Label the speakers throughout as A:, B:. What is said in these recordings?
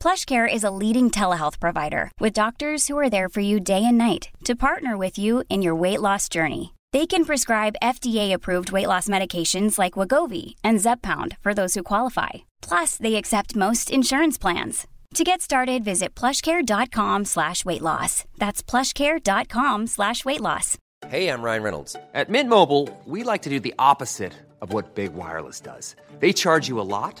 A: PlushCare is a leading telehealth provider with doctors who are there for you day and night to partner with you in your weight loss journey. They can prescribe FDA-approved weight loss medications like Wagovi and Zepbound for those who qualify. Plus, they accept most insurance plans. To get started, visit plushcare.com slash weight loss. That's plushcare.com slash weight loss.
B: Hey, I'm Ryan Reynolds. At Mint Mobile, we like to do the opposite of what Big Wireless does. They charge you a lot,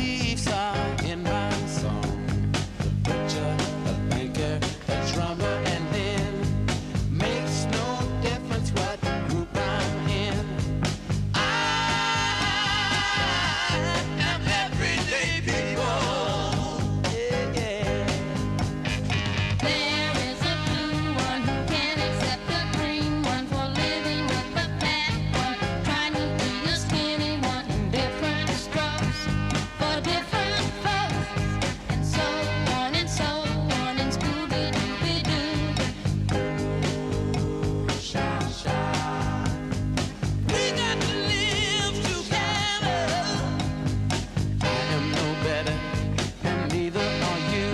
C: Leaves are in my song. The butcher, the banker, the drummer, and then makes no difference what group I'm in. I am everyday people. Yeah, yeah.
D: There is a blue one who can accept the green one for living with the fat one, trying to be a skinny one in different strokes for different folks, and so on and so on and Scooby Dooby Doo.
C: Sha, sha. We got to live together. I am no better, and neither are you.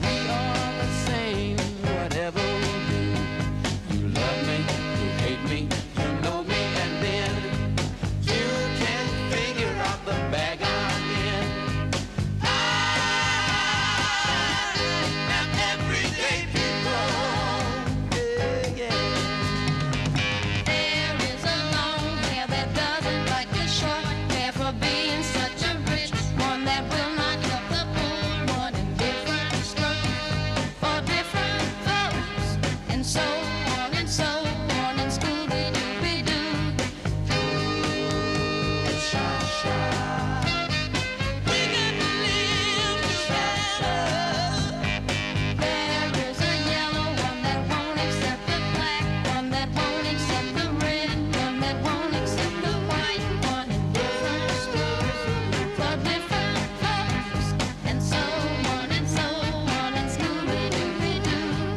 C: We are the same, whatever we do. You love me, you hate me, you know me, and then you can figure out the bag I'm in. I am everyday people. Yeah, yeah.
D: There is a long hair that doesn't like the short hair for being such a rich one that will not love the poor one in different strokes for different folks, and so on and so on and Scooby Dooby Doo.
C: Sha, sha. We got to live together.
D: There is a yellow one that won't accept the black one that won't accept the red one that won't accept the white one in different strokes for different folks, and so on and so on and Scooby Dooby Doo.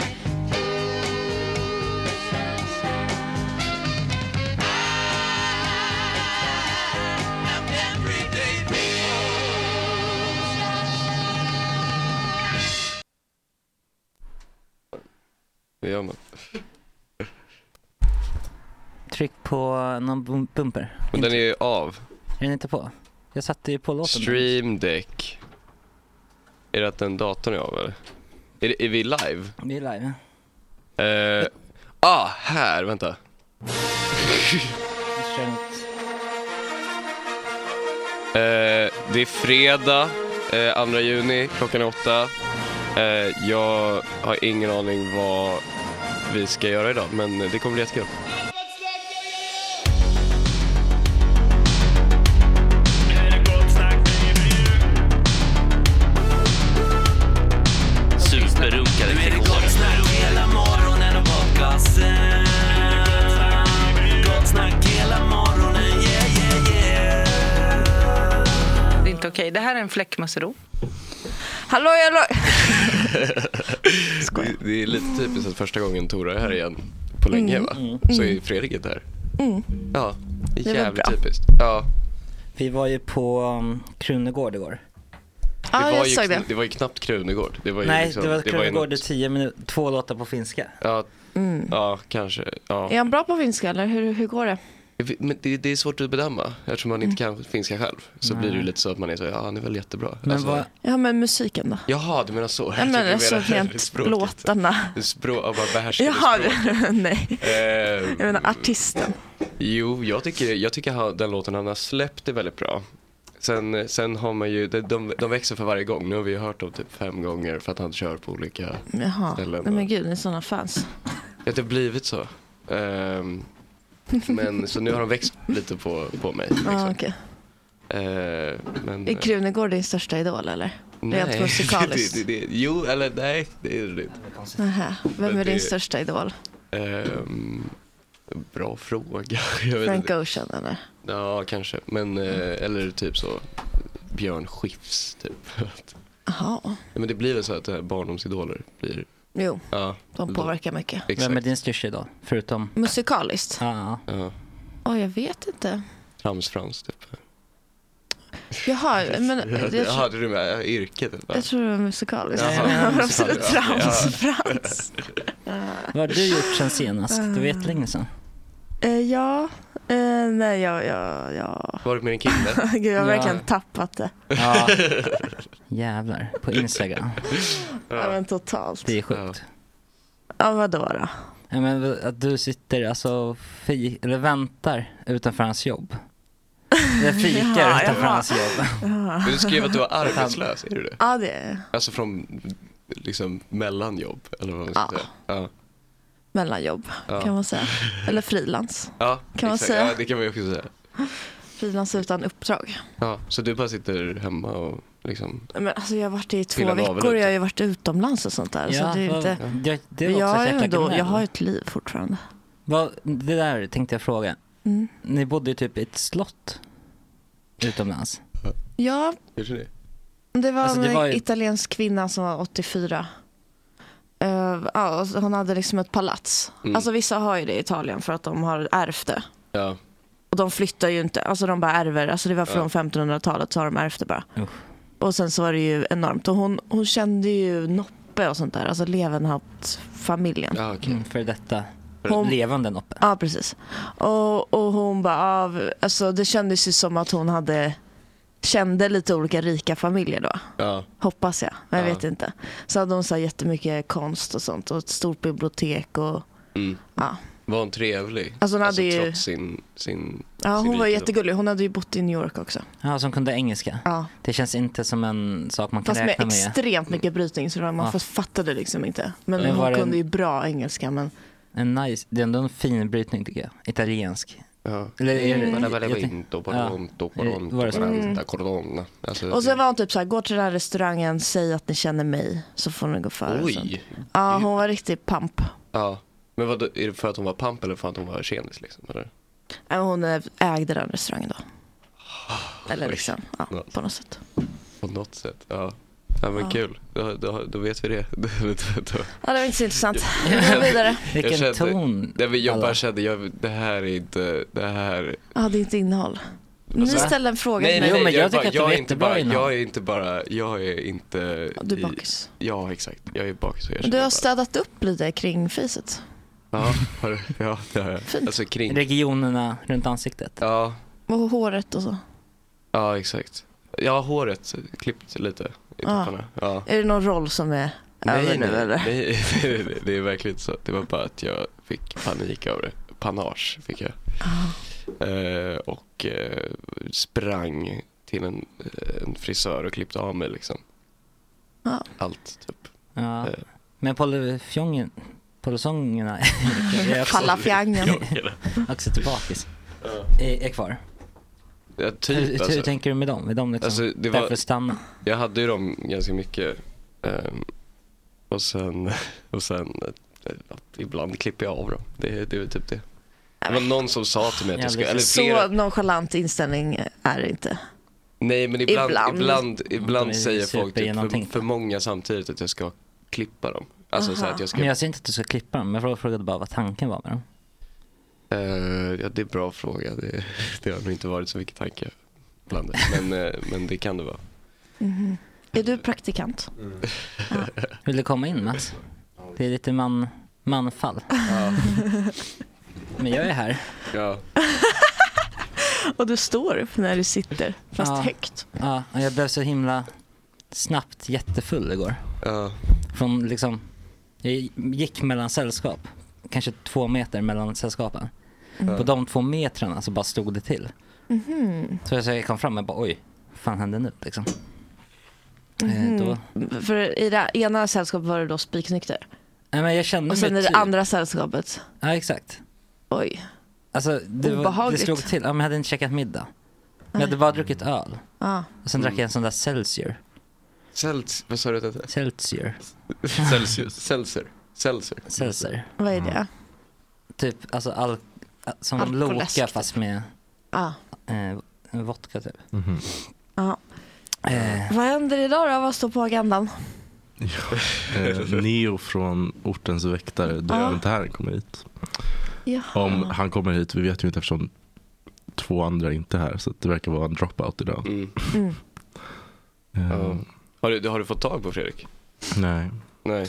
E: Det gör man.
F: Tryck på någon bum- bumper.
E: Men den är ju av.
F: Är den inte på? Jag satte ju på låten.
E: Stream Deck. Är det att den datorn är av eller? Är, det, är vi live?
F: Vi är live.
E: Eh, ah, här, vänta.
F: Vi kör något.
E: Eh, det är fredag, eh, 2 juni, klockan är åtta. Eh, jag har ingen aning vad vi ska göra idag, men det kommer bli jättekul.
G: Superrunkare till åren.
H: Det är inte okej. Det här är en fläckmussero. Hallå, hallå!
E: Det, det är lite typiskt att första gången Tora är här igen på länge
H: Mm.
E: va?
F: Mm.
E: Så är Fredrik inte här. Ja, det
H: Det
E: är
H: var
E: jävligt
H: bra.
E: typiskt. Ja,
F: Vi var ju på um, Krunegård igår.
H: Ja, ah, jag
E: ju,
H: såg
E: kn-
H: det.
E: det var ju knappt Krunegård. Det var ju
F: Nej,
E: liksom,
F: det var
E: ju
F: Krunegård i
E: något-
F: tio minuter, två låtar på finska.
H: Mm.
E: Ja, ja, kanske. Ja.
H: Är han bra på finska eller hur, hur går det?
E: Jag vet- Men det, det är svårt att bedöma eftersom man inte
H: Mm.
E: kan finska själv. Så
F: Nej.
E: blir det ju lite så att man är så, ja han är väl jättebra.
F: Men
E: alltså,
F: vad,
H: Ja men musiken då?
E: Jaha, du menar så?
H: Nej
E: Jag trodde
H: men
E: du
H: alltså
E: menade
H: rent
E: språket.
H: låtarna.
E: Språk, ja, bara behärskade
H: Jaha,
E: språk.
H: nej.
E: Eh,
H: Jag menar artisten.
E: Jo, jag tycker, jag tycker han, den låten han har släppt är väldigt bra. Sen, sen har man ju, de, de, de växer för varje gång. Nu har vi ju hört dem typ fem gånger för att han kör på olika
H: Jaha,
E: ställen.
H: nej men gud ni är sådana fans.
E: Ja, det har blivit så. Ehm, men liksom, så nu har de växt lite på, på mig. Liksom.
H: Ja, okej.
E: Eh, men,
H: Är Krunegård din största idol eller?
E: nej.
H: Rent musikaliskt?
E: det, det, det, jo, eller nej, det är det inte.
H: Nähä, vem
E: Men
H: är din
E: det-
H: största idol?
E: Ehm, bra fråga. Jag vet
H: Frank
E: inte.
H: Ocean eller?
E: Ja, kanske. Men, eh, eller typ så Björn Skifs, typ.
H: Jaha,
E: Ja, men det blir väl så att eh, barndomsidoler blir...
H: jo,
E: Ja,
H: de påverkar mycket.
E: exakt.
F: vem är din största idol? Förutom,
H: Musikaliskt?
F: ja, ja.
E: Ja,
H: Åh, jag vet inte.
E: Trams-Frans, typ.
H: Jaha, men jag, tror-
E: Jaha, det är du med ja, yrket? Typ.
H: jag tror det var musikaliskt.
E: Jaha,
H: Ja, men
E: musikaliskt, ja.
H: Trams, Frans.
F: vad har du gjort sen senast? Det var jättelänge sedan.
H: Eh, Ja, eh, nej, jag, jag, jag.
E: Varit med en kille?
H: Gud, jag har
F: Ja.
H: verkligen tappat det.
F: Ja. Jävlar, på Instagram.
H: Ja, men totalt.
F: Det är sjukt.
H: Ja, vadå då?
F: Ja, men att du sitter alltså, fi- eller väntar utanför hans jobb. Eller fikar
H: Ja,
F: utanför
H: jaha.
F: hans jobb.
E: Men du skrev att du var arbetslös, är du det?
H: Ja, det är
E: Alltså från liksom mellanjobb, eller vad man ska
H: Ja.
E: säga. Ja,
H: mellanjobb
E: Ja.
H: kan man säga. Eller frilans.
E: ja
H: Kan man
E: exakt.
H: säga?
E: Ja, det kan man ju också säga.
H: Frilans utan uppdrag.
E: Ja, så du bara sitter hemma och liksom...
H: Men alltså, jag har varit det i två
E: Killen var väl
H: veckor och jag har
E: ute.
H: ju varit utomlands och sånt där.
F: Ja,
H: så det är ju
F: vad-
H: inte...
F: det, det är
H: Men
F: också
H: jag,
F: ett
H: har ju
F: jäkla
H: ändå,
F: gnäll.
H: jag har ju ett liv fortfarande.
F: Vad, det där tänkte jag fråga.
H: Mm.
F: Ni bodde ju typ i ett slott utomlands.
H: Ja,
E: Gjorde ni?
H: det var
F: Alltså, det
H: en
F: var ju-
H: italiensk kvinna som var 84. Eh, ja, och hon hade liksom ett palats.
E: Mm.
H: Alltså vissa har ju det i Italien för att de har ärvt det.
E: Ja,
H: Och de flyttar ju inte, alltså de bara ärver. Alltså det var från 1500-talet så har de ärvt det bara.
F: Usch.
H: Och sen så var det ju enormt. Och hon, hon kände ju Noppe och sånt där, alltså Levenhaupt-familjen.
E: ja okej.
F: Mm, för detta
H: Hon-
F: levande noppe.
H: Ja, precis. Och, och hon bara, ah, v- alltså det kändes ju som att hon hade, kände lite olika rika familjer då.
E: Ja,
H: Hoppas jag, men jag
E: Ja.
H: vet inte. Så hade hon så här jättemycket konst och sånt och ett stort bibliotek och
E: mm.
H: ja.
E: Var hon trevlig?
H: Alltså, hon hade ju-
E: trots sin... sin
H: Ja,
E: sin
H: hon var
E: rikedom.
H: jättegullig. Hon hade ju bott i New York också.
F: Ja, som kunde engelska.
H: Ja.
F: Det känns inte som en sak man kan
H: Fast med
F: räkna med.
H: extremt mycket brytning så man
F: Ja.
H: fast fattade liksom inte. Men,
F: Men var
H: hon
F: det en-
H: kunde ju bra engelska. Men
F: En nice, det är ändå en fin brytning tycker jag. Italiensk.
E: Ja.
F: Eller är det,
E: Bara
F: jag,
E: bara Eh,
F: tänk-
E: vinto, baronto, baronto,
F: Eh, Var det så?
E: baranta, corona. Alltså,
H: Mm. och
E: det-
H: sen var hon typ så här, gå till den här restaurangen, säg att ni känner mig så får ni gå före. och sånt.
E: Oj!
H: Ja, hon var riktigt pamp.
E: Ja. Men vad, är det för att hon var pamp eller för att hon var tjenis liksom? Eller?
H: Nej, Äh, Hon ägde den restaurangen då. Eller liksom, ja, på något sätt.
E: På något sätt. Ja. Ja men kul, då, då, då vet vi det. Då- då- då-
H: Ja, det var inte så intressant. Vi går vidare.
F: vilken
E: kände-
F: ton.
E: Nej, men jag
F: alla.
E: bara kände, jag, det här är inte, det här.
H: Ja, det är inte innehåll. Ni ställde en fråga till
F: Alltså- nej,
H: mig.
F: Jo, men jag
E: är
F: tycker
E: bara-
F: att det var
E: är inte
F: jättebra
E: bara,
F: innan.
E: jag är inte bara, jag är inte.
H: Du
E: i-
H: är bakis.
E: Ja exakt, jag är bakis och jag
H: Du
E: känner
H: har
E: bara-
H: städat upp lite kring fejset.
E: Ja, har du- ja det har jag.
H: Fint.
E: Alltså kring.
F: Regionerna runt ansiktet.
E: Ja,
H: Och håret och så.
E: ja exakt. Ja håret klippt lite i
H: Ja.
E: topparna. Ja.
H: Är det någon roll som är över nu eller?
E: nej, nej, nej, det är verkligen inte så. Det var bara att jag fick panik av det. Panage fick jag.
H: Ah.
E: Eh, och eh, sprang till en, eh, en frisör och klippte av mig liksom.
H: Ja.
E: Allt typ.
F: Ja.
E: Eh.
F: Men polyfjongen, polosongerna är också,
H: Fallafjangen.
F: också tillbakis. Är, är kvar.
E: Ja,
F: hur,
E: typ
F: hur
E: alltså.
F: tänker du med dem? Är de liksom
E: Alltså,
F: där
E: det var-
F: för att stanna?
E: Jag hade ju dem ganska mycket. ehm, och sen, och sen eh, att ibland klipper jag av dem. Det, det är väl typ det. Det var någon som sa till mig att jag skulle, eller
F: Jävligt.
E: flera,
H: Så nonchalant inställning är det inte.
E: Nej men ibland,
H: Ibland.
E: ibland, ibland,
F: De är
E: säger folk typ för,
F: supergenomtänkta.
E: för många samtidigt att jag ska klippa dem. Alltså så
H: Aha.
E: att jag ska,
F: Men jag säger inte att du ska klippa dem, jag frågade bara vad tanken var med dem.
E: Eh, ja det är en bra fråga. Det, det har nog inte varit så mycket tanke bland det. Men, eh, men det kan det vara.
H: Mm-hmm. Är du praktikant?
F: Mm. Vill du komma in Mats? Det är lite man, manfall. Men jag är här.
E: Ja.
H: Och du står upp när du sitter, fast
F: Ja.
H: högt.
F: Ja, och jag blev så himla snabbt jättefull igår. Från liksom, jag gick mellan sällskap, kanske två meter mellan sällskapen.
H: Mm.
F: På de två metrarna så bara stod det till.
H: Mhm.
F: Så jag- så jag kom fram och bara oj, vad fan hände nu liksom? Eh, då,
H: Mhm. För i det ena sällskapet var du då spiknykter.
F: nej men jag kände
H: Och sen i
F: mig
H: det
F: typ-
H: andra sällskapet.
F: Ja exakt.
H: Oj.
F: Alltså det, var, det
H: Obehagligt.
F: slog till, ja, men jag hade inte käkat middag. Jag
H: Nej.
F: hade bara druckit öl.
H: Ja.
F: Och sen drack jag en sån där Celsior.
E: Celsius, Mm. vad sa du att det hette?
F: Celsior.
E: Celsius. Celsior. Celsior. Mm.
F: Celsior.
H: Vad är det?
F: Typ alltså al- som
H: Alkoläsk.
F: Loka fast med
H: typ. Ja.
F: eh, vodka typ.
H: Ja.
F: Eh,
H: Vad händer idag då? Vad står på agendan?
I: Eh, Neo från ortens väktare, det
H: Ja.
I: är inte här han kommer hit.
H: Jaha.
I: Om han kommer hit, vi vet ju inte eftersom två andra inte är här så att det verkar vara en dropout idag.
H: Mm.
I: Eh,
E: Ja. Har, du, har du fått tag på Fredrik?
I: Nej.
E: Nej.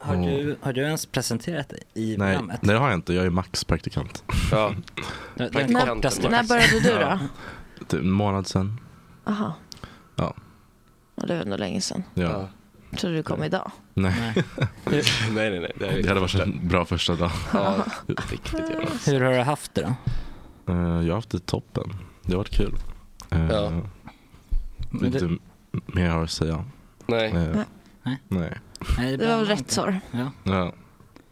F: har, du, har du ens presenterat dig i
I: Nej,
F: programmet?
I: det har jag inte. Jag är Max praktikant.
E: Ja.
F: Mm. Den
H: När,
F: kortaste
H: när
F: Max.
H: började du då?
I: Typ en månad sedan.
H: Aha.
I: Ja.
H: Ja, Det var nog länge sedan.
I: Ja.
H: Jag trodde du kom idag.
I: Nej.
E: nej, nej, nej. Det, här är
I: Det hade varit en bra första dag.
E: Eh, Ja, riktigt jävla.
F: Hur har du haft det då?
I: Eh, Jag har haft det toppen. Det har varit kul. Eh,
E: Ja.
I: Det är inte mer jag har att säga.
E: Nej.
I: Eh,
F: Nej.
I: Nej.
F: Nej,
H: Det var väl rätt svar.
F: Ja.
I: Ja.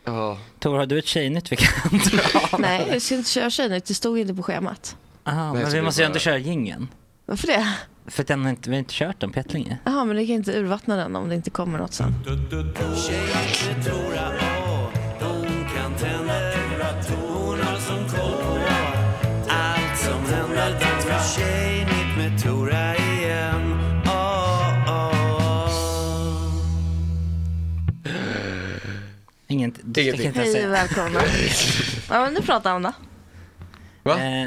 E: Ja.
F: Tor, har du ett tjejnytt vi kan dra?
H: Nej, jag ska inte köra tjejnytt. Det stod inte på schemat.
F: Aha, men
H: Nej, så
F: vi
H: det
F: måste ju
H: var-
F: ändå köra jingeln.
H: Varför det?
F: För den har inte, vi har inte kört den på jättelänge.
H: Jaha, men det kan inte urvattna den om det inte kommer något sen.
J: Tjejer tror att ja, de kan tända att hon har som koll på allt som händer. Dags för Tjejnytt med Tora igen. Oh, oh.
F: Inget, du tänker inte ens
H: Hej
F: säga.
H: och välkomna. ja, men nu pratar Anna.
E: Va?
F: Eh,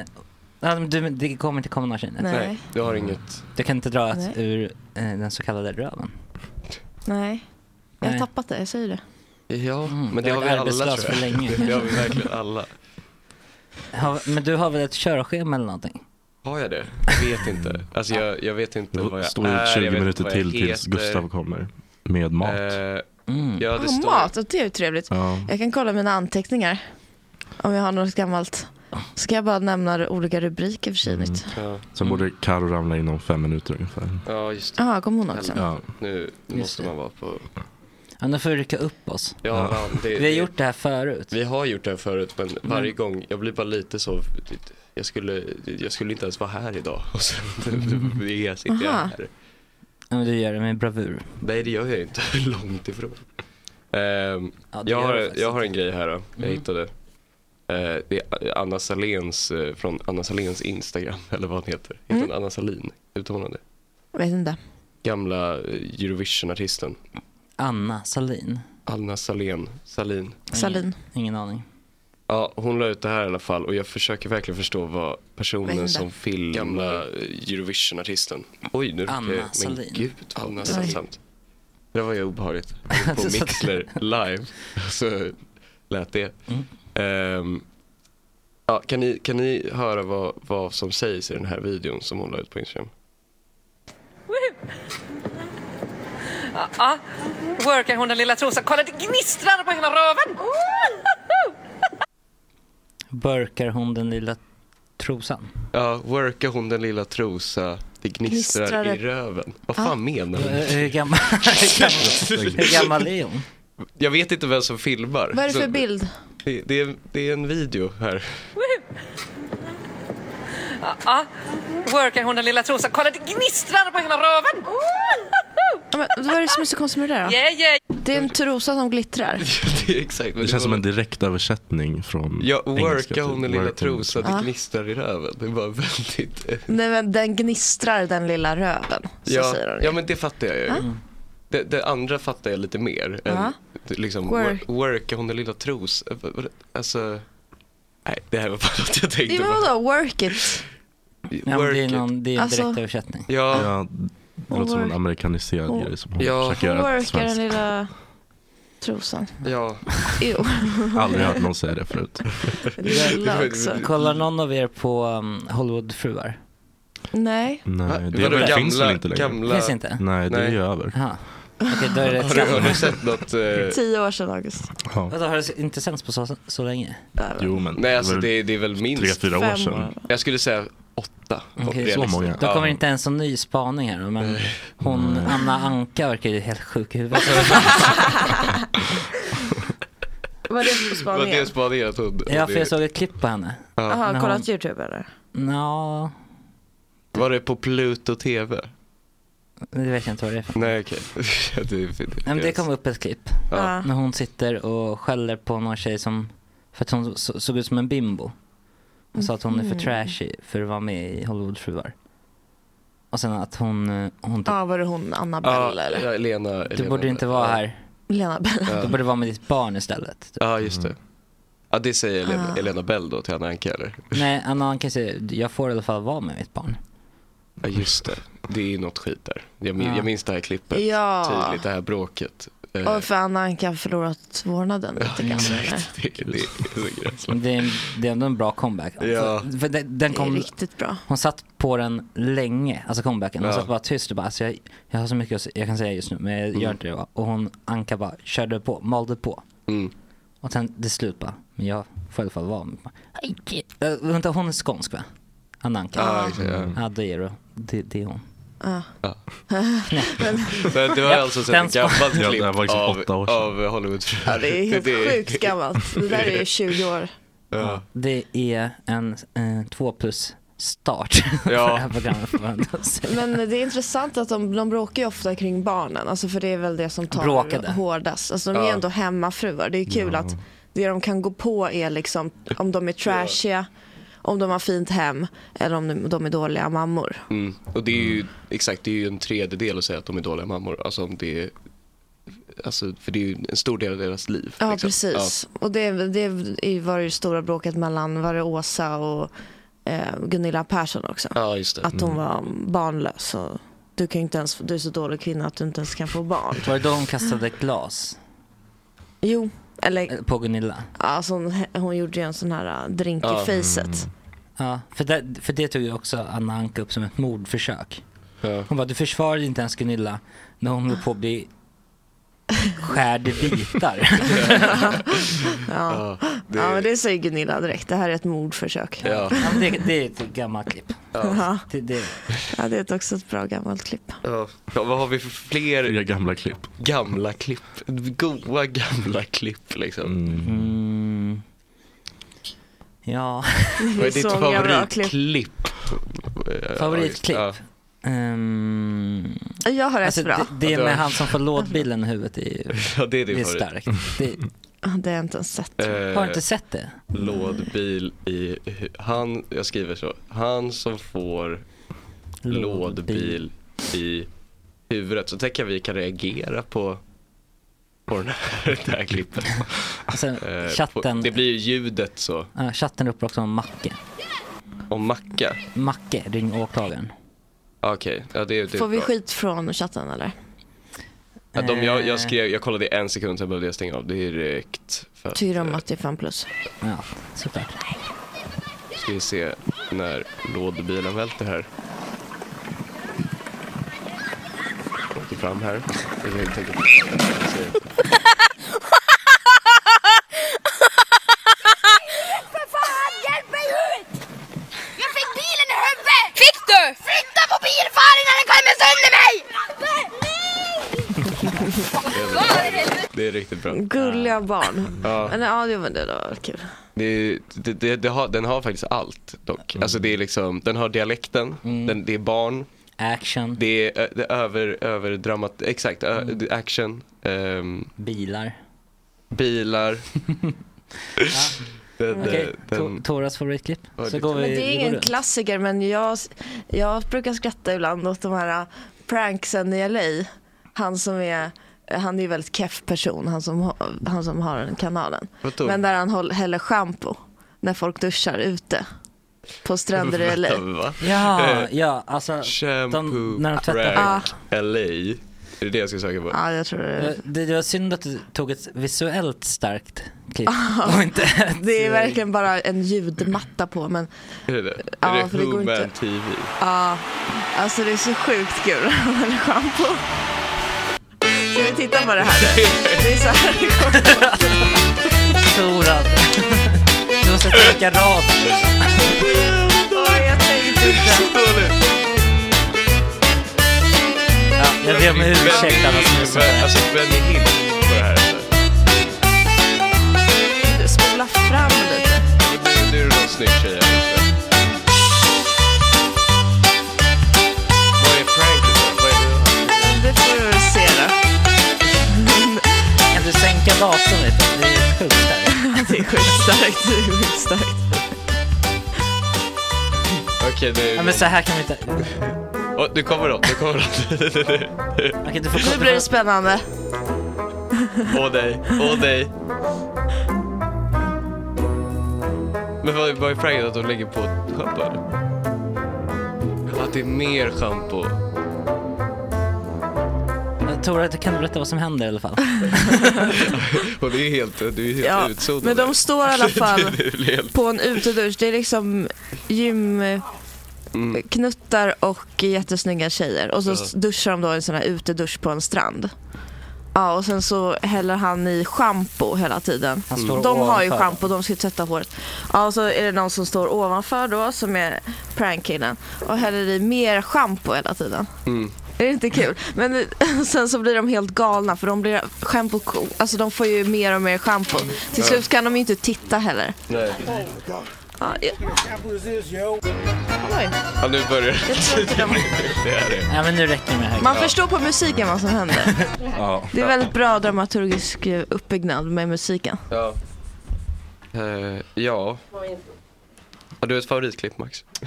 F: ja, men du, det kommer inte komma några tjejnytt.
H: Nej. Nej,
E: du har inget.
F: Du kan inte dra ett
H: Nej.
F: ur eh, den så kallade röven.
H: Nej, jag har
F: Nej.
H: tappat det. Jag säger det.
E: Ja, men det
F: Mm, du har
E: har vi
F: varit
E: alla tror jag.
F: arbetslös för länge.
E: Det har vi verkligen alla.
F: Ja, men du har väl ett körschema eller någonting?
E: Har jag det? Jag vet inte. Alltså jag, jag vet inte vad jag
I: Står
E: är.
I: ut
E: jag
I: 20
E: vet
I: minuter
E: inte vad jag
I: till tills
E: heter.
I: Gustav kommer. Med mat.
E: Eh,
F: Mm.
E: Ja, det
H: Ah,
E: står...
H: mat, och det är ju trevligt.
I: Ja.
H: Jag kan kolla mina anteckningar om jag har något gammalt. Ska jag bara nämna olika rubriker för
I: Mm.
H: tjejnytt?
E: Ja.
I: Sen borde
F: Mm.
I: Karo ramla inom fem minuter ungefär.
E: Ja, just
H: Jaha, kom hon också?
I: Ja.
E: Nu, nu
F: Just
E: måste
F: det.
E: man vara på...
F: Ja, nu får du rycka upp oss.
E: Ja, fan, det,
F: vi har gjort det här förut.
E: Vi har gjort det här förut, men varje
F: Men-
E: gång, jag blir bara lite så, jag skulle, jag skulle inte ens vara här idag. Och sen det- det- jag sitter jag
F: Aha.
E: här.
F: Ja, men du gör det med bravur.
E: Nej, det gör jag inte. Långt ifrån.
F: det
E: Ehm,
F: gör
E: jag,
F: du
E: har,
F: faktiskt Mm.
E: jag har en grej här då, jag hittade. Eh, det är Anna Saléns, eh, från Anna Saléns Instagram, eller vad hon heter. Heter
F: Mm.
E: hon Anna Salén? Uttalar hon det?
H: Vet inte.
E: Gamla eh, Eurovision-artisten.
F: Anna Salin.
E: Anna Salén, Salin.
H: Salin.
F: Ingen aning.
E: Ja, hon la ut det här i alla fall och jag försöker verkligen förstå vad
H: Vad
E: personen
H: hände?
E: som filmade Gamla eh, Eurovision-artisten. Oj, nu
F: Anna
E: men
F: Salin.
E: gud vad
F: Oj.
E: pinsamt. Det där var ju obehagligt. Jag var På Mixler live så lät det.
H: Mm.
E: Ehm, ja, kan, ni, kan ni höra vad, vad som sägs i den här videon som hon la ut på Instagram?
K: Ja, ja. workar ah. hon den lilla trosan. Kolla, det gnistrar på hela röven!
F: Burkar hon den lilla trosan?
E: Ja, workar hon den lilla trosa, det gnistrar,
F: Gnistrar
E: i
F: det-
E: röven. Vad
H: Ah.
E: fan menar hon?
F: Eh, Hur gammal, hur gammal, hur gammal är hon?
E: Jag vet inte vem som filmar.
H: Vad är det för
E: Så-
H: bild?
E: Det, det, är, det är en video här.
K: Mm. Ja, ja. workar ah. hon den lilla trosan. Kolla, det gnistrar på hela röven!
H: Ja, men vad är det som är så konstigt med det där då?
K: Yeah, yeah.
H: Det är en trosa som glittrar.
E: det, är exakt,
I: Det känns som en direktöversättning från
E: Ja,
I: engelska,
E: worka
I: typ.
E: hon den lilla
I: Work on-
E: trosan,
H: Ja.
E: det gnistrar i röven. Det var väldigt... eh,
H: Nej, men den gnistrar den lilla röven. Så
E: ja,
H: säger hon.
E: ja, men det fattar jag ju.
H: Ja.
E: Det, det andra fattar jag lite mer.
H: Ja.
E: Än, liksom,
H: Work.
E: work. Worka hon den lilla tros... eh, vad- vad- Alltså... Nej, det här var bara att jag
H: Det
E: tänkte
H: var
E: bara...
H: vadå, work it.
F: Ja, men det är,
E: it.
F: någon, det är en
H: Alltså-
F: direktöversättning.
E: Ja,
I: Ja, det låter som en amerikaniserad
H: Hon-
I: grej som hon
E: Ja.
I: försöker
H: Hon
I: göra
H: workar den
I: svensk.
H: lilla... trosan.
E: Ja.
H: Jo.
I: Aldrig hört någon säga det förut.
H: Lilla också.
F: Kollar någon av er på um, Hollywoodfruar?
H: Nej.
I: Nej, det,
E: Vadå, gamla-
I: finns väl inte längre?
E: gamla-
F: Finns inte?
I: Nej, det är
E: Nej.
I: ju över.
F: Aha. Okej, då är det
E: Har du, har du
F: ett
E: sett något? eh,
H: Tio år sedan August.
I: Ja.
F: Vadå, har det inte sänts på så, så länge?
I: Jo, men
E: Nej, alltså
I: väl
E: det, är- det är väl minst.
I: tre, fyra år
H: Fem sedan. år.
E: Jag skulle säga åtta. på
F: Okej,
E: realistiskt.
F: Då
E: Ja.
F: kommer inte ens en ny spaning här. Men hon, Anna Anka verkar ju helt sjuk i huvudet.
H: Vad är det för
E: Vad det är
H: spaningen?
E: spaningen att hon...
F: ja, för
E: det-
F: jag såg ett klipp på henne.
H: Jaha,
F: När hon-
H: kollat YouTube eller?
F: Nja,
E: Var det på Pluto TV?
F: det vet jag inte vad det är för.
E: Nej, okej. det, är- det,
F: Nej, men det kom upp ett klipp.
E: Ja.
F: När hon sitter och skäller på någon tjej som, för att hon så, såg ut som en bimbo. Och sa att hon är för
H: Mhm.
F: trashy för att vara med i Hollywoodfruar. Och sen att hon, eh, hon
H: Ja, var det hon Annabelle
E: Ja,
H: eller?
E: ja, Lena.
F: du
E: Lena-
F: borde inte vara här.
H: Lena Bell.
E: Ja.
F: Du borde vara med ditt barn istället. typ.
E: Ja, just det. Ja, det säger Elena,
H: Ah.
E: Elena Bell då till Anna Anka eller?
F: Nej, Anna Anka säger, jag får i alla fall vara med mitt barn.
E: Ja, just det. Det är något skit där. Jag, min,
F: Ja.
E: jag minns det här klippet
H: Ja.
E: tydligt, det här bråket. Eh,
H: Och för Anna Anka har förlorat vårdnaden lite kanske. eller?
E: det, det är så gräsligt.
F: Men Det är, det är ändå en bra comeback. Alltså,
E: Ja.
F: För, för den, den
H: Det är
F: kom,
H: riktigt bra.
F: hon satt på den länge, alltså comebacken. Hon
E: Ja.
F: satt bara tyst och bara, alltså jag, jag har så mycket att s- jag kan säga just nu men jag gör inte det. va? Och hon, Anka bara körde på, malde på.
E: Mm.
F: Och sen det slut bara, men jag får i alla fall vara med. Anki. Äh, vänta, hon är skånsk va? Anna Anka.
E: Ja, exakt, ja.
F: Ja, det är det. Det, det är hon.
E: Men Du har
F: Ja,
E: alltså
F: den
E: sett ett gammalt
I: Ja,
E: klipp
I: det här var liksom
E: av,
I: åtta år sedan.
E: av Hollywood.
H: Ja, det är helt sjukt gammalt. Det där är ju 20 år.
E: Ja.
F: Det är en eh, två plus start för
E: Ja.
F: det här programmet får man ändå säga.
H: Men det är intressant att de, de bråkar ju ofta kring barnen, alltså för det är väl det som tar
F: Bråkade.
H: hårdast. Alltså de är
E: Ja.
H: ändå hemmafruar. Det är ju kul att det de kan gå på är liksom om de är trashiga, om de har fint hem eller om de- de är dåliga mammor.
E: Mm. Och det är ju exakt, det är ju en tredjedel att säga att de är dåliga mammor. Alltså om det är, alltså, för det är ju en stor del av deras liv.
H: Ja,
E: liksom.
H: precis. Och det, det är- var det ju stora bråket mellan var det Åsa och eh, Gunilla Persson också.
E: Ja, ja just det. Mm.
H: Att hon var barnlös. Och du, kan ju inte ens, du är så dålig kvinna att du inte ens kan få barn.
F: Var det då hon kastade glas
H: Jo, eller
F: eh, på Gunilla?
H: alltså, hon, hon gjorde ju en sån här eh, drink
E: Ja.
H: i facet.
F: Ja, för det, för det tog ju också Anna Anka upp som ett mordförsök.
E: Ja.
F: Hon bara, du försvarade inte ens Gunilla när hon höll på att bli skärd i bitar.
H: Ja.
E: Mm. Ja, det,
H: Ja, men det säger Gunilla direkt. Det här är ett mordförsök.
E: ja.
F: ja, men det, det är ett gammalt klipp.
H: Ja.
F: Det, det,
H: Ja, det är också ett bra gammalt klipp.
E: Ja. Ja, vad har vi för fler
I: Tre gamla klipp.
E: gamla klipp? Goa gamla klipp liksom.
F: mm, ja,
E: Vad är
H: Så
E: ditt
H: många bra
E: favoritklipp? Eh,
F: favoritklipp.
E: Ja.
F: Äh, Ehm,
H: Jag har ett
F: alltså,
H: bra.
F: det, det är när han som får lådbilen i huvudet. Det är, ju-
E: Ja, det är
F: det är
E: din favorit.
F: starkt. Det,
H: Det har jag inte ens sett.
E: Eh,
F: har du inte sett det?
E: Lådbil i hu- han, jag skriver så, han som får lådbil i huvudet. Så tänker jag vi kan reagera på, på den här, det här klippet.
F: Och sen
E: Eh,
F: chatten,
E: på- Det blir ju ljudet så,
F: ja, chatten ropar också om Macke.
E: om macka. Ah,
F: Macke, ring åklagaren.
E: Okej, ja det, det är
H: Får vi
E: bra.
H: skit från chatten eller?
E: Ja, de, jag, jag skrev, jag kollade i en sekund sen behövde jag stänga av direkt. För att,
H: Tyra
E: eh,
H: Matti 5 plus.
F: Ja, såklart.
E: ska vi se när lådbilen välter här. Åker fram här. Jag tänker- tänker- se.
D: För fan, hjälp mig ut! Jag fick bilen i huvudet! Fick du? Flytta på bilfar innan den kommer sönder mig!
E: Det är riktigt bra.
H: Gulliga barn.
E: Ja.
H: Men ja, det var det var kul.
E: Det, det, det, det har, den har faktiskt allt dock.
F: Mm.
E: Alltså det är liksom, den har dialekten, den, det är barn,
F: Action, Mm.
E: det är, ö- det är över, över dramat, exakt, ö, det är action, ehm,
F: bilar.
E: bilar. den,
F: Okej,
E: eh,
F: To-
E: den,
F: Toras favoritklipp.
E: Ja,
F: Så
E: det-
F: går vi,
H: Men det är
F: vi går
H: ingen
F: runt.
H: klassiker, men jag, jag brukar skratta ibland åt de här äh, pranksen i LA. Han som är äh, han är ju väldigt keff person, han som, ha- han som har den kanalen.
E: Vadå?
H: Men där han håll, häller schampo när folk duschar ute på stränder i LA.
E: Vänta, va? Eh,
F: Ja, ja, alltså.
E: Shampoo
H: Ah.
F: när de tvättar-
E: prank LA. Är det det jag ska söka på?
F: Eh, det. Det var synd att du tog ett visuellt starkt klipp. Och inte
H: Ah.
F: eh,
H: Det är verkligen bara en ljudmatta på men
E: Är det det?
H: Ja,
E: är
H: för
E: det
H: det går
E: Who Man
H: inte.
E: TV?
H: ja, alltså det är så sjukt kul med schampo. Ska vi titta på det här nu? Det är så här det
F: Torad. Du måste tänka rad. Ja, jag ber om ursäkt alla som lyssnar.
E: Alltså Benny Hill på det här.
H: går. Spola fram lite.
E: Nu- Nu är det någon snygg tjej här ute. Vad är pranket då? Vad är det?
H: Det får du väl se då.
F: Kan du sänka datorn lite? Det är sjukt starkt.
H: det är sjukt starkt. Det är sjukt starkt.
E: Okej, det är
F: Ja, men så här kan vi inte...
E: Åh, nu kommer de, nu kommer de.
F: Okej, du
H: Nu blir det spännande.
E: Åh nej, åh nej. Men vad, vad är pranket att de lägger på ett schampo? eller? Att det är mer schampo.
F: Men Eh, Tora, du kan du berätta vad som händer i alla fall?
E: Och det är helt, du är helt
H: Ja,
E: utsonad.
H: men de står i alla fall
E: Det är helt-
H: på en utedusch. Det är liksom gymknuttar och jättesnygga tjejer. Och så
E: Ja.
H: duschar de då i en sån här utedusch på en strand. Ja, och sen så häller han i schampo hela tiden.
F: Han står
H: De har ju
F: ovanför.
H: schampo, de ska ju tvätta håret. Ja, och så är det någon som står ovanför då, som är prankkillen, och häller i mer schampo hela tiden.
E: Mm.
H: Är det inte kul? Men eh, sen så blir de helt galna för de blir schampo, alltså de får ju mer och mer schampo. Till
E: Ja.
H: slut kan de ju inte titta heller.
E: Nej.
H: Ja, ja. Oj.
E: Ja, nu börjar
H: Jag tror inte de-
E: det. är det.
F: Ja, men nu räcker det med
H: Man förstår på musiken vad som händer.
E: Ja.
H: Det är väldigt bra dramaturgisk eh, uppbyggnad med musiken.
E: Ja. Eh, ja. Har du ett favoritklipp Max?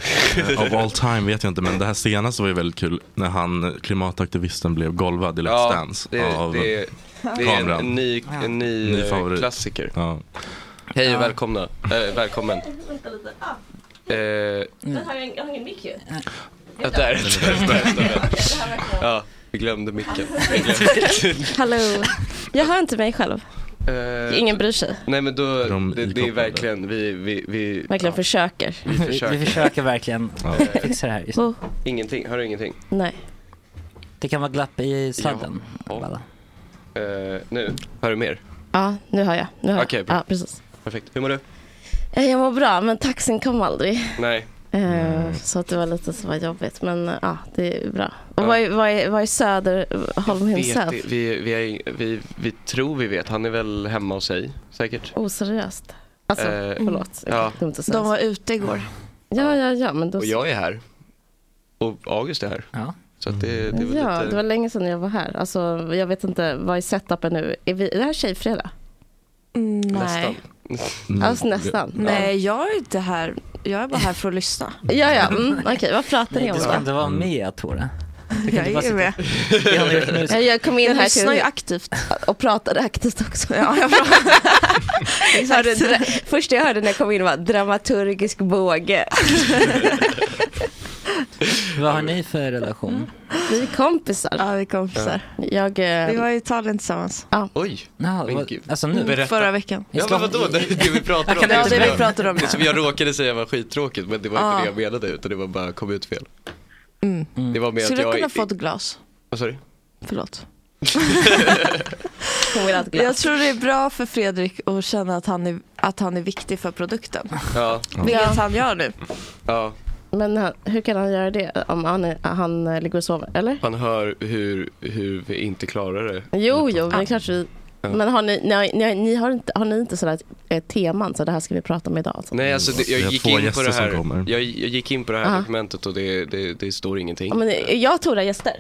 I: Of all time vet jag inte, men det här senaste var ju väldigt kul. När han, klimataktivisten, blev golvad i Let's
E: Ja,
I: Dance
E: det-
I: av
E: det- det är en
I: kameran.
E: ny- en ny, eh,
I: favorit.
E: klassiker.
I: Ja.
E: Hej och välkomna. Eh, välkommen. Eh,
L: Ah, Jag har ingen mick ju.
E: Ja, där, där, där, där. Ja, vi glömde micken. Vi glömde-
L: Hallå. Jag hör inte mig själv.
E: Eh,
L: Ingen bryr sig.
E: Nej men då, det, det är verkligen, vi, vi, vi
L: Verkligen försöker. Oh.
E: Vi försöker.
F: Vi försöker verkligen fixa det här. Just.
E: Ingenting, hör du ingenting?
L: Nej.
F: Det kan vara glapp i sladden. Balla.
E: Eh, nu, hör du mer?
L: Ja, nu hör jag. Nu hör
E: Okej,
L: jag.
E: bra.
L: Ja, precis.
E: Perfekt. Hur mår du?
L: Eh, Jag mår bra, men taxin kom aldrig.
E: Nej.
L: Eh, Så att det var lite så var jobbigt, men eh, ja, det är bra. Och vad är, vad är, vad är Söderholm
E: Vet,
L: himself?
E: vi, vi, vi, är, vi, vi tror vi vet, han är väl hemma hos sig säkert?
L: Oseriöst. Alltså,
E: Eh,
L: förlåt.
E: ja.
L: Dumt att säga
H: De
L: så.
H: var ute igår.
L: Ja, ja, ja, men då...
E: Och jag är här. Och August är här. Så att det, det var
L: ja,
E: lite...
L: det var länge sedan jag var här. Alltså, jag vet inte, vad är setupen nu? Är, vi, är det här tjejfredag?
H: Nej.
E: Nästan.
L: Alltså nästan.
H: Nej, jag är inte här. Jag är bara här för att lyssna.
L: Ja, ja. Mm, Okej, vad pratar ni
F: Nej,
L: om
F: du ska inte
L: då?
F: vara med Tora.
H: Jag är ju med.
F: Det har ni gjort nu.
L: Ja, Jag kom in
H: Jag
L: här
H: lyssnar ju aktivt.
L: och pratade aktivt också.
H: Ja, jag
L: Hörde dra- Första jag hörde när jag kom in var dramaturgisk båge.
F: Vad har ni för
H: Mm.
F: relation?
L: Vi är kompisar.
H: Ja, vi är kompisar.
L: Jag, eh,
H: Vi var i Italien tillsammans. Mm,
L: Ja.
E: Oj,
F: Nå,
E: men
F: vad-
E: gud.
F: alltså nu?
E: Berätta.
H: Förra veckan.
E: Ja men vadå, det är det vi pratar om.
H: Ja, det vi
E: jag-
H: pratar om.
E: Det som jag råkade säga var skittråkigt men det var inte
H: Ja.
E: det jag menade utan det var bara kom ut fel.
H: Mm.
E: Det var mer
H: Skulle
E: att
H: jag
E: jag...
H: kunna få ett glas?
E: Vad sa du?
H: Förlåt.
L: Hon vill ha ett glas.
H: Jag tror det är bra för Fredrik att känna att han är, att han är viktig för produkten.
E: Ja.
H: Vilket han gör nu.
E: ja.
L: Men han, hur kan han göra det om han, är, han eh, ligger och sover? Eller?
E: Han hör hur, hur vi inte klarar det.
L: Jo, jo, men klart vi...
E: Ja.
L: Men har ni, ni, ni, ni, har, inte, har ni inte sådär eh, teman, så det här ska vi prata om idag? Alltså?
E: Nej alltså det,
I: Vi
E: jag,
I: har
E: gick
I: två
E: in på
I: gäster
E: det
I: som
E: här,
I: kommer.
E: jag, jag gick in på det här
L: Aha.
E: dokumentet och det, det, det står ingenting.
L: Ja, men, eh, jag och Tora gäster.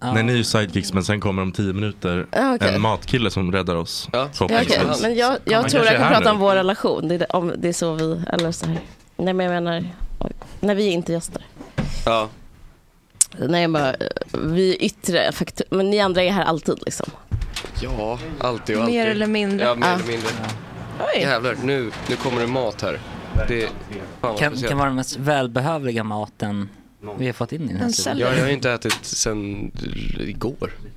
I: Nej, ni är ju sidekicks men sen kommer om tio minuter
L: Ja, Ah, okej.
I: en matkille som räddar oss.
E: Ja.
L: Ja, okej. Men jag,
I: Han
L: jag
I: kanske
L: tror jag
I: är
L: kan
I: här
L: prata
I: nu.
L: om vår relation. Det är, det- om det är så vi, eller så här. Nej men jag menar, oj, när vi är inte gäster.
E: Ja.
L: Nej jag bara, eh, vi är yttre faktor, men ni andra är här alltid liksom.
E: Ja, alltid och alltid.
L: Mer eller mindre.
E: Ja, mer
L: Ja.
E: eller mindre. Jävlar, nu, nu kommer det mat här. Det fan vad
F: Kan,
E: speciellt.
F: kan vara den mest välbehövliga maten vi har fått in i den här tiden.
H: En sallad.
E: Ja, jag har ju inte ätit sen igår.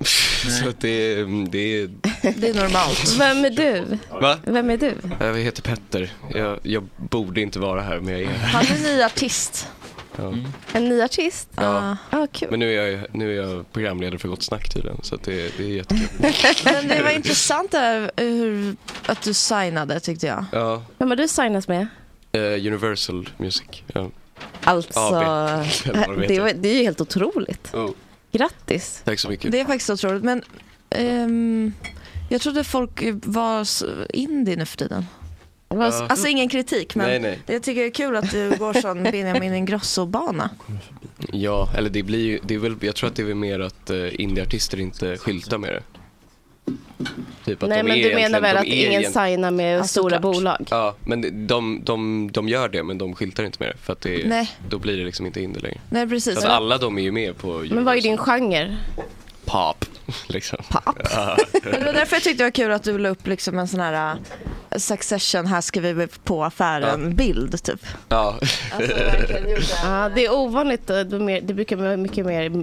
E: Så att det, är- det är...
H: Det är normalt.
L: Vem är du?
E: Va?
L: Vem är du?
E: Jag heter Petter. Jag, jag borde inte vara här, men jag är här.
H: Han är ny artist.
E: Ja.
L: En ny artist?
E: Ja.
L: Ah, kul.
E: Men nu är, jag, nu är jag programledare för Gott Snack tydligen, så att det, det är jättekul.
H: Men det var intressant där, hur, att du signade tyckte jag.
E: Ja,
L: Vem har du signat med?
E: eh, Universal Music. Ja.
L: Alltså,
E: AB.
H: eh,
E: Eller vad
L: det,
E: heter.
L: var, det är ju helt otroligt.
E: Oh,
L: Grattis.
E: tack så mycket.
H: Det är faktiskt otroligt. Men ehm, jag trodde folk var s- indie nu för tiden.
E: Ja.
H: Alltså ingen kritik men
E: Nej, nej.
H: jag tycker det är kul att du går sån Benjamin Ingrosso-bana.
E: Ja, eller det blir ju, det är väl, jag tror att det är väl mer att eh, indieartister inte skyltar med det. Typ att
L: Nej,
E: de
L: men
E: är
L: du menar
E: egentligen-
L: väl
E: de
L: att
E: är
L: ingen
E: egent-
L: signar med stora bolag?
E: Ja, men de, de, de, de gör det men de skyltar inte med det för att det,
L: Nej.
E: då blir det liksom inte indie längre.
L: Nej, precis.
E: Så att alla de är ju med på
L: Men vad är din genre?
E: pop. Liksom. Pop? Ja.
H: Men Det var därför jag tyckte det var kul att du la upp liksom en sån här äh, Succession, här ska vi på affären, bild typ.
E: ja.
L: Alltså, Ja, det är ovanligt. Det, är mer, det brukar vara mycket mer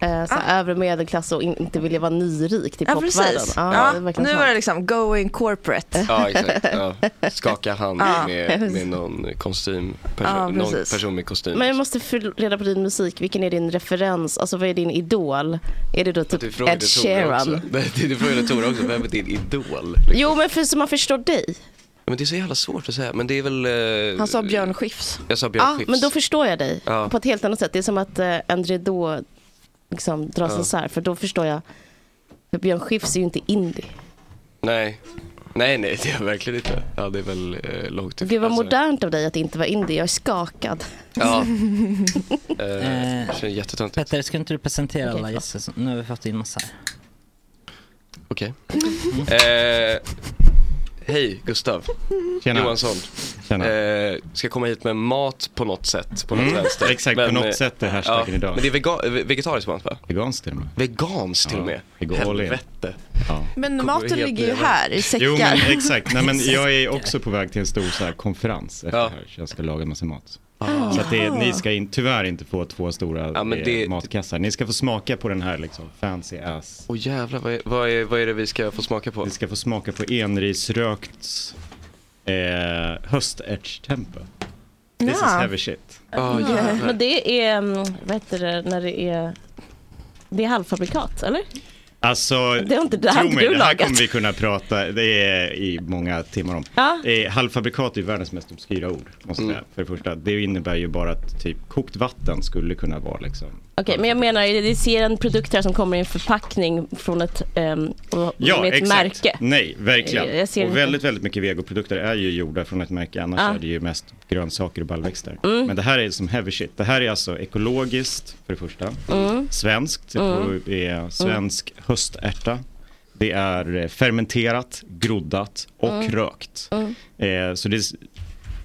L: eh, så här, övre medelklass och in, inte vilja vara nyrik till
H: Ja
L: popvärlden.
H: precis.
L: Ja,
H: Ja,
L: det är
H: nu
L: verkligen
H: var
L: sant.
H: det liksom going corporate.
E: ja, exakt. Ja. Skaka hand
L: Ja.
E: med, med någon kostym, person,
L: Ja,
E: någon
L: precis.
E: person med kostym.
L: Men jag måste få reda på din musik. Vilken är din referens? Alltså vad är din idol? Är det då
E: Du
L: typ
E: frågade
L: Ed
E: Tora också.
L: Sheeran?
E: Nej, Du frågade Tora också, vem är din idol?
L: Jo, men för, så man förstår dig.
E: Men det är så jävla svårt att säga, men det är väl... eh,
L: Han sa Björn Skifs.
E: Jag sa Björn
L: Ja,
E: Skifs.
L: men då förstår jag dig
E: Ja.
L: på ett helt annat sätt. Det är som att eh, André då liksom dras
E: Ja.
L: isär, för då förstår jag. För Björn Skifs är ju inte indie.
E: Nej. Nej, nej, det är jag verkligen inte. Ja, det är väl eh, långt ifrån.
L: Det var
E: alltså.
L: modernt av dig att inte vara indie. Jag är skakad.
E: Ja.
F: Eh,
E: Eh, jättetöntigt.
F: Petter, ska inte du presentera
L: Okej,
F: alla
L: förlåt.
F: gäster? som- Nu har vi fått in massa här.
E: Okej. Eh, hej, Gustav.
M: Tjena.
E: Johansson.
M: Tjena.
E: Eh, ska komma hit med mat på något sätt. På något
M: Mm,
E: vänster.
M: exakt, på något
E: eh,
M: sätt är hashtaggen idag.
E: Men det är vega- vegetariskt mat, va?
M: Veganskt till och med.
E: Veganskt till och med.
M: vegan.
E: Helvete.
M: Ja.
H: Men
E: Kommer
H: maten
E: helt
H: ligger ju
E: ner.
H: här i säckar.
M: Jo, men exakt. Nej, men jag är också på väg till en stor så här, konferens efter det här. Så jag ska laga massa mat.
E: Ah.
M: Så att det,
E: Jaha.
M: ni ska in, tyvärr inte få två stora
E: Ja, men
M: eh,
E: det-
M: matkassar. Ni ska få smaka på den här liksom, fancy ass.
E: Åh jävlar, vad är, vad, är, vad är det vi ska få smaka på?
M: Ni ska få smaka på enrisrökt eh, höstärtstempe. This is
L: Ja.
M: heavy shit.
L: Men det är, mm, vad heter det, när det är... Det är halvfabrikat, eller?
M: Alltså,
L: Det har inte- det här
M: tro
L: inte
M: mig,
L: du
M: det här
L: lagat.
M: kommer vi kunna prata det är i många timmar om.
L: Ja.
M: Eh, halvfabrikat är ju världens mest obskyra ord, måste jag säga. För det första, det innebär ju bara att typ kokt vatten skulle kunna vara liksom.
L: Okej, men jag menar, det det ser en produkt här som kommer i en förpackning från ett, ehm, och- med ett märke.
M: Nej, verkligen.
L: Jag ser
M: och
L: inte.
M: väldigt, väldigt mycket vegoprodukter är ju gjorda från ett märke, annars
L: Ja.
M: är det ju mest grönsaker och baljväxter.
L: Mm.
M: Men det här är som heavy shit. Det här är alltså ekologiskt, för det första.
L: Mm.
M: Svenskt, det
L: Mm.
M: på- är svensk höstärta. Det är eh, fermenterat, groddat och
L: Mm.
M: rökt.
L: Mm.
M: Eh, så det är, s-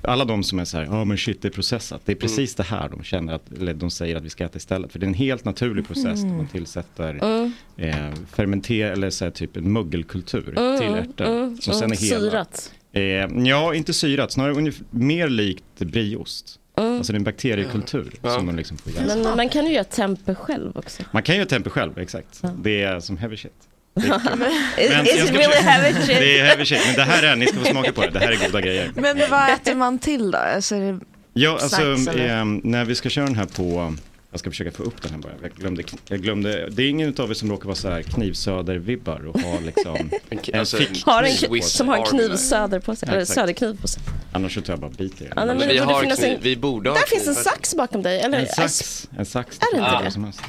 M: alla de som är så här, ja men shit det är processat.
L: Mm.
M: Det är precis det här de känner att, eller de säger att vi ska äta istället. För det är en helt naturlig process där man tillsätter
H: Uh.
L: Mm.
M: eh, fermentera eller så här, typ en mögelkultur
H: Uh,
L: Mm,
M: till ärtor.
L: mm,
M: som
L: mm.
M: sen är hela.
L: Syrat.
M: Eh, ja, inte syrat, snarare ungef- mer likt brieost.
L: Mm.
M: Alltså det är en bakteriekultur som man liksom får i sig.
L: Men man kan ju göra tempe själv också.
M: Man kan ju tempe själv, exakt. Det är som heavy shit. Men jag
L: It's
M: ska
L: really
M: försöka-
L: heavy shit.
M: Det är heavy shit, men det här är, ni ska få smaka på det, det här är goda grejer.
H: Men vad äter man till då? Alltså, är det
M: Ja, alltså
H: snacks eller?
M: ehm, när vi ska köra den här på, jag ska försöka få upp den här bara, jag glömde, jag glömde det är ingen av er som råkar vara så här knivsöder-vibbar och ha liksom en
E: alltså,
M: fickkniv
L: Har en,
M: på sig.
L: kn- som har en kniv söder på sig,
M: Ja,
L: eller
M: exakt.
L: söderkniv på sig.
M: Annars så tar jag bara biter i den.
L: Ja, nej, men det
E: vi
L: borde
E: har
L: finnas
E: kniv,
L: en-
E: vi borde ha
L: Där finns en
E: knivar.
L: sax bakom dig, eller?
M: En sax, en sax.
L: Är det inte
M: Ja.
L: det?
M: Som helst.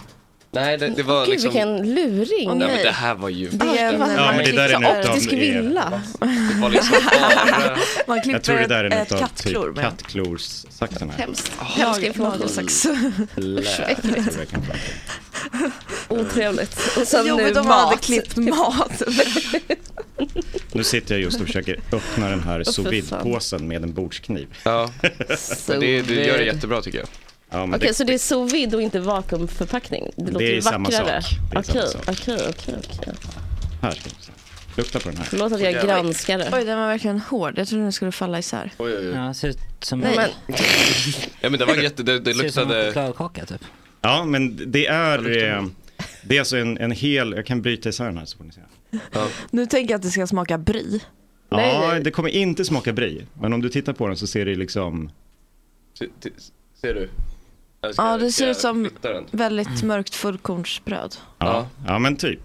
E: Nej, det, det var
L: Gud,
E: liksom...
L: vilken luring.
E: Nej, men det här var ju...
L: Det är en
M: Ja, men det där är en utav-
L: optisk villa.
E: liksom Det var liksom bara...
H: Man
M: Jag tror det där är en
H: ett
M: utav
H: kattklor
M: typ
H: med.
M: kattklorssaxen här.
L: Hemskt. Hemsk information.
H: Nagelsax.
M: Lä-
L: Vad äckligt.
M: Mm. tror jag kan vara.
L: Otrevligt. Och sen
H: Jo, men
L: nu
H: de
L: mat.
H: hade klippt mat.
M: Nu sitter jag just och försöker öppna den här
L: Åh, för
M: sous
L: fan.
M: vide-påsen med en bordskniv.
E: Ja,
M: men
E: det- du gör det
M: jättebra tycker jag. Ja, men
L: Okej, så det är sous vide och inte vakuumförpackning? Det, låter
M: är
L: ju
M: samma
L: vackrare.
M: sak. Det är samma
L: Okej,
M: sak.
L: okej, okej. okej.
M: Här ska vi se. Lukta på den här.
L: Förlåt att jag granskar det.
H: Oj, den var verkligen hård. Jag trodde den skulle falla isär.
E: Oj, oj, oj.
F: Ja, ser ut som
H: Nej, men,
E: Ja men det var jätte, det, det
F: ser ut som en
E: luktade...
F: chokladkaka typ.
M: Ja, men det är, eh, det är alltså en, en hel, jag kan bryta isär den här så får ni se. Ja,
H: nu tänker jag att det ska smaka bry.
M: det kommer inte smaka bry, men om du tittar på den så ser det liksom,
E: Se- te- Ser du? Eller ska
H: Ja,
E: jag-
H: det
E: ska
H: ser
E: jag
H: ut som
E: flytta den?
H: väldigt mörkt fullkornsbröd.
M: ja, ja men typ.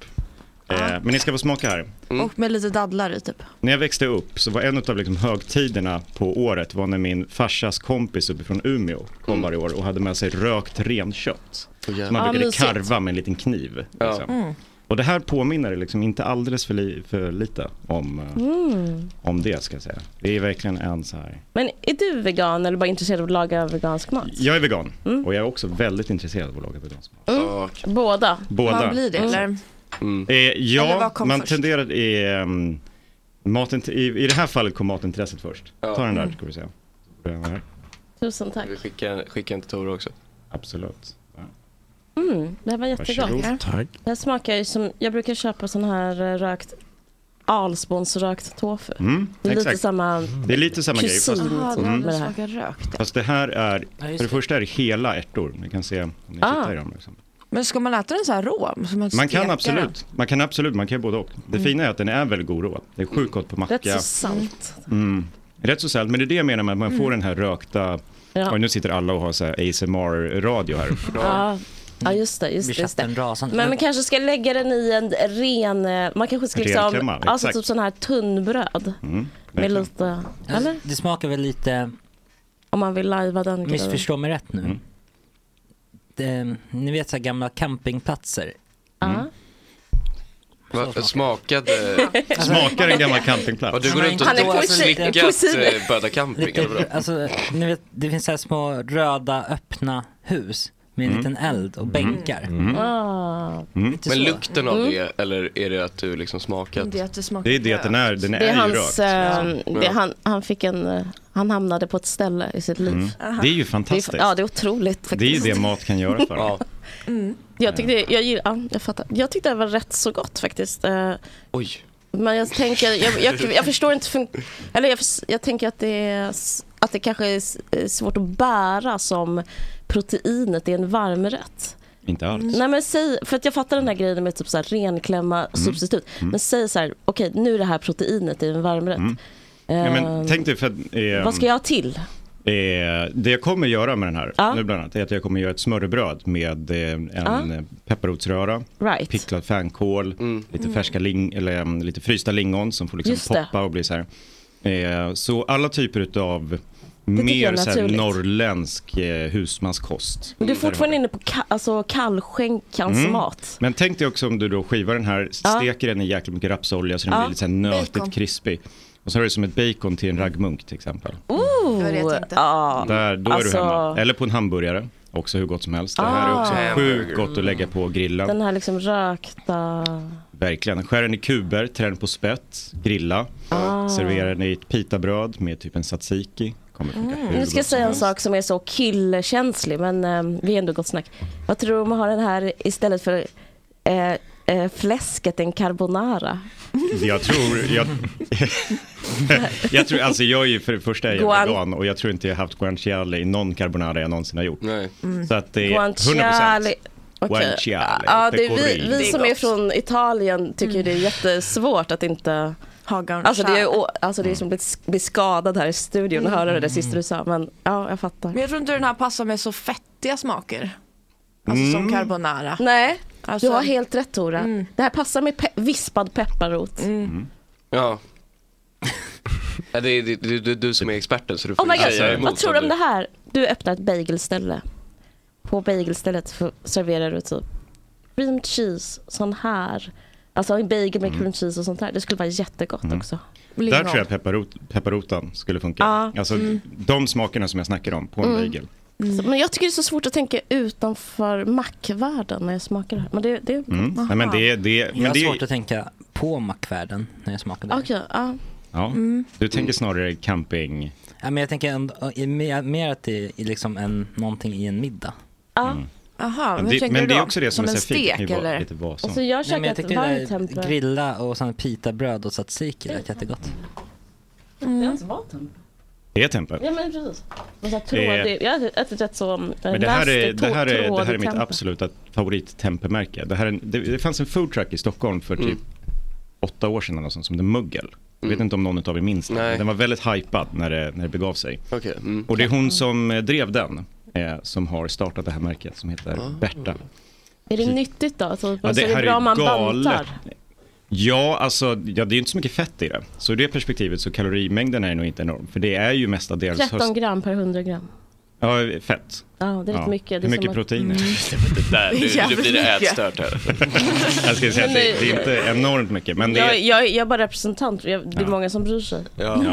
M: Eh, men ni ska få smaka här.
E: Mm.
H: Och med lite dadlar i typ.
M: När jag växte upp så var en av liksom högtiderna på året var när min farsas kompis uppifrån Umeå kom
E: Mm.
M: varje år och hade med sig rökt renkött. Som
E: Ah,
M: man brukade
E: mysigt.
M: karva med en liten kniv. Liksom.
E: Mm.
M: Och det här påminner liksom inte alldeles för, li- för lite om, eh,
L: Mm.
M: om det ska jag säga. Det är verkligen en så här.
L: Men är du vegan eller bara intresserad av att laga vegansk mat?
M: Jag är vegan
E: Mm.
M: och jag är också väldigt intresserad av att laga vegansk mat.
L: Mm. Båda.
M: Båda.
L: Vad blir det?
M: Mm.
L: Eller?
M: Eh,
L: Eller
M: ja,
L: vad kom
M: man
L: först?
M: tenderar i, ehm, maten, i, i det här fallet kom matintresset först. Ta den där, ska vi se. Mm, Den här.
L: Tusen tack.
E: Vi skickar, skickar en till Tore också.
M: Absolut.
L: Mm, det här var jättegott.
M: Varsågod. Tack.
L: Det här smakar ju som, jag brukar köpa sån här eh, rökt alsponsrökt tofu.
M: Mm,
L: det är lite
M: exakt.
L: samma
M: Det är lite samma grej, fast-
L: kusin
M: Aha,
L: typ,
M: det
L: med det här.
H: Smakar rökt.
M: Fast det här är,
H: Ja, just
M: för det
H: det.
M: första är det hela ärtor. Ni kan se om ni
H: Ah.
M: tittar i dem. Liksom.
H: Men ska man äta den så här rå? Som att
M: Man kan
H: steka
M: absolut, man kan absolut, man kan ju både och. Det
H: Mm.
M: fina är att den är väldigt god rå. Det är sjukt gott på
H: den?
M: macka.
H: Rätt så salt.
M: Mm. Rätt så salt, men det är det jag menar med att man
H: Mm.
M: får den här rökta,
L: Ja.
M: och nu sitter alla och har så här ASMR-radio här.
L: Ja, ja, just det. Just det, just det. Men man kanske ska lägga den i en ren, eh, man kanske ska
M: Ren
L: liksom,
M: klämma,
L: alltså
M: exakt.
L: typ sån här tunnbröd.
M: Mm.
L: Med lite, eller?
F: Det smakar väl lite,
L: Om man vill lajva den grejen.
F: missförstå mig rätt nu. Det, ni vet så här gamla campingplatser.
E: Va, smakade...
M: Smakar en gammal campingplats.
E: Och du går runt och
F: Han är
E: drar-
F: poesi-
E: slickat
F: poesi.
E: eh, Böda camping eller vadå?
F: Lite, alltså, ni vet, det finns så här små röda öppna hus med
M: Mm.
F: en liten eld och bänkar.
L: Ah.
F: Lite
E: Men
F: så.
E: lukten av
L: Mm.
E: det, eller är det att du liksom smakat?
H: Det är att det smakar rökt.
M: är, den
L: Det är hans, eh,
H: ehm,
E: Ja.
L: det, han, han fick en, eh, han hamnade på ett ställe i sitt liv.
M: Mm. Det är ju fantastiskt.
L: Det är, ja, det är otroligt
M: Det är ju
L: faktiskt.
M: det mat kan göra för
L: Ja. Mm. Jag tyckte, jag, gillar, ja, jag, fattar. jag tyckte det var rätt så gott faktiskt. Eh,
E: Oj.
L: Men jag tänker, jag, jag, jag förstår inte, fun- eller jag, förs- jag tänker att det, är, s- att det kanske är s- är svårt att bära som proteinet i en varmrätt.
M: Inte alls.
L: Nej men säg, för att jag fattar den här grejen med typ så här renklämma substitut.
M: Mm. Mm.
L: Men säg så här, okej nu är det här proteinet i en varmrätt.
M: Mm. Ja,
L: Eh,
M: men tänk dig för att... ehm,
L: Vad ska jag ha till?
M: Eh, det jag kommer göra med den här
L: Ja.
M: nu bland annat är att jag kommer göra ett smörrebröd med eh, en
L: Ja.
M: eh, pepparrotsröra,
L: Right.
M: picklad fänkål, lite
L: Mm.
M: färska ling- eller em, lite frysta lingon som får liksom
L: Just det.
M: poppa och bli så här. Eh, så alla typer av
L: tycker jag
M: mer
L: är
M: så här,
L: naturligt.
M: norrländsk eh, husmanskost.
L: Men du är fortfarande inne på ka- alltså, kallskänkans
M: Mm.
L: Alltså mat.
M: Men tänk dig också om du då skivar den här,
L: Ja.
M: steker den i jäkligt mycket rapsolja så den
L: Ja.
M: blir lite så här
L: Bacon.
M: nötigt krispig. Och så har du som ett bacon till en raggmunk till exempel.
L: Ooh, ja.
M: Där, då
L: Alltså,
M: är du hemma. Eller på en hamburgare. Också hur gott som helst. Det här
L: Ah.
M: är också sjukt gott att lägga på grillen.
L: Den här liksom rökta...
M: Verkligen. Skär den i kuber, trä den på spett, grilla.
L: Ah.
M: Servera den i ett pitabröd med typ en tzatziki. Kommer funka hur
L: Nu
M: gott
L: ska jag
M: som
L: säga en
M: helst.
L: sak som är så killkänslig, men eh, vi är ändå gott snack. Vad tror du om att ha den här istället för eh, eh, fläsket, en carbonara?
M: Jag tror, jag, jag tror, alltså jag är ju för det första är jag
L: Guan-
M: vegan och jag tror inte jag har haft guanciale i någon carbonara jag någonsin har gjort. Så att det är 100
L: Guanciale. Okej.
M: Guanciale.
L: Ja, det är vi,
M: pecorino.
L: vi som är Mm. från Italien tycker ju det är jättesvårt att inte... Alltså det är, ju å- alltså det är som att bli skadad här i studion och
H: Mm.
L: höra det där sista du sa. Men ja, jag fattar.
H: Men jag tror inte den här passar med så fettiga smaker. Alltså
M: Mm.
H: som carbonara.
L: Nej,
H: Alltså- Mm.
L: du har helt rätt Tora. Det här passar med pe- vispad pepparrot.
E: Ja. ja det är det, det, det, är du som är experten så du får
L: Oh my
E: säga
L: god,
E: emot
L: vad tror du
E: om
L: om det här? Du öppnar ett bagelställe. På bagelstället f- serverar du typ cream cheese, sån här. Alltså en bagel
M: Mm.
L: med cream cheese och sånt där. Det skulle vara jättegott också.
M: Där tror jag pepparrot, pepparrotan skulle funka.
L: Ja.
M: Alltså
L: Mm.
M: de smakerna som jag snackar om på en
L: Mm.
M: bagel.
L: Så- Men jag tycker det är så svårt att tänka utanför mackvärlden när jag smakar det här. Men det, det
M: Mm. Nej, men det, det, men
F: jag har
M: det,
F: svårt att tänka på mackvärlden när jag smakar det.
L: Okej, ja.
M: ja.
L: Mm.
M: Du tänker snarare camping.
F: Ja, men jag tänker ändå, i- mer, mer att det är liksom en, någonting i en middag.
L: Ja.
H: Jaha,
M: Men
H: men
M: Mm. det-
H: hur tänker
M: men
H: du
M: det
H: då?
M: är också det som är så fint, det kan ju vara lite vad som.
H: Alltså jag
F: Nej, men
H: käkar
F: jag
H: ett
F: tyckte
H: varmt
F: det där
H: tempura.
F: grilla och sen pitabröd och tzatziki lät jättegott. Mm.
L: Det är inte valt än.
M: Det är tempe.
L: Ja men precis. Och så här,
M: Det är-
L: trådig- Jag har ätit rätt så eh,
M: Men det här är,
L: nasty,
M: det här är, det här är
L: trådig
M: mitt
L: tempe.
M: absoluta favorittempemärke. Det, här är en- det, det fanns en foodtruck i Stockholm för typ
L: Mm.
M: åtta år sedan eller något sånt, som hette Muggel. Jag vet inte om någon av er minns den. men Den var väldigt hypad när det, när det begav sig.
L: Mm.
M: Och det är hon som eh, drev den eh, som har startat det här märket som heter
L: Ah.
M: Berta.
L: Är det nyttigt då? Alltså,
M: Ja,
L: så är det bra om man bantar?
M: Ja, alltså, ja, det är ju inte så mycket fett i det. Så ur det perspektivet så kalorimängden är nog inte enorm. För det är ju mestadels
L: 13
M: höst-
L: gram per 100 gram.
M: Ja, fett.
L: Ja, det är rätt mycket. Det
M: Hur
L: är
M: mycket
L: som att-
M: protein är
L: Mm.
M: det?
L: där, nu- nu Jävligt blir det mycket. ätstört
M: här. jag skulle säga att det, det är inte enormt mycket. Men det
L: Jag,
M: är,
L: jag, jag är bara representant, jag, det är
M: Ja.
L: många som bryr sig.
M: ja.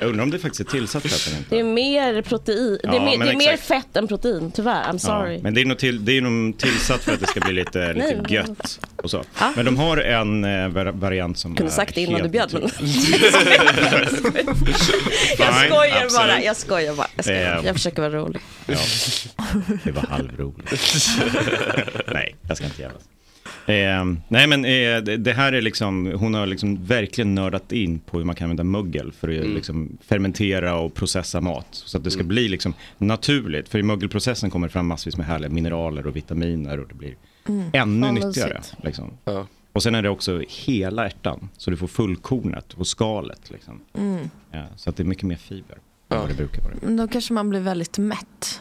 M: Jag undrar om det faktiskt är tillsatt fett eller inte.
L: Det är mer protein, det
M: Ja,
L: är, mer,
M: men
L: det är mer
M: exakt.
L: fett än protein, tyvärr. I'm sorry.
M: Ja, men det är, nog till, det är nog tillsatt för att det ska bli lite,
L: Nej.
M: lite gött och så.
L: Ah.
M: Men de har en eh, var- variant som
L: Kunde
M: är
L: sagt det innan
M: helt
L: du bjöd men... Jag
M: Fine,
L: skojar bara,
M: absolut.
L: jag skojar bara. Jag, skojar.
M: Eh,
L: jag försöker vara rolig.
M: Ja. Det var halvroligt. nej, jag ska inte jävlas. Eh, nej, men eh, det, det här är liksom, hon har liksom verkligen nördat in på hur man kan använda mögel för att
I: Mm.
M: ju liksom fermentera och processa mat. Så att det ska bli liksom naturligt, för i mögelprocessen kommer det fram massvis med härliga mineraler och vitaminer och det blir
I: Mm.
M: ännu
I: Fan, vad
M: nyttigare.
I: mysigt.
M: Liksom. Och sen är det också hela ärtan, så du får fullkornet och skalet. Liksom.
H: Mm.
M: Ja, så att det är mycket mer fiber än vad det brukar vara.
H: Men Då kanske man blir väldigt mätt.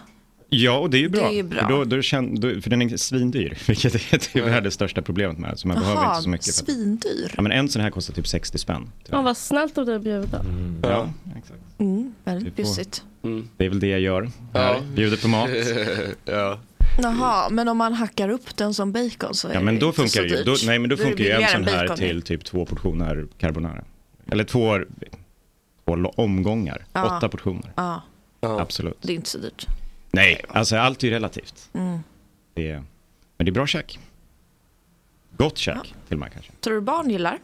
M: Ja, och det är ju bra.
H: Det är ju bra.
M: För, då, då kän, då, för den är svindyr, vilket är tyvärr det största problemet med den. Så man behöver inte så mycket. för att-
H: svindyr.
M: Ja, men en sån här kostar typ 60 spänn.
L: Fan vad snällt av dig att bjuda.
M: Ja.
H: Mm, väldigt
M: Vi får-
H: bjussigt.
M: Det är väl det jag gör. Här, bjuder på mat. ja.
H: Jaha, men om man hackar upp den som bacon så är
M: Mm. ja, men då
H: inte så
M: funkar ju,
H: dyrt.
M: då, nej, men då
H: är det
M: funkar ju en
H: billigare
M: sån
H: än
M: här
H: bacon.
M: till typ två portioner carbonara. Eller två, två lo- omgångar,
H: Ja.
M: åtta portioner.
H: Ja,
M: Absolut.
H: det är inte så dyrt.
M: Nej, alltså allt är ju relativt.
H: Mm.
M: Det är, men det är bra käk. Gott käk till och med kanske.
H: Tror du barn gillar?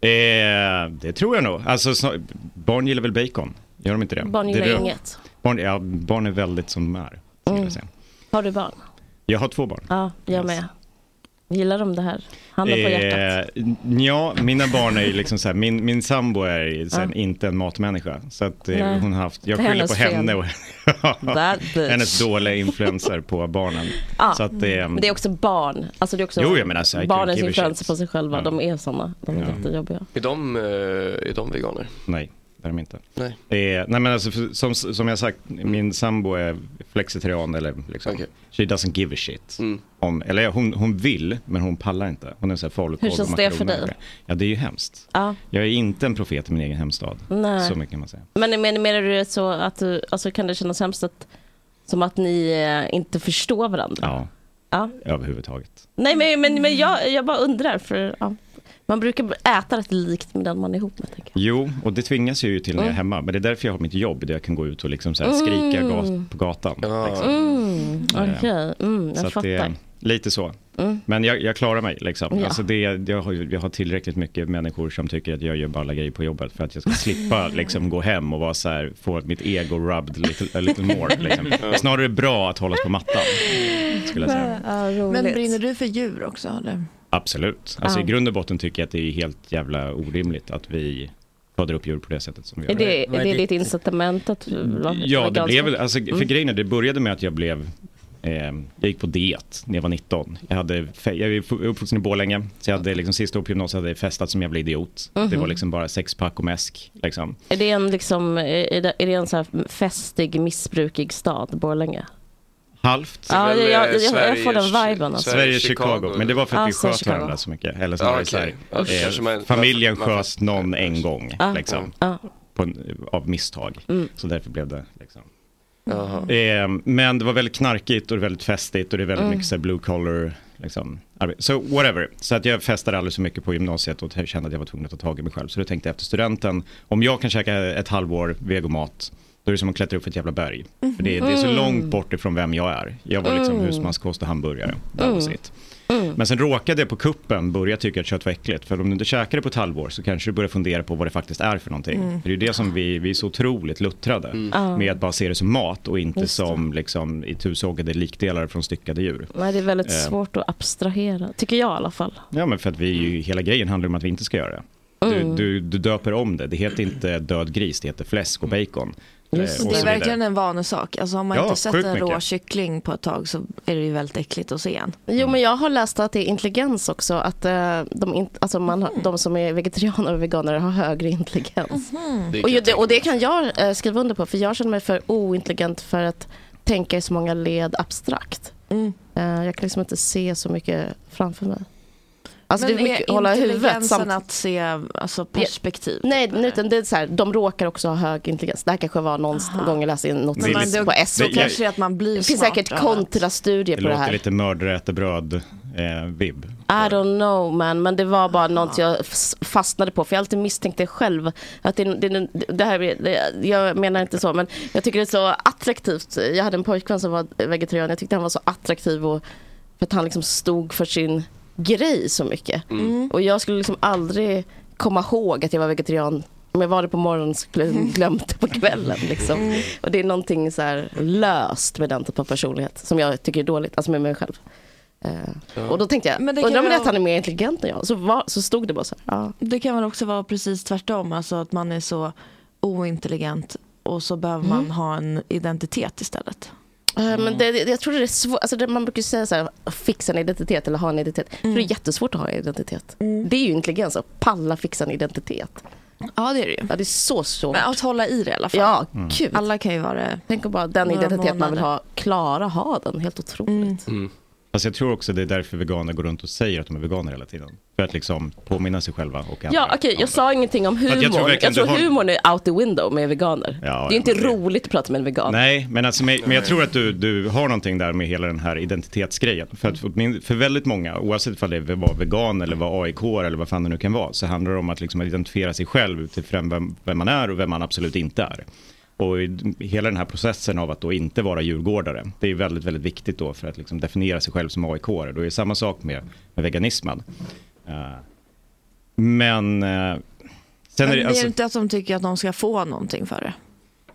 M: Eh, det tror jag nog. Alltså, snar- barn gillar väl bacon? Gör de inte det?
L: Barn gillar
M: det är-
L: inget.
M: Barn, ja, barn är väldigt som de är.
L: Mm. Har du barn?
M: Jag har två barn.
L: Ja, jag med. Gillar de det här? Handen på hjärtat.
M: Eh, ja, mina barn är ju liksom så här, min, min sambo är ju så här,
L: Ja.
M: inte en matmänniska. Så att eh,
L: Nej.
M: hon har haft, jag
L: Det är
M: skyller på
L: hennes
M: henne och
L: That bitch.
M: hennes dåliga influenser på barnen.
L: Ja,
M: så att, eh,
L: Ah. Mm. men det är också barn. Alltså det är också
M: Jo, jag menar, så I can't
L: barnens
M: give a
L: influenser
M: shit.
L: på sig själva. De är såna. De är
M: Ja.
L: jättejobbiga.
E: Är de, eh, är de veganer?
M: Nej, det är de inte.
E: Nej.
M: Eh, nej men alltså, för- som, som jag sagt, min sambo är flexitarian eller liksom, she doesn't give a shit.
E: Mm.
M: Om, eller ja, hon, hon vill, men hon pallar inte. Hon är så här falukorv
L: Hur
M: och
L: känns det för
M: makaroner.
L: dig?
M: Ja, det är ju hemskt.
L: Ja.
M: Jag är inte en profet i min egen hemstad.
L: Nej.
M: Så mycket kan man säga.
L: Men, men menar du det så att du, alltså kan det kännas hemskt att, som att ni eh, inte förstår varandra?
M: Ja,
L: Ja.
M: överhuvudtaget.
L: Nej, men, men, men jag, jag bara undrar. För, ja. Man brukar äta rätt likt med den man är ihop med. tänker
M: Jo, och det tvingas jag ju till när jag är
L: Mm.
M: hemma. Men det är därför jag har mitt jobb där jag kan gå ut och liksom så här skrika
L: Mm.
M: gat- på gatan.
L: jag.
M: Liksom.
L: Mm, Okej, mm, jag
M: så att det,
L: fattar.
M: är lite så.
L: Mm.
M: Men jag, jag klarar mig. Liksom.
L: Ja.
M: Alltså det, jag, har, ju- jag har tillräckligt mycket människor som tycker att jag gör balla grejer på jobbet för att jag ska slippa liksom, gå hem och vara så här, få mitt ego rubbed little, a little more. Liksom.
E: Ja.
M: Snarare bra att hållas på mattan. Skulle jag säga.
H: Men brinner du för djur också? Eller?
M: Absolut. Alltså,
H: Ja.
M: I grund och botten tycker jag att det är helt jävla orimligt att vi föder upp djur på det sättet som vi gör.
L: Är det, är det ditt incitament att vara
M: Mm, Ja, det
L: vegansk?
M: blev väl, alltså, för
L: Mm.
M: grejen är, det började med att jag blev eh, jag gick på diet när jag var 19. Jag, hade, fe- jag är fu- uppvuxen i Borlänge, så jag hade liksom, sista året på gymnasiet hade jag festat som en jävla idiot.
L: Mhm.
M: Det var liksom bara sexpack och mäsk. Liksom.
L: Är det en, liksom, är det, är det en så här festig, missbrukig stad, Borlänge?
M: Halvt.
L: Ja, jag-
E: eh,
L: jag- jag- jag får den viben, alltså.
M: Sverige, Chicago. Men det var för att vi
L: Alltså,
M: sköt
L: Chicago.
M: varandra så mycket. Eller så
E: Ja,
M: var det
E: okej.
M: så här,
E: Ja, det kanske man-
M: eh, familjen
E: man- man-
M: sköt någon en gång,
E: Ah,
M: liksom,
L: ah.
M: på en, av misstag.
E: Mm.
M: Så därför blev det liksom.
E: Jaha.
M: Eh, men det var väldigt knarkigt och väldigt festigt och det är väldigt
E: Mm.
M: mycket så här blue collar. Liksom, arbete. Så whatever. Så att jag festade aldrig så mycket på gymnasiet och kände att jag var tvungen att ta tag i mig själv. Så då tänkte jag efter studenten, om jag kan käka ett halvår vegomat, då är det som att klättra upp för ett jävla berg.
L: Mm.
M: För det, är- det är så
E: Mhm.
M: långt bort ifrån vem jag är. Jag var liksom
E: Mm.
D: Oh.
M: husmanskost och hamburgare. That was
E: Mm.
M: it.
E: Mm.
M: Men sen råkade jag på kuppen börja tycka att kött var äckligt. För om du inte käkar det på ett halvår så kanske du börjar fundera på vad det faktiskt är för någonting.
N: Mm.
M: För det är ju det som vi, vi är så otroligt luttrade
N: Mm. Ja.
M: med att bara se det som mat och inte
L: Just det.
M: som liksom, itusågade likdelar från styckade djur.
L: Nej, det är väldigt
M: Eh.
L: svårt att abstrahera, tycker jag i alla fall.
M: Ja, men för att vi, är ju- hela grejen handlar om att vi inte ska göra det.
L: Mm.
M: Du, du, du döper om det. Det heter inte död gris, det heter fläsk och bacon. Eh,
H: Och
M: och
H: det är
M: så vidare.
H: verkligen en vanesak. Alltså, har man
M: Ja,
H: inte sett en
M: sjukt
H: rå
M: mycket.
H: kyckling på ett tag så är det ju väldigt äckligt att se en.
L: Jo, men jag har läst att det är intelligens också. Att eh, de, in, alltså man, har- de som är vegetarianer och veganer har högre intelligens.
D: Det kan
L: Mm. Och, ju,
D: jag
L: det, och det kan jag eh, skriva under på, för jag känner mig för ointelligent för att tänka i så många led abstrakt. Eh, jag kan liksom inte se så mycket framför mig. Alltså
H: men
L: det är mycket att hålla i huvudet
H: intelligensen
L: samt...
H: att se alltså, perspektiv? typ?
L: Nej, nej, utan det är så här, de råkar också ha hög intelligens. Det här kanske var någon gång jag läste in något
M: Men man-
L: på SO.
M: det- kanske
H: att man blir
L: Det finns säkert
H: smartare.
L: kontrastudier
M: Det
L: på det
M: låter
L: här.
M: lite mördare äter eh, bröd-vibb.
L: I don't know man, men det var bara något jag f- fastnade på. För jag har alltid misstänkt det själv. Att det, det, det här, det, jag menar inte så, men jag tycker det är så attraktivt. Jag hade en pojkvän som var vegetarian. Jag tyckte han var så attraktiv och, för att han liksom stod för sin grej så mycket.
D: Mm.
L: Och jag skulle liksom aldrig komma ihåg att jag var vegetarian. Om jag var det på morgonen så skulle jag glömt det på kvällen. Liksom. Och det är någonting så här löst med den typen av personlighet som jag tycker är dåligt, alltså med mig själv. Eh, Och då tänkte jag,
H: Men det kan
L: undrar om
H: ju
L: det är
H: vara-
L: att han är mer intelligent än jag? Så, var, så stod det bara så här. Ja.
H: Det kan väl också vara precis tvärtom, alltså att man är så ointelligent och så behöver
L: Mm.
H: man ha en identitet istället.
L: Eh, Men det, det- jag tror det är svårt, alltså det, man brukar ju säga så här, fixa en identitet eller ha en identitet. Jag tror det är jättesvårt att ha en identitet. Det är ju intelligens att palla fixa en identitet.
H: Ja det är det ju.
L: Ja, det är så svårt.
H: Men att hålla i det i alla fall.
L: Ja,
H: Mm.
L: gud.
H: Alla kan ju vara det.
L: Tänk om bara den
H: Några
L: identitet man vill
H: månader.
L: ha, klara ha den, helt otroligt.
M: Mm. Fast jag tror också det är därför veganer går runt och säger att de är veganer hela tiden. För att liksom påminna sig själva och andra.
L: Ja, okej, jag sa ingenting om
M: För att
L: humorn.
M: jag
L: Jag
M: tror
L: tror,
M: verkligen du har-
L: humorn är out the window med veganer.
M: Ja,
L: det är
M: ja,
L: inte roligt att prata med en vegan.
M: Nej, men, alltså, men, men jag tror att du, du har någonting där med hela den här identitetsgrejen. För, att, för min- för väldigt många, oavsett om det var vegan eller var AIK eller vad fan det nu kan vara, så handlar det om att liksom identifiera sig själv utifrån vem, vem man är och vem man absolut inte är. Och i- hela den här processen av att då inte vara djurgårdare, det är ju väldigt, väldigt viktigt då för att liksom definiera sig själv som AIK. -are. Då är det samma sak med, med veganismen. Eh, men... eh, sen
H: Men
M: är
H: det
M: det,
H: är
M: alltså,
H: ju inte att de tycker att de ska få någonting för det.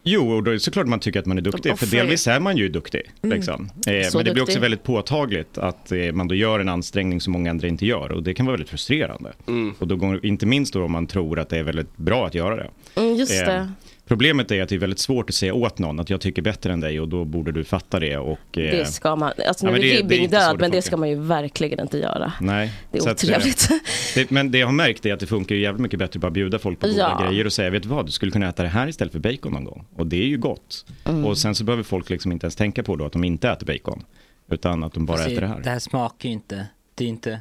M: Jo, och då är det såklart man tycker att man är duktig, för
H: offrar ju.
M: delvis är man ju duktig.
H: Mm.
M: Liksom. Eh,
H: Så
M: men det
H: duktig.
M: blir också väldigt påtagligt att eh, man då gör en ansträngning som många andra inte gör, och det kan vara väldigt frustrerande. Och då går, inte minst då om man tror att det är väldigt bra att göra det.
L: Mm, just
M: Eh,
L: det.
M: Problemet är att det är väldigt svårt att säga åt någon att jag tycker bättre än dig och då borde du fatta det. Och, eh,
L: Det ska man, alltså
M: ja,
L: nu
M: men
L: är
M: det- det är
L: Ribbing
M: inte så
L: död, men det
M: funkar. Mm.
L: ska man ju verkligen inte göra.
M: Nej.
L: Det är
M: så att,
L: otrevligt.
M: eh, det, men det jag har märkt är att det funkar ju jävligt mycket bättre att bara bjuda folk på goda
L: Ja.
M: grejer och säga, vet du vad, du skulle kunna äta det här istället för bacon någon gång. Och det är ju gott.
L: Mm.
M: Och sen så behöver folk liksom inte ens tänka på då att de inte äter bacon. Utan att de bara
F: Fast
M: äter det här.
F: Det här smakar ju inte. Det är inte...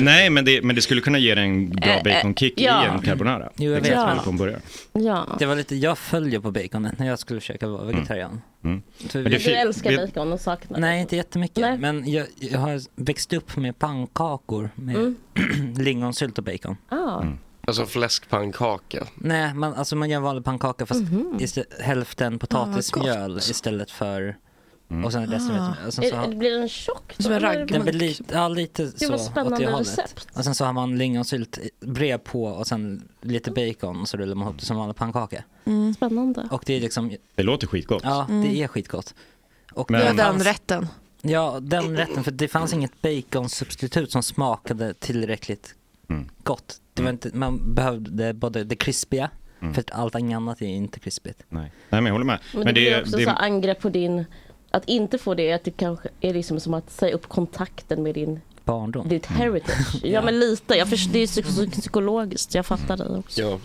M: Nej, men det, men det skulle kunna ge dig en bra
F: Eh, eh,
M: baconkick
F: ja.
M: i en carbonara.
F: Jo, jag
M: Exakt
F: vet.
M: som
F: Ja.
M: det på en burgare.
L: Ja.
F: Det var lite, jag följer på baconet när jag skulle försöka vara vegetarian.
M: Mm.
F: För
M: Men
F: vi-
L: Du älskar bacon och saknar
F: Nej, inte jättemycket. Men jag, jag har växt upp med pannkakor med lingonsylt och bacon.
L: Mm. Ah.
M: Mm.
E: Alltså fläskpannkaka.
F: Nej, man, alltså man gör vanlig pannkaka fast
L: Mhm.
F: istä- hälften potatismjöl istället för
M: Mm.
F: och sen resten
L: Ah.
F: vet jag. Och sen så
L: Är-
F: har,
L: Blir den tjock då?
H: Som en
L: eller?
F: den blir lite, ja, lite
L: Gud,
F: så
L: vad spännande
F: åt det hållet.
L: recept.
F: Och sen så har man lingonsylt bred på och sen lite bacon och så rullar man ihop det som vanlig pannkaka.
L: Mm. Spännande.
F: Och det är liksom,
M: Det låter skitgott.
F: ja
H: Mm.
F: det är skitgott. Och
H: Men...
F: det
H: Ja, den
F: fanns-
H: rätten.
F: Ja, den rätten. För det fanns inget baconsubstitut som smakade tillräckligt
M: Mm.
F: gott. Det var inte, man behövde både det krispiga,
M: Mm.
F: för att allt annat är inte krispigt.
M: Nej. Nej, men jag håller med.
L: Men det, blir också så här angrepp på din... Att inte få det, att det kanske är liksom som att säga upp kontakten med din,
F: barndom.
L: ditt heritage. Mm. Ja, men lite. Jag förstår, det är psy- psykologiskt. Jag fattar dig också.
E: Ja.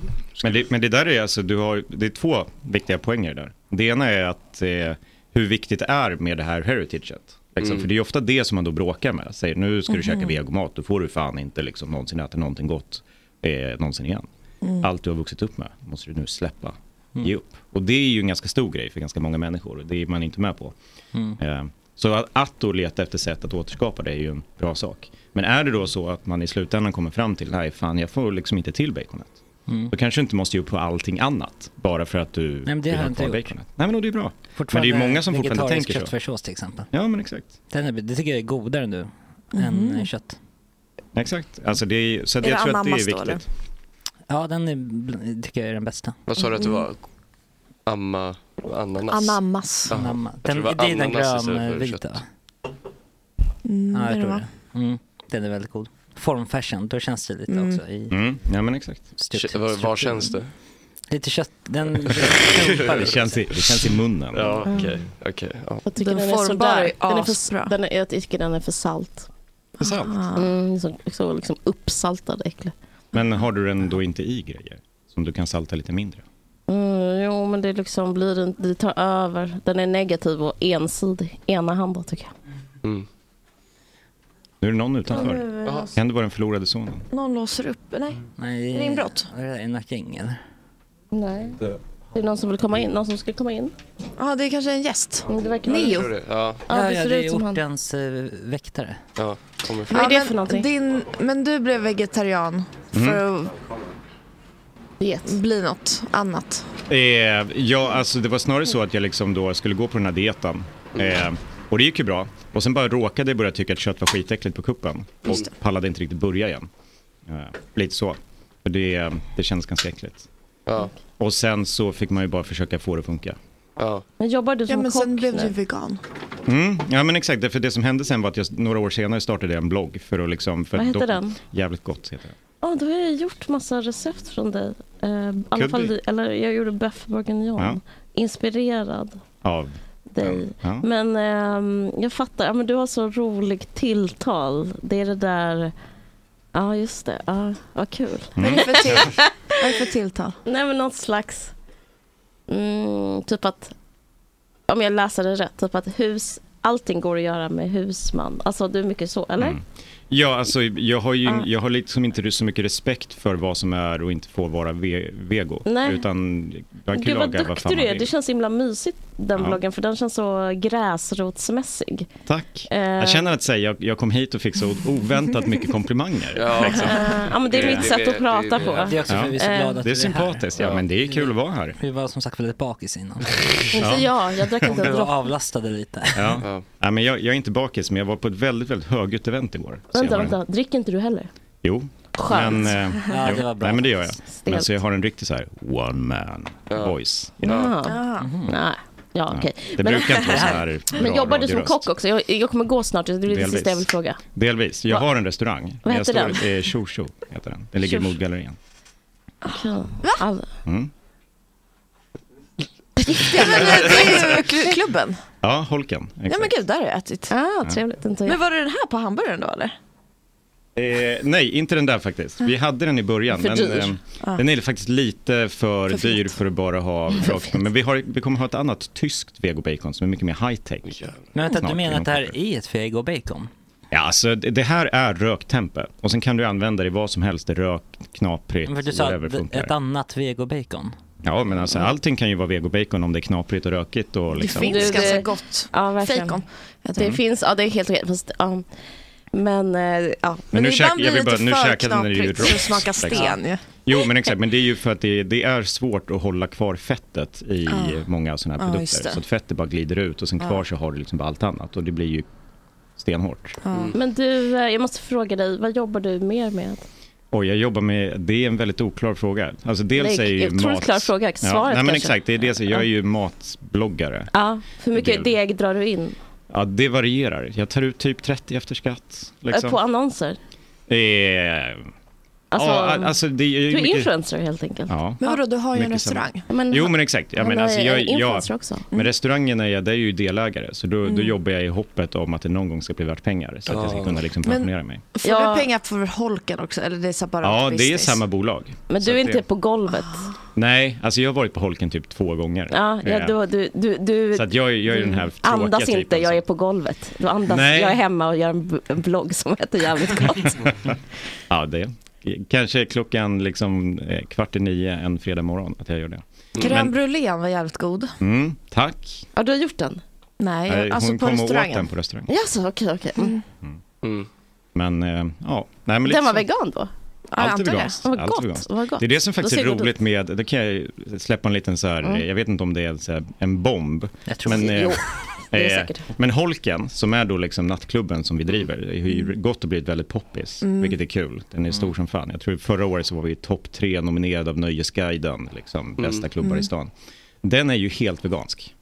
M: Men, det, men det där är alltså, du har, det är två viktiga poänger där. Det ena är att eh, hur viktigt det är med det här heritaget. Liksom.
E: Mm.
M: För det är ju ofta det som man då bråkar med. Säger nu ska du
E: Mhm.
M: käka vegomat, då får du fan inte liksom, någonsin äta någonting gott eh, någonsin igen.
E: Mm.
M: Allt du har vuxit upp med måste du nu släppa,
E: Mm.
M: ge upp. Och det är ju en ganska stor grej för ganska många människor och det är man inte med på.
E: Mm.
M: Eh, Så att, att då leta efter sätt att återskapa det är ju en bra sak. Men är det då så att man i slutändan kommer fram till, nej fan jag får liksom inte till baconet.
F: Mm.
M: Då kanske du inte måste ge upp på allting annat, bara för att du Nej,
F: men det har jag inte gjort.
M: baconet. Nej men då är det ju bra. Men det är ju många som fortfarande tänker så.
F: köttfärssås till exempel.
M: Ja men exakt.
F: Den är, det tycker jag är godare nu. än eh, kött.
M: Exakt. Alltså det är, så att jag tror att det är viktigt.
F: Ja, den är, bl- tycker jag är den bästa.
E: Vad sa du att det var? Amma, ananas?
H: Anammas.
E: Jaha,
F: Anamma.
E: jag tror
F: Den,
E: var
F: det är den
E: ananas istället för
F: grönvita.
E: kött.
H: Mm,
F: Ja,
H: det
F: jag tror
H: var.
F: det. Mm. Den är väldigt god. Formfashion, då känns det lite
H: Mm.
F: också. I
M: Mm. Ja men exakt.
E: Kö- var- var känns det?
F: Lite kött, den
M: Det känns i, det känns i munnen.
E: Ja, okej. okej, ja.
L: Jag tycker den, är sådär. Den är för, den är, jag tycker den är för salt.
M: För salt?
H: Ah.
L: Mm, så, så liksom uppsaltad äcklig.
M: Men har du den då inte i grejer? Som du kan salta lite mindre?
L: Mm, jo, men det liksom blir en, det tar över. Den är negativ och ensidig. Enahanda tycker jag.
E: Mm.
M: Nu är det någon
H: Ja, nu är
M: utanför.
H: det Jaha. någon-
M: Kan det vara den förlorade sonen?
H: Någon låser upp, nej?
F: Nej.
H: Är det inbrott?
F: Är det Nacking eller?
L: Nej. Det är någon som vill komma in. Någon som ska komma in. Mm,
H: Ja, det är kanske är en gäst.
L: Det verkar
H: Neo.
E: Ja.
L: Ja,
F: Ja,
L: det
F: ja,
L: ser
F: det
L: ut
F: är
L: som han.
F: ortens eh, väktare.
E: Ja, kommer
H: Ja, men Din, men du blev vegetarian
M: Mm.
H: för att bli något annat.
M: Eh, ja, alltså det var snarare så att jag liksom då skulle gå på den här dieten. Eh, och det gick ju bra. Och sen bara råkade jag börja tycka att kött var skitäckligt på kuppen. Och
H: Just det.
M: pallade inte riktigt börja igen. Eh, lite så. För det, det kändes ganska äckligt. Och sen så fick man ju bara försöka få det att funka.
L: Men jobbar du som
H: ja, men
L: kock
H: sen blev du
L: nu?
H: vegan.
M: Mm, ja men exakt, för det som hände sen var att jag några år senare startade jag en blogg för att liksom... För
L: Vad
M: att
L: heter
M: dock-
L: den?
M: Jävligt gott heter den.
L: Ja, då har jag gjort massa recept från dig. Eh, I alla
M: Could
L: fall,
M: be.
L: di- eller jag gjorde bœuf bourguignon.
M: Ja.
L: Inspirerad.
M: Av...
L: Dig.
M: Ja.
L: Men ehm, jag fattar, ja, men du har så roligt tilltal. Det är det där, ja just det, ja, vad kul.
H: Vad är det för till- vad är det för tilltal?
L: Nej men något slags, mm, typ att, om jag läser det rätt, typ att hus, allting går att göra med husman. Alltså du är mycket så, eller?
M: Ja, alltså jag har ju
L: Ah.
M: jag har liksom inte så mycket respekt för vad som är och inte får vara ve- vego.
L: Nej.
M: Utan man kan
L: Gud vad
M: laga vad
L: duktig
M: fan
L: du
M: man
L: är.
M: vill.
L: Det känns så himla mysigt den
M: Ja.
L: bloggen för den känns så gräsrotsmässig.
M: Tack.
L: Eh,
M: Jag känner att säga, jag, jag kom hit och fick så oväntat mycket komplimanger.
L: Ja.
M: liksom.
L: Eh, ja, men det är mitt sätt att prata på.
F: Det är också för vi är så
L: Eh.
F: glada att
M: Det är
F: vi är här.
M: sympatiskt, ja men det är kul att vara här.
F: Vi var som sagt väldigt bakis innan.
L: Inte jag, jag drack
F: Om
L: inte
F: du
L: en droppe.
F: avlastade lite.
M: Ja. Ja, men jag, jag är inte bakis, men jag var på ett väldigt, väldigt högljutt event igår. Så jag
L: Vänta,
M: har en-
L: vänta, dricker inte du heller?
M: Jo.
L: Skönt.
M: Men, eh,
L: Ja,
M: jo.
L: det var bra.
M: Nej, men det gör jag. Men
L: Stelt.
M: så jag har en riktig så här one man voice.
L: Ja. Ah. Mhm. Mm-hmm. Nej. Ja,
M: Ah. Ja.
L: okej.
M: Det brukar inte vara så här
L: Men
M: bra
L: jobbar du som
M: radioröst.
L: kock också? Jag, jag kommer gå snart, det blir det
M: Delvis.
L: sista jag vill fråga.
M: Delvis. Jag har en restaurang.
L: Vad
M: Jag
L: heter
M: står-
L: den?
M: Eh, Tjo Tjo heter den. Den ligger i
L: Tjo Tjo.
M: Modgallerian. Ah.
L: Okej. All-
M: Mm.
H: Klubben?
M: Ja, Holken.
H: Ja men
M: Exakt.
H: gud, där har jag ätit.
L: Ah,
M: Ja. trevligt,
H: Men var det den här på hamburgaren då eller?
M: Eh, nej, inte den där faktiskt. Vi hade den i början.
H: För
M: men,
H: dyr.
M: ehm,
H: Ja.
M: Den är faktiskt lite för,
H: För fet.
M: dyr för att bara ha rakt. Men vi, har, vi kommer ha ett annat tyskt vegobacon som är mycket mer high-tech.
F: Men vänta, du
M: Snart,
F: menar
M: inom
F: att det här är ett feg och bacon?
M: Ja, alltså det det här är röktempe. Och sen kan du använda det i vad som helst. Det är Rökt, knaprigt,
F: För du sa
M: whatever
F: att Mm.
M: funkar.
F: ett annat veg och bacon.
M: Ja, men alltså allting kan ju vara vegobacon om det är knaprigt och rökigt. Och liksom.
L: Du,
H: ganska gott.
L: Ja, verkligen.
H: Fejkon.
L: Det finns, ja det är helt okej. Fast, ja. Men, eh, ja.
M: Men nu
H: ibland
M: käk-
H: blir
M: jag
H: det
M: vill bara-
H: lite
M: nu
H: för
M: käkade den ju
H: knaprigt
M: rost,
H: så det smakar
M: liksom.
H: sten ju.
M: Jo, men exakt. Men det är ju för att det, det är svårt att hålla kvar fettet i många sådana här
H: Ja,
M: produkter.
H: just det.
M: så att fettet bara glider ut och sen
L: Ja.
M: kvar så har du liksom bara allt annat. Och det blir ju stenhårt.
L: Men du, eh, jag måste fråga dig, vad jobbar du mer med?
M: Och jag jobbar med, det är en väldigt oklar fråga. Alltså dels
L: Nej,
M: är ju
L: otroligt
M: mat...
L: klar fråga. Svaret
M: nej, men
L: kanske.
M: exakt. Det är det, som- jag är ju matbloggare.
L: Ja, hur mycket
M: Del.
L: deg drar du in? Eh,
M: Ja, det varierar. Jag tar ut typ 30 efter skatt.
L: Eh,
M: Liksom.
L: På annonser?
M: Eh,
L: Alltså,
M: ja, a- alltså det är
L: Du
M: ju
L: är
M: mycket-
L: influencer helt enkelt.
M: Ja.
H: Men vadå, du har ju en
M: Mycket samma.
H: restaurang.
L: Men,
M: Jo men exakt. Ja,
L: Han
M: men,
L: har
M: alltså,
L: ju
M: jag,
L: en
M: ja,
L: influencer också. Mm.
M: men restaurangen är jag, där är ju delägare så då, då
H: Mm.
M: jobbar jag i hoppet om att det någon gång ska bli värt pengar så att jag ska
H: Ja.
M: kunna liksom
H: Men-
M: pensionera mig.
H: Får du pengar för holken också eller det är separat
M: Ja, det är
H: business?
M: samma bolag.
L: Men
M: Så
L: du är
M: att
L: inte
M: det,
L: på golvet?
M: Nej, alltså jag har varit på Holken typ två gånger.
L: Ja, ja,
M: Eh,
L: du, du, du, du
M: så att jag, är- jag är den här tråkiga
L: andas
M: typen.
L: inte, jag är på golvet. Du andas,
M: Nej.
L: jag är hemma och gör en b- en blogg som heter Jävligt gott.
M: Ja, det. Kanske klockan liksom eh, kvart i nio en fredag morgon att jag gör det.
H: Crème
M: Men,
H: brûlén var jävligt god.
M: mm, tack.
L: Ja, du har gjort den?
H: Nej,
M: Nej,
H: alltså
M: hon
H: på
M: kom och åt
H: restaurangen.
M: den på restaurangen.
L: Jaså, okej, okej. Mm.
M: Men liksom- eh, ja, nej men lite
L: Den var
M: så.
L: vegan då?
M: Allt är veganskt.
L: Vad
M: Allt är
L: gott,
M: veganskt.
L: vad gott.
M: Det är det som faktiskt
L: Då
M: är
L: ser jag god
M: roligt med, det kan jag släppa en liten så här,
L: Mm.
M: jag vet inte om det är så här, en bomb.
F: Jag tror
M: men,
F: det.
M: eh,
F: Jo.
L: det är säkert.
M: Men Holken, som är då liksom nattklubben som vi driver, har ju gått och blivit väldigt poppis,
L: Mm.
M: vilket är kul. Den är stor som fan. Jag tror förra året så var vi topp tre nominerade av Nöjesguiden, liksom,
L: Mm.
M: bästa klubbar
L: Mm.
M: i stan. Den är ju helt vegansk.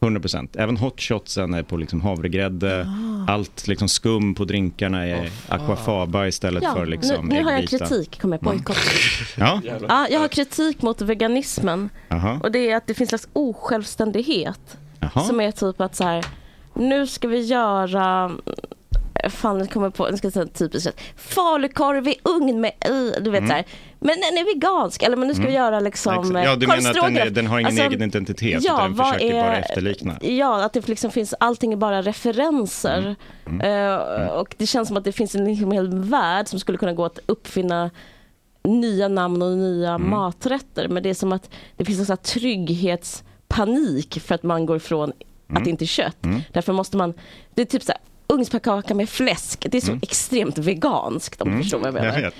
M: 100%. Även hotshotsen är på liksom havregrädde,
L: Ah.
M: allt liksom skum på drinkarna är aquafaba istället för liksom
L: nu, nu har jag
M: äggvita.
L: kritik, kommer jag bojkott.
M: Ja.
L: Ja, jag har kritik mot veganismen.
M: Jaha.
L: Och det är att det finns en slags osjälvständighet.
M: Jaha.
L: Som är typ att så här, nu ska vi göra, fan jag kommer på, nu ska jag säga ett typiskt rätt, falukorv i ugn med i, du vet
M: Mm.
L: så här. Men den är vegansk, eller men nu ska vi
M: Mm.
L: göra liksom
M: Exakt. Ja, du
L: korv
M: menar att den, är,
L: stroganoff.
M: den har ingen
L: Alltså,
M: egen identitet,
L: ja,
M: utan den
L: vad
M: försöker
L: är-
M: bara efterlikna.
L: Ja, att det liksom finns, allting är bara referenser.
M: Mm.
L: Eh, och det känns som att det finns en liksom hel värld som skulle kunna gå att uppfinna nya namn och nya
M: Mm.
L: maträtter. Men det är som att det finns en sån här trygghetspanik för att man går ifrån att
M: Mm.
L: det inte är kött. Därför måste man, det är typ så här, ugnspannkaka med fläsk. Det är så extremt veganskt om du
M: Mm.
L: förstår vad jag menar. Mm.
M: vet.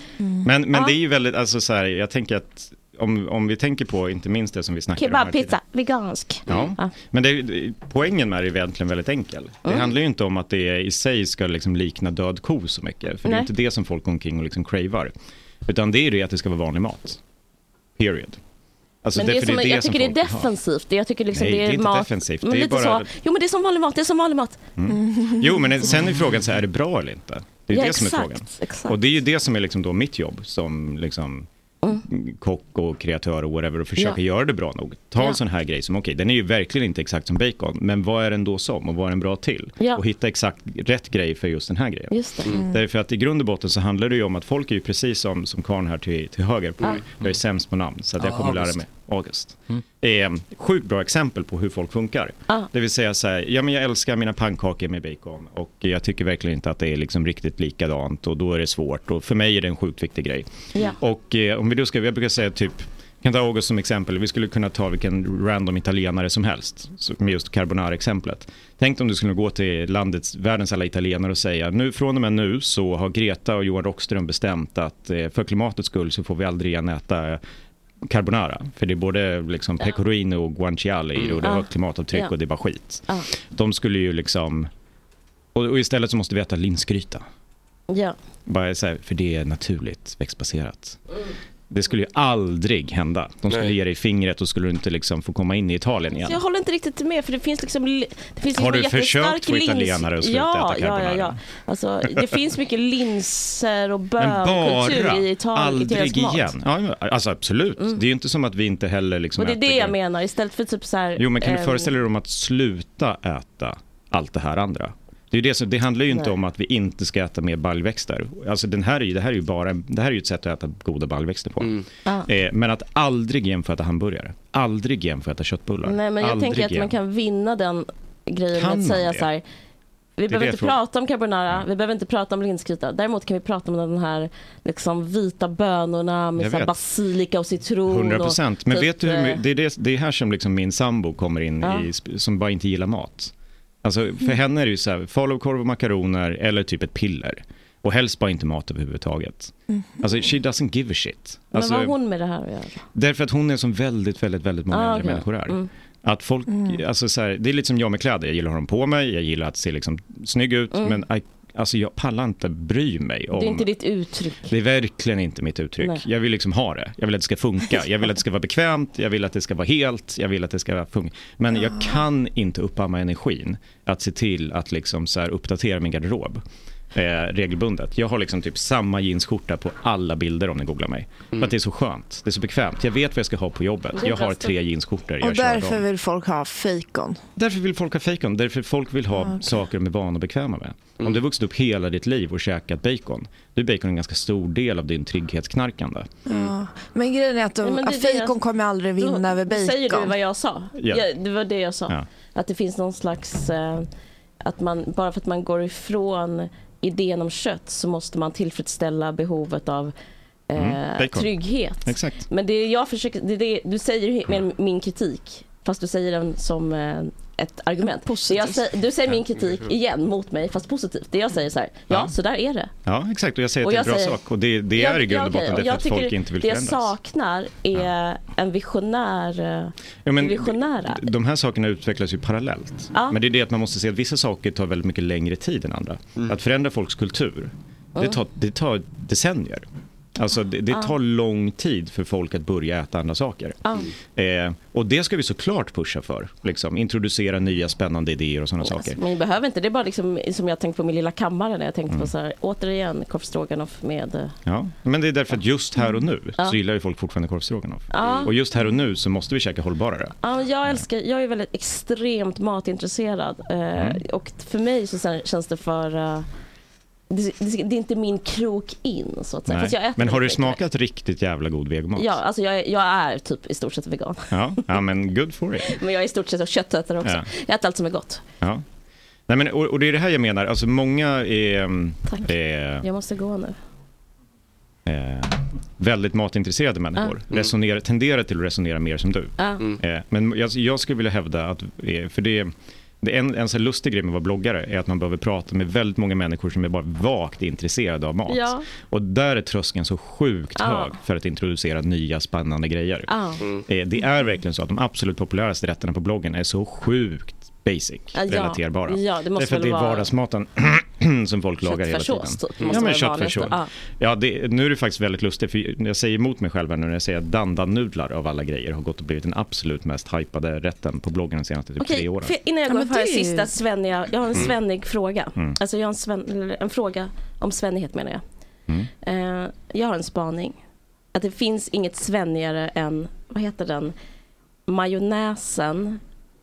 M: Men, men
L: Ja.
M: det är ju väldigt, alltså så här, jag tänker att om, om vi tänker på, inte minst det som vi snackar om här
L: Kebabpizza, vegansk.
M: Ja, men det, det- poängen med det är egentligen väldigt enkel. Det
L: Mm.
M: handlar ju inte om att det i sig ska liksom likna död ko så mycket, för det är
L: Nej.
M: ju inte det som folk går omkring och liksom cravar. Utan det är ju det att det ska vara vanlig mat. Period. Alltså,
L: men det är
M: för
L: som, jag
M: som
L: tycker det är
M: folk vill ha.
L: defensivt. Jag tycker liksom
M: Nej,
L: det är,
M: det är inte
L: mat.
M: defensivt.
L: Men
M: Det är
L: lite
M: bara- Mm.
L: så. Jo men det är som vanlig mat, det är som vanlig mat.
M: Jo, men sen är frågan så här, är det bra eller inte? Det är ju
L: Ja,
M: det som är
L: exakt,
M: frågan.
L: exakt.
M: Och det är ju det som är liksom då mitt jobb som liksom kock och kreatör och whatever och försöka
L: Ja.
M: göra det bra nog. Ta
L: Ja.
M: en sån här grej som, okej, den är ju verkligen inte exakt som bacon, men vad är den då som och vad är den bra till?
L: Ja.
M: Och hitta exakt rätt grej för just den här grejen.
L: Just det. Mm.
M: Därför att i grund och botten så handlar det ju om att folk är ju precis som, som Karn här till, till höger på
L: Ja.
M: mig. Jag är sämst på namn, så att jag
L: Ja,
M: kommer lära
L: August.
M: mig. August. Eh, sjukt bra exempel på hur folk funkar. Det vill säga så här, ja men jag älskar mina pannkakor med bacon och jag tycker verkligen inte att det är liksom riktigt likadant och då är det svårt och för mig är det en sjukt viktig grej.
L: Ja.
M: Och eh, om vi då ska, jag brukar säga typ, vi kan ta August som exempel, vi skulle kunna ta vilken random italienare som helst, så- med just carbonara-exemplet. Tänk om du skulle gå till landets, världens alla italienare och säga, nu från och med nu så har Greta och Johan Rockström bestämt att eh, för klimatets skull så får vi aldrig igen äta carbonara, för det är både liksom pecorino och guanciale i det och det har
L: Mm. Ja.
M: högt klimatavtryck
L: Ja.
M: och det är bara skit.
L: Ja.
M: De skulle ju liksom, och, och istället så måste vi äta linsgryta.
L: Ja.
M: Bara så här, för det är naturligt växtbaserat. Det skulle ju aldrig hända. De skulle ge dig fingret och skulle du inte liksom få komma in i Italien igen.
L: Så jag håller inte riktigt med för det finns liksom li- det finns
M: Har
L: liksom
M: du försökt
L: jättestark
M: få
L: lins-
M: italienare att sluta
L: ja,
M: äta
L: ja, ja, ja.
M: carbonara?
L: Alltså, det finns mycket linser och
M: Men
L: bönkultur
M: bara,
L: i Italien.
M: aldrig
L: italiensk mat. Mm.
M: igen. Ja, men, alltså absolut. Det är ju inte som att vi inte heller liksom
L: Och det är
M: äter
L: det jag
M: grönt.
L: menar istället för typ så här.
M: Jo, men kan du
L: ehm,
M: föreställa dig om att sluta äta allt det här andra? Det, är ju det, som, det handlar ju inte
L: Nej.
M: om att vi inte ska äta mer baljväxter. Alltså den här är, ju- det, här är ju bara, en- det här är ju ett sätt att äta goda baljväxter på.
L: Ja.
M: Eh, men att aldrig igen få äta hamburgare. Aldrig igen få äta köttbullar.
L: Nej men jag
M: aldrig
L: tänker att man
M: igen.
L: kan vinna den grejen
M: Kan
L: med att
M: man
L: säga
M: det?
L: så här.
M: Det
L: Vi
M: är det
L: behöver inte
M: jag tror. Mm.
L: prata om carbonara, vi behöver inte prata om linsgryta. Däremot kan vi prata om den här liksom, vita bönorna med
M: Jag
L: så här,
M: vet.
L: basilika och citron.
M: 100 procent. Men
L: och,
M: vet du, hur,
L: eh,
M: my- det, är det, det är här som liksom min sambo kommer in,
L: Ja.
M: i, sp- som bara inte gillar mat. Alltså, för henne är det ju så här, falukorv och makaroner eller typ ett piller. Och helst bara inte mat överhuvudtaget.
L: Mhm.
M: Alltså, she doesn't give a shit.
L: Men
M: Alltså,
L: vad har hon med det här att göra?
M: Därför att hon är som väldigt, väldigt, väldigt många
L: Ah,
M: andra
L: okej.
M: människor är.
L: Mm.
M: Att folk,
L: Mm.
M: alltså så här, det är lite som jag med kläder, jag gillar att ha dem på mig, jag gillar att se liksom snygg ut,
L: Mm.
M: men I, alltså jag pallar inte bry mig om
L: Det är inte ditt uttryck.
M: det är verkligen inte mitt uttryck.
L: Nej.
M: Jag vill liksom ha det. Jag vill att det ska funka. Jag vill att det ska vara bekvämt. Jag vill att det ska vara helt. Jag vill att det ska funka. Men
H: Ah.
M: jag kan inte uppamma energin att se till att liksom så här uppdatera min garderob eh, regelbundet. Jag har liksom typ samma jeansskjorta på alla bilder om ni googlar mig. För att det är så skönt. Det är så bekvämt. Jag vet vad jag ska ha på jobbet.
H: Mm. Det är
M: Jag har
H: bra
M: tre
H: stuk.
M: jeansskjortor.
H: Och
M: Jag kör
H: därför
M: dem.
H: vill folk ha fikon.
M: Därför vill folk ha fejkon, därför folk vill ha
H: Ah, okej.
M: saker de är vana och bekväma med. Om du har vuxit upp hela ditt liv och käkat bacon, då är bacon en ganska stor del av din trygghetsknarkande.
L: Mm.
H: Ja. Men grejen är att de,
L: Ja, men det är det
H: fikon kommer aldrig vinna över bacon.
L: Säger du vad jag sa?
M: Ja.
L: Ja, det var det jag sa.
M: Ja.
L: Att det finns någon slags, eh, att man, bara för att man går ifrån idén om kött så måste man tillfredsställa behovet av eh,
M: Mm, bacon.
L: trygghet.
M: Exakt. Mm.
L: Men det jag försöker, det, är det, du säger ju he- med min kritik, fast du säger den som eh, ett argument. Det Jag säger, du säger min kritik igen mot mig, fast positivt. Det jag säger så här, ja,
M: Ja.
L: så där är det.
M: Ja, exakt. Och jag säger
L: Och
M: att det är
L: jag
M: en bra
L: säger-
M: sak. Och det, det
L: Jag-
M: är i grund och
L: ja, okej.
M: botten därför
L: jag
M: att
L: tycker
M: folk inte vill
L: Det jag
M: förändras.
L: saknar är en visionär, eh,
M: Ja, men
L: visionära.
M: De här sakerna utvecklas ju parallellt.
L: Ja.
M: Men det är det att man måste se att vissa saker tar väldigt mycket längre tid än andra. Att förändra folks kultur, det,
L: Mm.
M: tar, det tar decennier. Alltså det, det
L: Ja.
M: tar lång tid för folk att börja äta andra saker.
L: Ja.
M: Eh, och det ska vi såklart pusha för. Liksom. Introducera nya spännande idéer och sådana saker.
L: Men jag behöver inte, det är bara liksom, som jag tänkt på min lilla kammare när jag
M: Mm.
L: tänkte på så här, återigen korvstroganoff med eh,
M: Ja, men det är därför att just här och nu
L: Mm. Ja.
M: så gillar ju folk fortfarande korv stroganoff.
L: Ja.
M: Och just här och nu så måste vi käka hållbarare.
L: Ja, ah, men
M: Mm.
L: jag älskar, jag är väldigt extremt matintresserad eh,
M: Mm.
L: och för mig så sen- känns det för, eh, det, det, det är inte min krok in så att säga.
M: Nej.
L: Fast jag äter
M: men har du
L: väldigt mycket.
M: smakat riktigt jävla god vegomat?
L: Ja, alltså jag, är- jag är typ i stort sett vegan.
M: Ja, ja men good for it.
L: Men jag är i stort sett köttätare också.
M: Ja.
L: Jag äter allt som är gott.
M: Ja. Nej, men, och, och det är det här jag menar, alltså många är, mm, är,
L: Jag måste gå nu.
M: eh, väldigt matintresserade människor,
L: Mm.
M: resonerar, tenderar till att resonera mer som du.
L: Ja. Mm.
M: Eh, men jag, jag skulle vilja hävda att, eh, för det, det är en, en så här lustig grej med att vara bloggare är att man behöver prata med väldigt många människor som är bara vagt intresserade av mat.
L: Ja. Ah.
M: Och där är tröskeln så sjukt
L: Ja.
M: hög för att introducera nya spännande grejer.
L: Ja. Mm.
M: Eh, Det är verkligen så att de absolut populäraste rätterna på bloggen är så sjukt basic,
L: Ja, ja.
M: relaterbara.
L: Ja, det måste
M: Därför att det
L: väl
M: är
L: vara-
M: vardagsmaten som folk lagar hela tiden.
L: Köttfärssås, typ.
M: Ja,
L: Måste
M: men
L: vara det
M: köttfärssås.
L: vanligaste. Ja.
M: Ja, det, nu är det faktiskt väldigt lustigt, för jag säger emot mig själv här nu när jag säger att dandanudlar av alla grejer har gått och blivit den absolut mest hypade rätten på bloggen de senaste typ tre
L: Okej,
M: åren.
L: för- innan jag
H: Ja,
L: går
H: men
L: på det här
H: det är ju-
L: sista svenniga, jag har en
M: Mm.
L: svennig fråga.
M: Mm.
L: Alltså jag har en, sven, eller en fråga om svennighet menar jag.
M: Mm.
L: Eh, jag har en spaning. Att det finns inget svennigare än, vad heter den, majonnäsen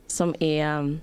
L: som är,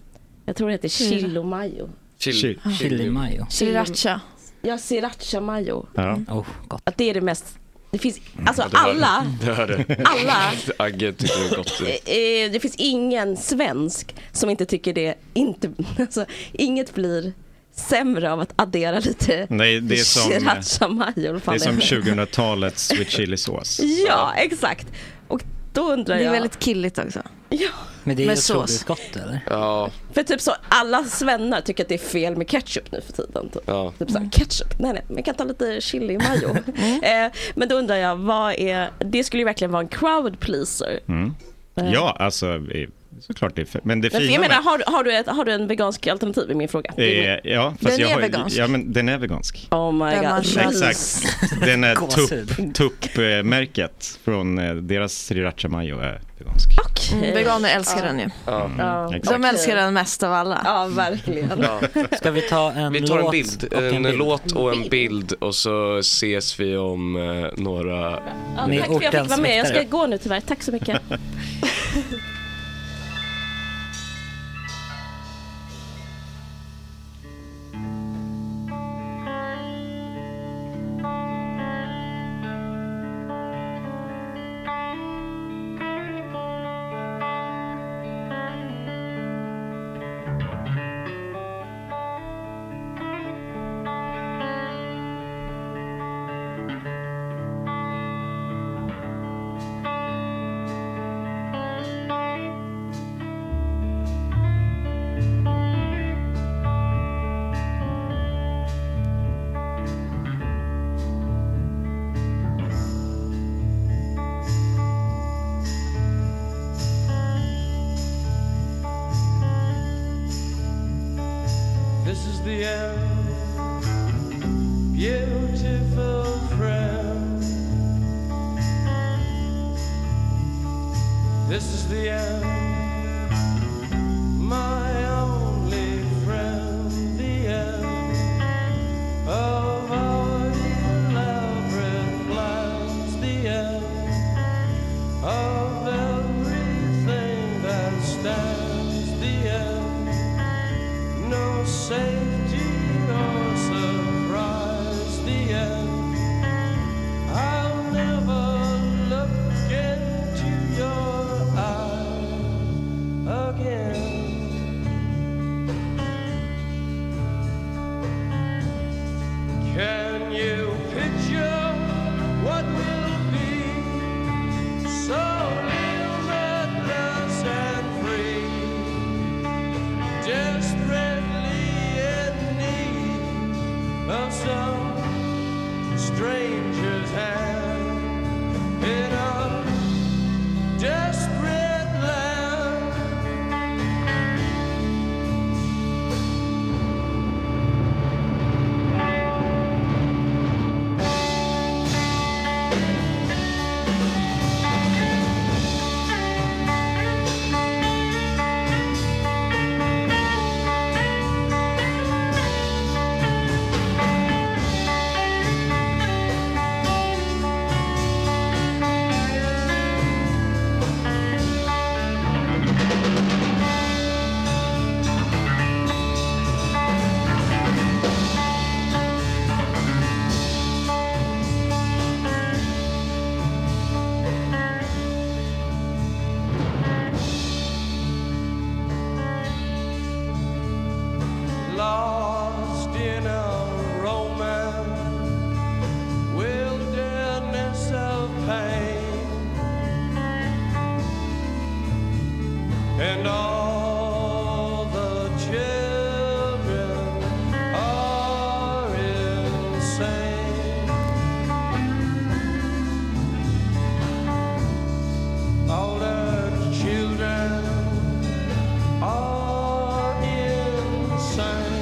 L: jag tror det heter
H: Chili.
L: chilo-majo.
E: Chili.
F: Chili mayo.
L: Sriracha. Ja, sriracha-majo.
M: Ja.
F: Oh, gott.
L: Att det är det mest, det finns,
M: Mm.
L: alltså
E: Ja, det hör
L: alla
E: det. Det hör det.
L: Alla.
E: Agge tycker det är gott.
L: Eh, det finns ingen svensk som inte tycker det, inte, alltså, inget blir sämre av att addera lite
M: Nej, det är som- eh,
L: sriracha mayo.
M: Det är som 2000-talets sweet chili-sås.
L: Ja, exakt. Och då undrar jag.
H: Det är väldigt killigt också.
L: Ja.
F: Men det är
L: Med
F: ju
L: sås.
F: otroligt gott eller?
E: Ja.
L: För typ så, alla svennar tycker att det är fel med ketchup nu för tiden. Typ.
E: Ja.
L: Typ
H: Mm.
L: såhär, ketchup, nej nej, man kan ta lite chili mayo.
F: Mm.
L: eh, men då undrar jag, vad är, det skulle ju verkligen vara en crowd pleaser.
M: Mm. Ja, alltså eh, såklart det är fe- Men det
L: Men för
M: fina
L: jag
M: med-
L: menar, har, har, du ett, har du en vegansk alternativ i min fråga? Det är
M: Eh,
L: min-
M: ja, fast
L: Den
M: jag
L: är
M: har,
L: vegansk.
M: Ja, men den är vegansk.
L: Oh my
H: Den
L: god.
H: har
M: Exakt. Den är
F: Gåshud.
M: tupp- tupp-märket från eh, deras sriracha mayo är vegansk.
H: Mm, veganer älskar den ju.
M: Ja.
H: De
M: Mm, Exakt.
H: älskar den mest av alla.
L: Ja, verkligen.
E: Ja.
F: Ska vi ta en
E: Vi tar en
F: låt
E: bild,
F: och
E: en,
F: bild?
E: låt och en bild och så ses vi om eh, några...
L: Ja, tack för att jag fick vara med. Jag ska gå nu tyvärr. Tack så mycket.
J: This is the end, beautiful friend. This is the end, my only friend. The end of our elaborate plans. The end of everything that stands. The end no safety or surprise. The end. I'll never look into your eyes. of some stranger's hand in a desperate land. Lost in a romance wilderness of pain, and all the children are insane. All the children are insane.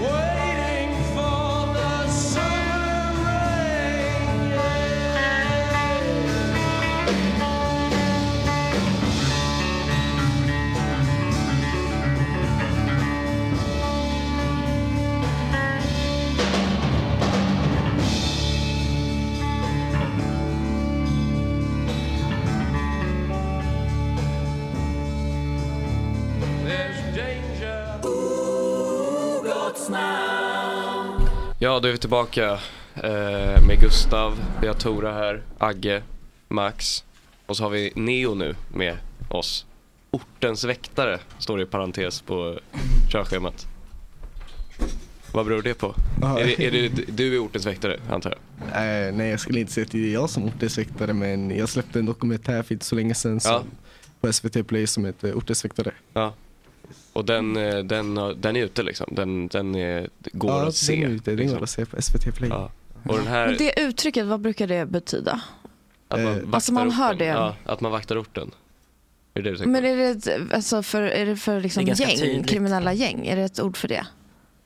J: Waiting for the There's danger.
E: Ja, då är vi tillbaka eh, med Gustav, vi har Tora här, Agge, Max och så har vi Neo nu med oss. Ortens väktare står det i parentes på körschemat. Vad beror det på?
N: Ja.
E: Är det, är det, du är ortens väktare, antar jag?
N: Eh, nej, jag skulle inte säga att det är jag som ortesväktare, men jag släppte en dokumentär för inte så länge sedan som, på SVT Play som heter Ortesväktare.
E: Ja. Och den, eh, den, har- den är ute liksom, den, den är, går
N: ja,
E: att se. liksom.
N: Den, är ute, den går att se på SVT Play. Ja.
E: Och den här,
H: Men det uttrycket, vad brukar det betyda?
E: att man
N: Eh,
E: vaktar
H: alltså man hör
E: orten.
H: det.
E: Ja, att man vaktar orten. Är det det du tänker
H: Men är det, ett- alltså för, är det för liksom
E: Det är ganska
H: gäng,
E: tydligt.
H: kriminella gäng? Är det ett ord för det?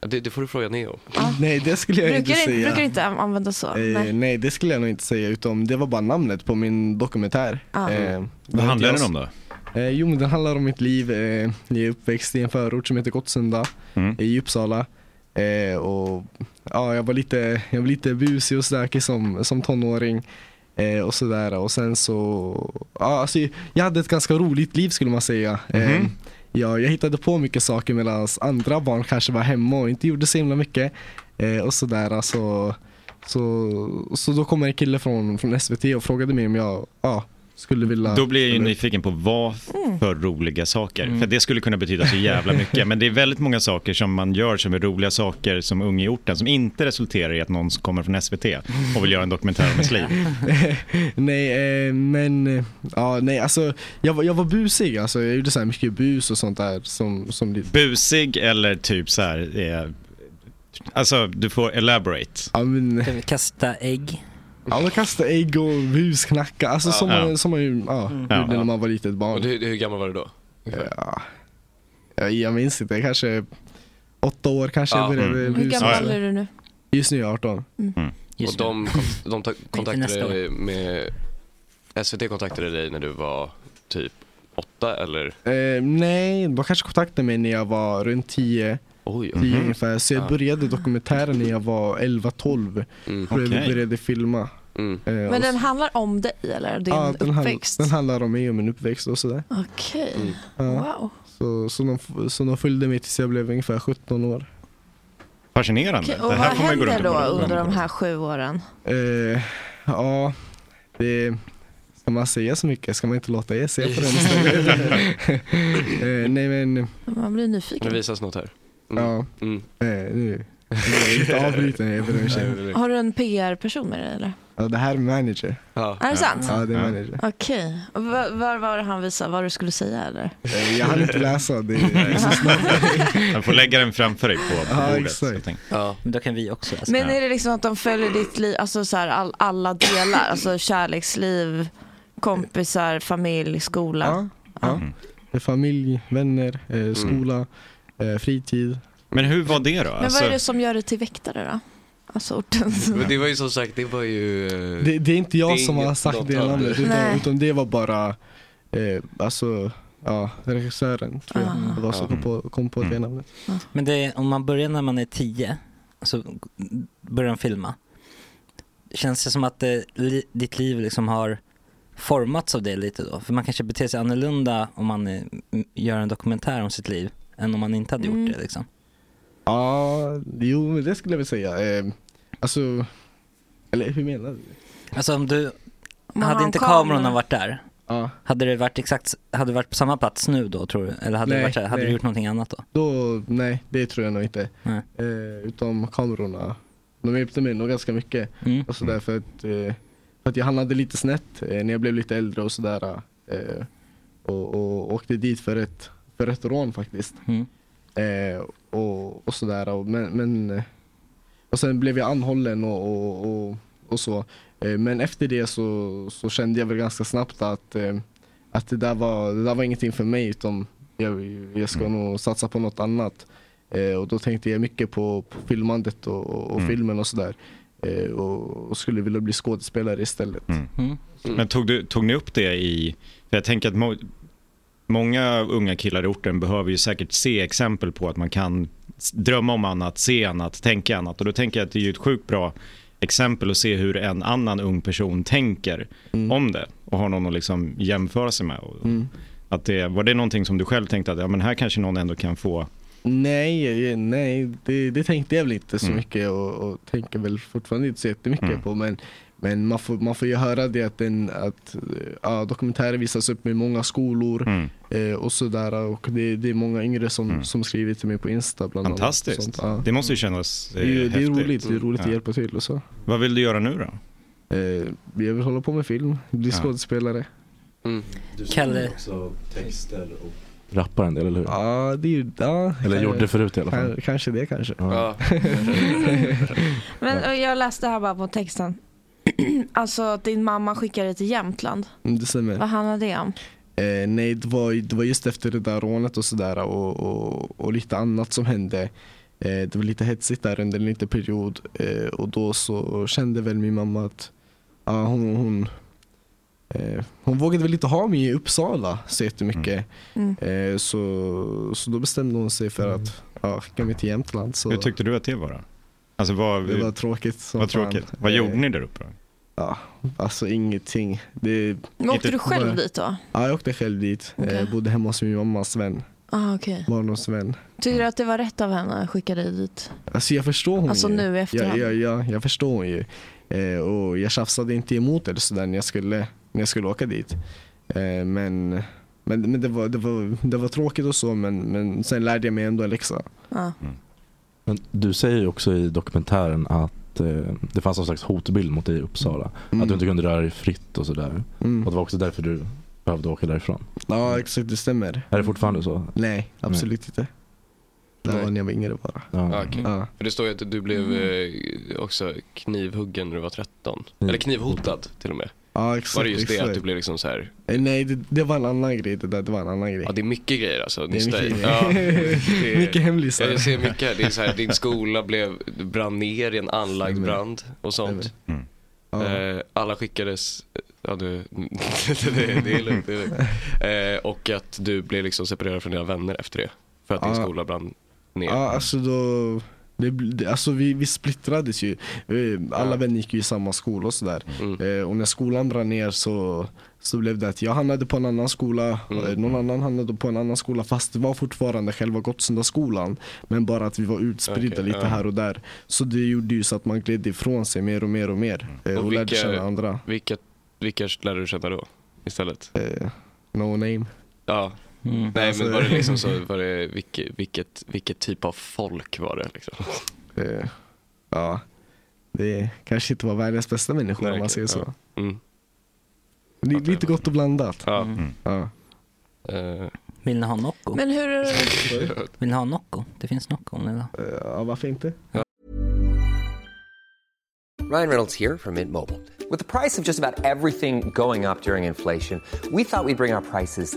E: Ja, Det, det får du fråga Neo.
N: Nej, det skulle jag
H: Brukar
N: inte
H: det,
N: säga.
H: brukar det inte an- användas så?
N: Eh, nej.
H: Nej.
N: det skulle jag nog inte säga, utom det var bara namnet på min dokumentär.
H: Ah.
M: Vad handlar den om då?
N: Eh, jo, men den handlar om mitt liv. Eh, jag är uppväxt i en förort som heter Gottsunda
M: Mm.
N: i Uppsala. Eh, och, ja, jag, var lite, jag var lite busig och stökig som, som tonåring. Eh, och sådär. Och sen så, ja, alltså, jag hade ett ganska roligt liv skulle man säga. Eh,
M: Mhm.
N: ja, jag hittade på mycket saker medan andra barn kanske var hemma och inte gjorde så himla mycket. Eh, och sådär. Alltså, så, så då kom en kille från, från SVT och frågade mig om jag ja, skulle vilja
M: Då blir jag ju nyfiken på vad
H: Mm.
M: för roliga saker. För det skulle kunna betyda så jävla mycket. Men det är väldigt många saker som man gör som är roliga saker som ung i orten som inte resulterar i att någon som kommer från SVT och vill göra en dokumentär om ens liv.
N: nej, eh, men eh, ja, nej, alltså, jag, var- jag var busig. Alltså, jag gjorde så här mycket bus och sånt där. Som, som det-
M: Busig eller typ så här, eh, alltså du får elaborate.
F: Kasta ägg.
N: ja, man kastade ägg och busknacka. Alltså,
E: Ja.
N: som, man,
E: Ja.
N: som man ju, ja,
E: Mm.
N: gjorde
E: Ja.
N: när man var litet barn.
E: Och du, hur gammal var du då?
N: Ja, jag, jag minns inte, kanske åtta år kanske
E: Ja.
N: jag började
E: Mm.
N: busa.
H: Hur gammal är du nu? Mm.
N: Just nu är jag 18.
E: Och de, kont- de ta-
N: nästa
E: kontaktade
N: år.
E: dig med... SVT kontaktade dig när du var typ åtta eller?
N: Eh, nej, de kanske kontaktade mig när jag var runt 10.
E: Oj,
N: 10
E: mhm.
N: ungefär. Så jag
E: Ah.
N: började dokumentären när jag var 11-12.
E: Mm.
N: Började,
E: Okej. Mm.
N: började filma. Eh, och
H: Men den
N: så-
H: handlar om dig eller din
N: Ja, den, hand,
H: uppväxt?
N: den handlar om mig och min uppväxt och sådär.
H: Okej,
E: Mm.
N: Ja.
H: wow.
N: Så, så, de, f- så de följde mig tills jag blev ungefär 17 år.
M: Fascinerande.
H: Okej, och vad händer då under de här sju åren?
N: Eh, ja, det... Ska man säga så mycket? Ska man inte låta er se på den historien? eh, nej men,
H: Man blir
E: Nu
H: nyfiken.
E: visas något här.
N: ja.
E: Mm.
N: Eh, nu. Jag vill inte avbryta er, jag ber om ursäkt.
H: Har du en PR-person med dig eller?
N: Ja, det här är manager.
H: Är det sant?
N: Ja, det är manager.
H: Okej. Och va- Vad var det han visade? Vad du skulle säga eller?
N: Eh, Jag hann inte läsa. Det är så snabbt.
M: Jag får lägga den framför dig på, på
N: Ja,
M: bordet.
N: exakt.
M: så tänk.
F: Men då kan vi också läsa.
H: Men är det liksom att de följer ditt liv, alltså så här, all, alla delar, alltså kärleksliv, kompisar, familj, skola?
N: Ja.
M: Mm.
N: Eh, Familj, vänner, eh, skola, eh, fritid.
M: Men hur var det då?
N: Alltså-
M: Alltså,
H: Men vad är det som gör dig till väktare då? Alltså orten.
E: Men det var ju som sagt, det var ju... eh,
N: Det, det är inte jag
E: är
N: som har
E: inget
N: sagt
E: något
N: det
E: av
N: namnet utan,
H: Nej.
N: utan det var bara eh, alltså, ja, regissören tror jag
F: Ah.
N: det var som kom på, kom på
M: Mm.
N: det namnet.
F: Men det är, om man börjar när man är tio, så börjar man filma. Känns det som att det, li, ditt liv liksom har formats av det lite då? För man kanske beter sig annorlunda om man eh, m- gör en dokumentär om sitt liv än om man inte hade gjort
N: Mm.
F: det liksom.
N: Ja, jo men det skulle jag väl säga. Eh, alltså, eller hur menar du?
F: Alltså om du,
N: man har
F: hade
N: en
F: inte
N: kamera.
F: kamerorna varit där, hade det varit exakt, hade det varit på samma plats nu då tror du? Eller hade, det
N: Nej,
F: varit, så här- hade du
N: nej.
F: gjort någonting annat då?
N: Då, nej, det tror jag nog inte.
F: Nej.
N: Eh, utom kamerorna. De hjälpte mig nog ganska mycket.
F: Mm.
N: Och sådär, för, att, eh, för att jag hamnade lite snett eh, när jag blev lite äldre och sådär. Eh, och, och åkte dit för ett, för ett rån faktiskt.
F: Mm.
N: Eh, och, och sådär. Och, men, men, eh, och sen blev jag anhållen och, och, och, och så. Eh, men efter det så, så kände jag väl ganska snabbt att, eh, att det, där var, det där var ingenting för mig utan jag, jag ska nog satsa på något annat. Eh, och då tänkte jag mycket på, på filmandet och, och
M: Mm.
N: filmen och sådär. Eh, och, och skulle vilja bli skådespelare istället.
M: Mm.
N: Mm.
M: Men tog, du, tog ni upp det i... För jag tänker att må, många unga killar i orten behöver ju säkert se exempel på att man kan s- drömma om annat, se annat, tänka annat. Och då tänker jag att det är ju ett sjukt bra exempel att se hur en annan ung person tänker om det och har någon att liksom jämföra sig med. Och-
N: Mm.
M: Att det, var det någonting som du själv tänkte att ja, men här kanske någon ändå kan få
N: Nej, eh, nej det, det tänkte jag väl inte så
M: Mm.
N: mycket och, och tänker väl fortfarande inte så jättemycket på. Men, men man, får, man får ju höra det att, den, att eh, ja, dokumentärer visas upp i många skolor
M: Mm.
D: Hmm.
N: eh, och sådär. Och det, det är många yngre som, som skriver till mig på Insta bland annat.
M: fantastiskt.
N: Sånt, ja.
M: Det måste ju kännas eh,
N: Det är, ju- det är
M: häftigt.
N: roligt, det är roligt att
M: Ja.
N: hjälpa till och så. Eh,
M: Vad vill du göra nu då?
N: Jag vill hålla på med film, bli
M: Ja.
N: skådespelare.
E: Mm.
O: Du
F: Kalle.
O: skriver också texter och
I: Rappar en del, eller hur?
N: Ja, det är ju, ja,
I: Eller gjorde förut i alla fall.
N: Kan- Kanske det kanske.
H: Men och jag läste här bara på texten. alltså att din mamma skickade dig till Jämtland.
N: Mm, Det stämmer.
H: Vad handlar det om?
N: Eh, nej, det var, det var just efter det där rånet och sådär och, och, och lite annat som hände. Eh, det var lite hetsigt där under en liten period eh, och då så kände väl min mamma att ja, hon, hon, eh, hon vågade väl inte ha mig i Uppsala så jättemycket.
H: Mm.
N: Eh, så, så då bestämde hon sig för att ja, skicka mig till Jämtland. Så
M: Mm. Hur tyckte du att det var då? Alltså vad,
N: det var tråkigt som
M: vad
N: fan.
M: tråkigt. Vad
N: Eh,
M: gjorde ni där uppe?
N: Ja, alltså ingenting. Det,
H: Men åkte du själv dit då?
N: Ja, jag åkte själv dit.
H: Okej.
N: Eh, bodde hemma hos min mamma Sven.
H: Ah, okej.
N: Barndomsvän.
H: Tycker du att det var rätt av henne att skicka dig dit?
N: Alltså jag förstår hon
H: Alltså
N: ju.
H: nu i efterhand.
N: Jag, jag, jag, jag förstår hon ju. Eh, och jag tjafsade inte emot eller sådär när jag skulle, när jag skulle åka dit. Eh, men men, men det, var, det, var, det var tråkigt och så men, men sen lärde jag mig ändå liksom. en läxa.
H: Ja.
I: Men du säger ju också i dokumentären att eh, det fanns någon slags hotbild mot dig i Uppsala. Att du inte kunde röra dig fritt och sådär.
N: Mm.
I: Och det var också därför du behövde åka därifrån. Mm.
N: Ja exakt, det stämmer.
I: Är det fortfarande så?
N: Nej, absolut inte. Det
I: Nej.
N: var när jag var yngre bara.
I: Ja.
E: Ah, okej.
N: Ja.
E: För det står ju att du blev eh, också knivhuggen när du var 13. Eller knivhotad till och med.
N: Mm. Ja, exakt,
E: var det just det
N: exakt.
E: att du blev liksom så här.
N: Eh, Nej det, det var en annan grej det där, det var en annan grej.
E: Ja det är mycket grejer alltså.
N: Det är
E: hos dig.
N: mycket
E: ja,
N: grejer.
E: det är-
N: Mycket hemlisar.
E: Ja, jag ser mycket här. Det är så här, din skola blev, brann ner i en anlagd brand och sånt. Eh, alla skickades, ja du, det, är- det är lugnt. det är lugnt. Eh, och att du blev liksom separerad från dina vänner efter det. För att din
N: Ja.
E: skola brann ner.
N: Ja, alltså då... Det, bl- det- alltså vi, vi splittrades ju. Eh, Alla vänner gick ju i samma skola och sådär.
E: Mm.
N: Eh, Och när skolan brann ner så, så blev det att jag hamnade på en annan skola,
E: Mm.
N: eh, någon annan hamnade på en annan skola fast det var fortfarande själva Gottsundaskolan. Men bara att vi var utspridda
E: Okej,
N: lite
E: ja.
N: här och där. Så det gjorde ju så att man gled ifrån sig mer och mer och mer.
E: Mm.
N: eh, Och, lärde känna andra.
E: Vilka, vilka lärde du känna då istället?
N: No name.
E: Ja.
N: Mm.
E: Nej
N: Eh, Alltså-
E: men var det liksom så, var det, vilket, vilket, vilket typ av folk var det liksom?
N: Eh, Ja. det kanske inte var världens bästa människor om man säger
E: Verkligen,
N: så.
E: ja. Mm.
N: Det är lite gott och blandat.
E: Ja.
N: Ja.
F: Eh. Vill ni ha Nocco?
H: Men hur är det?
F: Vill ni ha Nocco? Det finns Nocco om ni vill ha.
N: Eh, Ja, varför inte?
B: Ryan Reynolds here from Mint Mobile. With the price of just about everything going up during inflation, we thought we'd bring our prices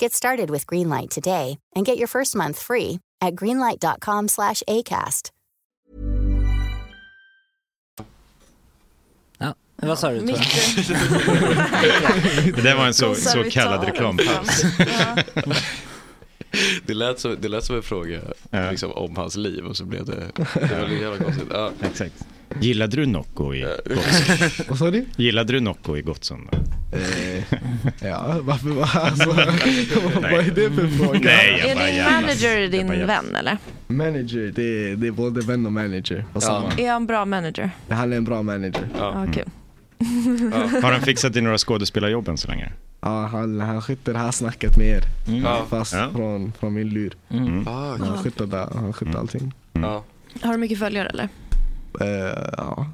P: Get started with Greenlight today and get your first month free at greenlight.com slash ACAST.
F: Vad sa du? Tora?
M: Det där var en så, så kallad reklampaus.
E: Det lät, som, det lät som en fråga liksom, om hans liv och så blev det... Det var lite jävla konstigt. Ja. Eh.
M: Exakt. Gillade du Nocco i Gottsunda?
N: Vad sa du?
M: Gillade du Nocco i Gottsunda?
E: Eh.
N: Ja, varför var alltså, Vad är det för fråga?
M: Nej,
H: Är din manager din vän eller?
N: Manager, det är, det är både vän och manager. Och samma.
H: Är han bra manager?
N: Han är en bra manager.
H: Ja. Okej.
M: Har han fixat dig några skådespelarjobb än så länge?
N: Ja, han, han skötte det här snacket med er.
M: Ja.
N: Fast
M: Ja.
N: från, från min lur.
M: Mm.
E: Ah,
N: Han skötte, det, han skötte allting.
E: Ja.
H: Har du mycket följare eller?
N: Eh, ja,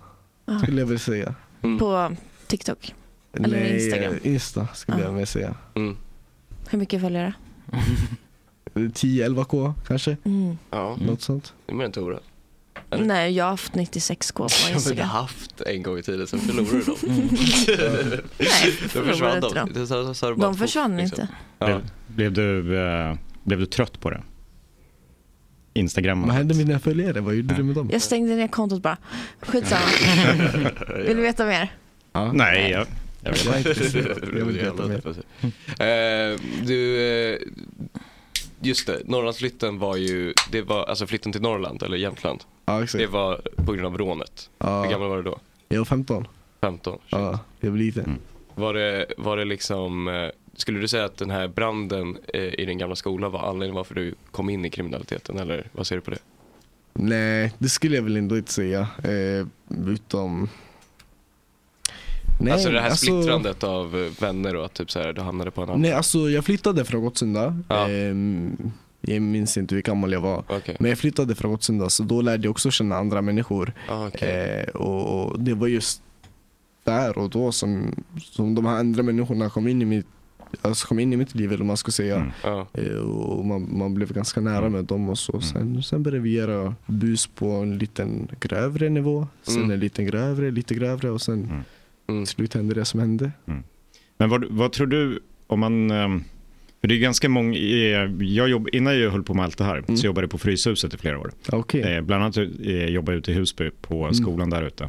N: skulle jag vilja säga.
H: På TikTok? Eller
N: Mm. Nej,
H: Instagram?
N: eh, Insta skulle jag vilja säga.
E: Mm.
H: Hur mycket följare?
N: 10-11k kanske?
H: Mm.
E: Ja.
N: Något sånt.
E: Det är mer än Tora. Eller?
H: Nej, jag har haft 96k på
E: Jag har inte
H: Instagram.
E: haft en gång i tiden, sen förlorade du dem. Då
H: Mm. förlorade
E: försvann
H: inte dem.
E: de. Det sa- sa- sa det bara
H: De
E: två,
H: försvann
E: liksom.
H: inte.
M: Blev, blev, du, eh, blev du trött på det?
N: Vad
M: Instagram?
N: hände med dina följare? Vad gjorde du med dem?
H: Jag stängde ner kontot bara. Skitsamma. Vill du veta mer?
M: Nej, jag, jag vet
N: Jag är intresserad.
E: Det
N: Jag vill veta mer.
E: Eh, du, eh, just det, Norrlandsflytten var ju, det var alltså flytten till Norrland eller Jämtland.
N: Ja, exakt.
E: Det var på grund av rånet.
N: Ja.
E: Hur gammal var du då?
N: Jag var 15.
E: 15?
N: Ja, jag var liten.
E: Var det, var det liksom, eh, skulle du säga att den här branden eh, i din gamla skola var anledningen varför du kom in i kriminaliteten eller vad ser du på det?
N: Nej, det skulle jag väl ändå inte säga. Eh, utom...
E: alltså det här
N: alltså-
E: splittrandet av eh, vänner och att typ så här, du hamnade på en annan.
N: Nej, alltså jag flyttade från Gottsunda. Ehm, jag minns inte hur gammal jag var. Men jag flyttade från Gottsunda, så då lärde jag också känna andra människor. Eh, och, och det var just där och då som, som de här andra människorna kom in i mitt Alltså kom in i mitt liv eller vad man ska säga.
E: Mm.
N: Eh, Och man, man blev ganska nära med dem och så. Sen, sen började vi göra bus på en liten grövre nivå. Sen
M: Mm.
N: en liten grövre, lite grövre och sen till slut hände det som hände.
M: Mm. Men vad, vad tror du om man... ehm, För det är ganska många... eh, Jag jobb, innan jag höll på med allt det här så jobbade jag på Fryshuset i flera år. Eh, Bland annat eh, jobbade jag ute i Husby på skolan där ute.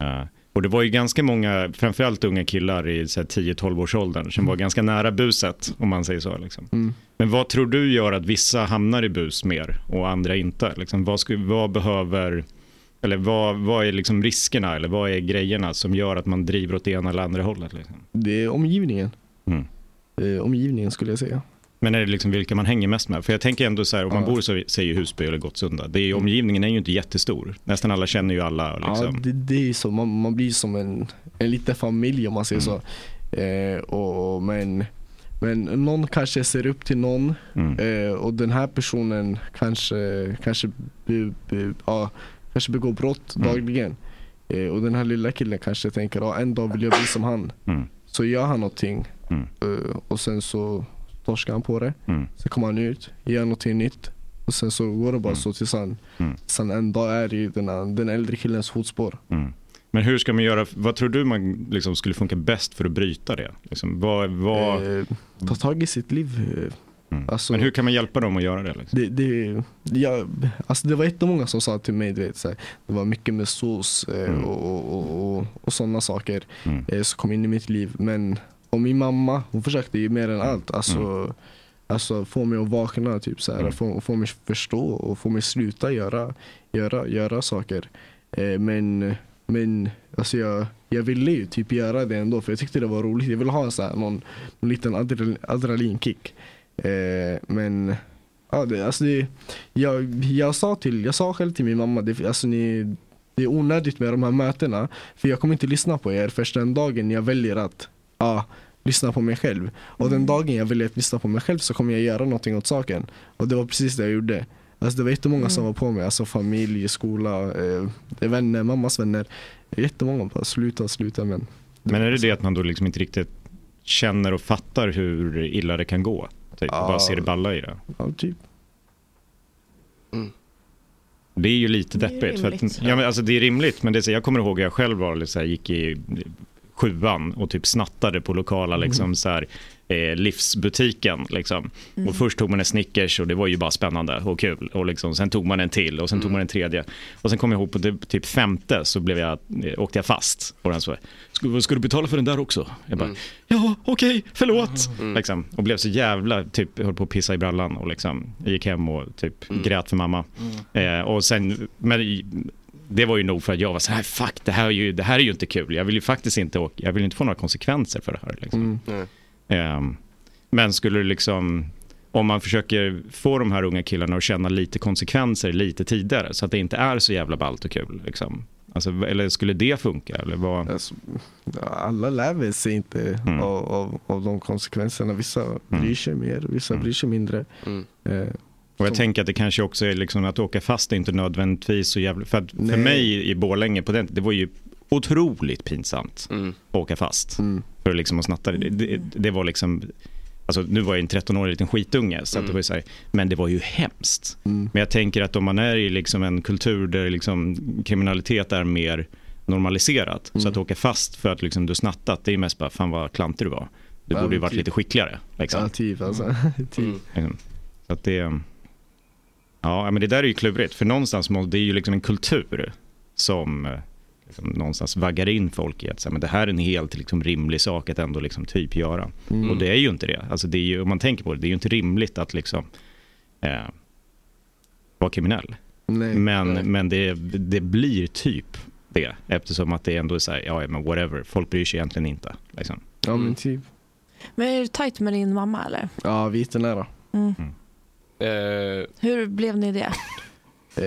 M: Eh, Och det var ju ganska många, framförallt unga killar i så här 10-12 års åldern som var ganska nära buset om man säger så. Liksom.
N: Mm.
M: Men vad tror du gör att vissa hamnar i bus mer och andra inte? Liksom, vad, sku, vad behöver... Eller vad, vad är liksom riskerna eller vad är grejerna som gör att man driver åt det ena eller andra hållet? Liksom?
N: Det är omgivningen. Eh, Omgivningen skulle jag säga.
M: Men är det liksom vilka man hänger mest med? För jag tänker ändå så här, om man
N: Ja.
M: bor så, säger Husby eller Gottsunda, det är, ju- omgivningen är ju inte jättestor. Nästan alla känner ju alla. Liksom.
N: Ja, det, det är ju så. Man, man blir som en, en liten familj om man säger så. Eh, och, men Men någon kanske ser upp till någon eh, och den här personen kanske, kanske, be, be, ja, kanske begår brott dagligen. Eh, och den här lilla killen kanske tänker ah, en dag vill jag bli som han. Så gör han någonting eh, och sen så torskar han på det. Sen kommer han ut, gör någonting nytt. Och sen så går det bara så tills han, tills han en dag är i den, här- den äldre killens fotspår.
M: Mm. Men hur ska man göra, vad tror du man liksom skulle funka bäst för att bryta det? Liksom, vad, vad...
N: Eh, ta tag i sitt liv. Alltså-
M: Mm. Men hur kan man hjälpa dem att göra det? Liksom?
N: Det, det, jag, alltså det var jättemånga som sa till mig, du vet, så här, det var mycket med sås eh, och, och, och, och, och sådana saker eh, som kom in i mitt liv. Men och min mamma, hon försökte ju mer än allt. Alltså, alltså få mig att vakna, typ, så här, få, få mig förstå och få mig sluta göra, göra, göra saker. Eh, men men alltså jag, jag ville ju typ göra det ändå för jag tyckte det var roligt. Jag ville ha så här, någon, någon liten adre- adrenalinkick. Eh, men ja, det, alltså det, jag, jag, sa till, jag sa själv till min mamma, det, alltså ni, det är onödigt med de här mötena. För jag kommer inte lyssna på er först den dagen jag väljer att ja, lyssna på mig själv. Och den dagen jag väljer att lyssna på mig själv så kommer jag göra någonting åt saken. Och det var precis det jag gjorde. Alltså det var jättemånga som var på mig, alltså familj, skola, eh, vänner, mammas vänner. Jättemånga bara sluta, sluta men.
M: Men är det det att man då liksom inte riktigt känner och fattar hur illa det kan gå? Typ, och bara ser det balla i det?
N: Ja, typ.
M: Det är ju lite
E: Det är
M: deppigt. för
E: rimligt.
M: att, ja, men alltså, det är rimligt, men det är så, jag kommer ihåg att jag själv var, lite så här, gick i sjuan och typ snattade på lokala liksom, så här, eh, livsbutiken. Liksom.
E: Mm.
M: Och först tog man en Snickers och det var ju bara spännande och kul. Och liksom, sen tog man en till och sen tog man en tredje. Och sen kom jag ihåg på typ, typ femte så blev jag, eh, åkte jag fast. Mm. Och den så, ska, ska du betala för den där också? Jag bara, ja okej, förlåt. Liksom, och blev så jävla, typ höll på att pissa i brallan och liksom gick hem och typ grät för mamma.
J: Mm.
M: Eh, och sen, men i- det var ju nog för att jag var så här, fuck det här är ju, det här är ju inte kul. Jag vill ju faktiskt inte, åka, jag vill inte få några konsekvenser för det här. Liksom. Ehm, men skulle du liksom, om man försöker få de här unga killarna att känna lite konsekvenser lite tidigare så att det inte är så jävla ballt och kul. Liksom. Alltså, eller skulle det funka? Eller vad?
N: alla lär väl sig inte av, av, av de konsekvenserna. Vissa bryr sig mer, vissa bryr sig mindre. Eh,
M: Och jag tänker att det kanske också är liksom att åka fast är inte nödvändigtvis så jävla... För, att för
N: Nej.
M: mig i Borlänge på den det var ju otroligt pinsamt att åka fast.
N: Mm.
M: För liksom att snatta. Det, det, det var liksom... Alltså, nu var jag en 13-årig liten skitunge, så att det var ju så här, men det var ju hemskt.
N: Mm.
M: Men jag tänker att om man är i liksom en kultur där liksom kriminalitet är mer normaliserat, så att
N: Mm.
M: åka fast för att liksom du snattat, det är mest bara, fan vad klantig du var. Du
N: Ja,
M: borde ju
N: men
M: varit
N: typ.
M: lite skickligare. Liksom.
N: Ja, typ
E: Mm.
N: alltså. typ.
M: Liksom. Så att det, ja, men det där är ju klurigt, för någonstans må, det är ju liksom en kultur som eh, liksom, någonstans vaggar in folk i att så här, men det här är en helt liksom, rimlig sak att ändå liksom, typ göra.
E: Mm.
M: Och det är ju inte det. Alltså, det är ju, om man tänker på det, det är ju inte rimligt att liksom, eh, vara kriminell. men men det, det blir typ det, eftersom att det ändå är så här, ja men whatever, folk bryr sig egentligen inte. Liksom.
N: Ja men typ.
H: Men är du tajt med din mamma eller?
N: Ja, vi är jättenära.
H: Mm.
E: Eh,
H: Hur blev ni det?
N: Eh,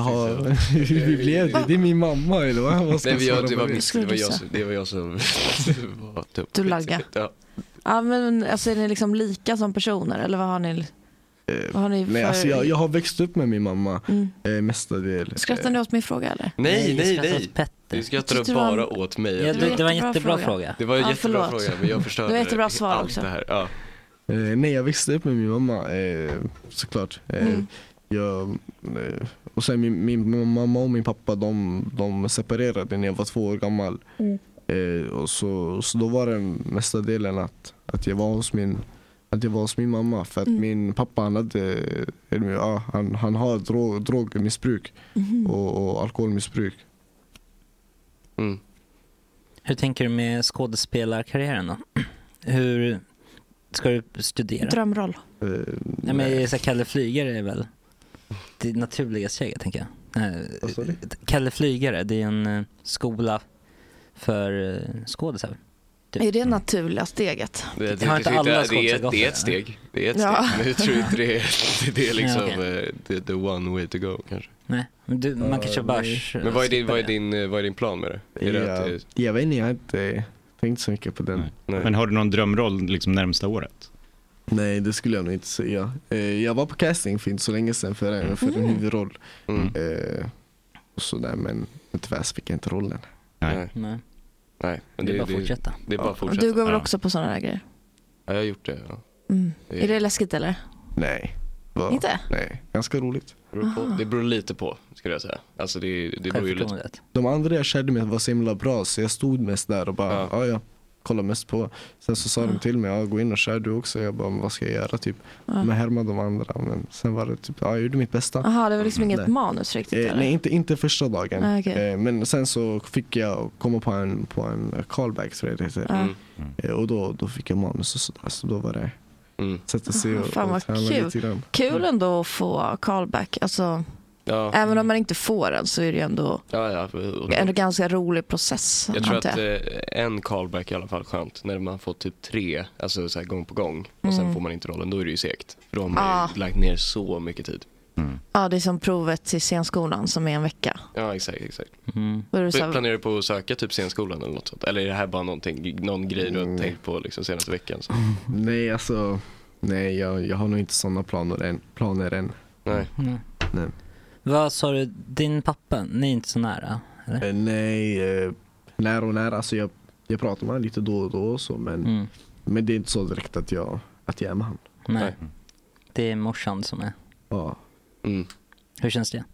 N: har... Hur blev det? Det är min mamma eller vad? vad ska
E: eh, Nej,
N: jag
E: men jag,
N: svara
E: det,
N: på
E: var
N: det?
E: mitt, det, var jag, som- det var jag som var dum.
H: Du laggade.
E: Ja.
H: Ja, men, alltså, är ni liksom lika som personer eller vad har ni,
E: Eh,
H: vad har ni för... Mm.
N: Nej, alltså jag, jag har växt upp med min mamma eh, mestadels.
H: Skrattar ni åt min fråga eller?
E: Nej, nej,
N: skrattar
E: nej.
N: åt
E: Du
H: Jag
E: skrattade
H: tyckte det var-
E: bara åt mig.
H: Ja, det- det var en jättebra fråga.
E: Det var en
H: Ja,
E: jättebra
H: förlåt.
E: fråga, men jag förstörde
H: Det var jättebra svar
E: allt
H: också.
E: Det här. Ja.
N: Eh, nej, jag växte upp med min mamma eh, såklart. Eh,
H: Mm.
N: jag, eh, och sen min, min mamma och min pappa de, de separerade när jag var två år gammal.
H: Mm.
N: Eh, och så, så då var det mesta delen att, att, jag var hos min, att jag var hos min mamma. För att
H: Mm.
N: min pappa han, hade, eller, ja, han, han har drog, drogmissbruk
H: Mhm.
N: och, och alkoholmissbruk.
F: Hur tänker du med skådespelarkarriären då? Hur ska du studera?
H: Drömroll.
F: Nej, men så här, Kalle Flygare är väl det naturliga steget tänker jag. Eh, Kalle Flygare, det är en eh, skola för eh, skådisar. Typ.
H: Är det naturliga steget?
E: Det,
F: Har inte alla
E: det, det,
F: skådisar
E: är,
F: gått
E: det är
F: det?
E: ett steg. Det är ett
F: Ja.
E: steg. Men jag tror inte det är, det är liksom
F: Ja,
E: eh, the, the one way to go kanske.
F: Nej, men du, man kan köra bärs.
E: Men vad är, din, vad, är din, eh, vad är din plan med det? Är det att, eh,
N: jag, jag vet inte, jag har inte tänkt så mycket på den.
M: Men har du någon drömroll liksom närmsta året?
N: Nej, det skulle jag nog inte säga. Eh, jag var på casting för inte så länge sedan för,
E: Mm.
N: för en
M: Mhm.
N: huvudroll. Eh, och sådär, men tyvärr så fick jag inte rollen.
E: Nej.
F: Nej.
E: Nej. men
F: Det är bara att fortsätta.
E: Det är bara att
H: Och
E: fortsätta.
H: du går väl
E: Ja.
H: också på sådana där grejer?
E: Ja, jag har gjort det. Ja.
H: Mm.
E: Det-
H: Är det läskigt eller?
N: Nej. Va?
H: Inte?
N: Nej, ganska roligt.
E: beror på,
H: Ah.
E: det beror lite på, skulle jag säga. Alltså det, det beror ju lite
N: De andra jag kände med var så himla bra så jag stod mest där och bara, ja ja, kolla mest på. Sen så sa de till mig, ja gå in och kör du också. Jag bara, "Men vad ska jag göra typ?
H: Ja.
N: Men härma de andra. Men sen var det typ, ja jag gjorde mitt bästa. Mm.
H: Jaha, det var liksom inget
N: Nej.
H: manus riktigt
N: Eh,
H: eller?
N: nej, inte, inte första dagen.
H: Ah, okej.
N: eh, men sen så fick jag komma på en, på en callback tror jag det heter.
H: Ah. Mm.
N: Eh, och då, då fick jag manus och sådär. Så då var det sätta sig
H: Aha,
N: och,
H: Mm. Ah, Fan
N: och
H: vad kul.
N: Mm.
H: Kul ändå att få callback. Alltså,
E: Ja.
H: Även om man inte får den så är det ju ändå
E: Ja, ja. och-
H: en ganska rolig process.
E: Jag tror
H: antar
E: att eh, en callback är i alla fall skönt. När man får typ tre, alltså så här gång på gång och sen
H: Mm.
E: får man inte rollen, då är det ju segt. För då har man
H: Ah.
E: ju lagt ner så mycket tid.
H: Ja, det är som provet till scenskolan som är en vecka.
E: Ja, exakt. exakt.
M: Mm.
H: Då är det så här-
E: Planerar du på att söka typ scenskolan eller något sånt? Eller är det här bara någonting, någon grej du har tänkt på liksom senaste veckan? Så.
F: Mm.
N: Nej alltså, nej jag, jag har nog inte sådana planer än. Planer än.
E: Nej.
F: Nej.
N: Nej.
F: Vad sa du, din pappa, ni är inte så nära? Eller?
N: Eh, nej, eh, nära och nära. Alltså jag, jag pratar med honom lite då och då och så, men,
F: Mm.
N: men det är inte så direkt att jag, att jag är med honom.
F: Nej. Det är morsan som är.
N: Ja.
E: Mm.
F: Hur känns det?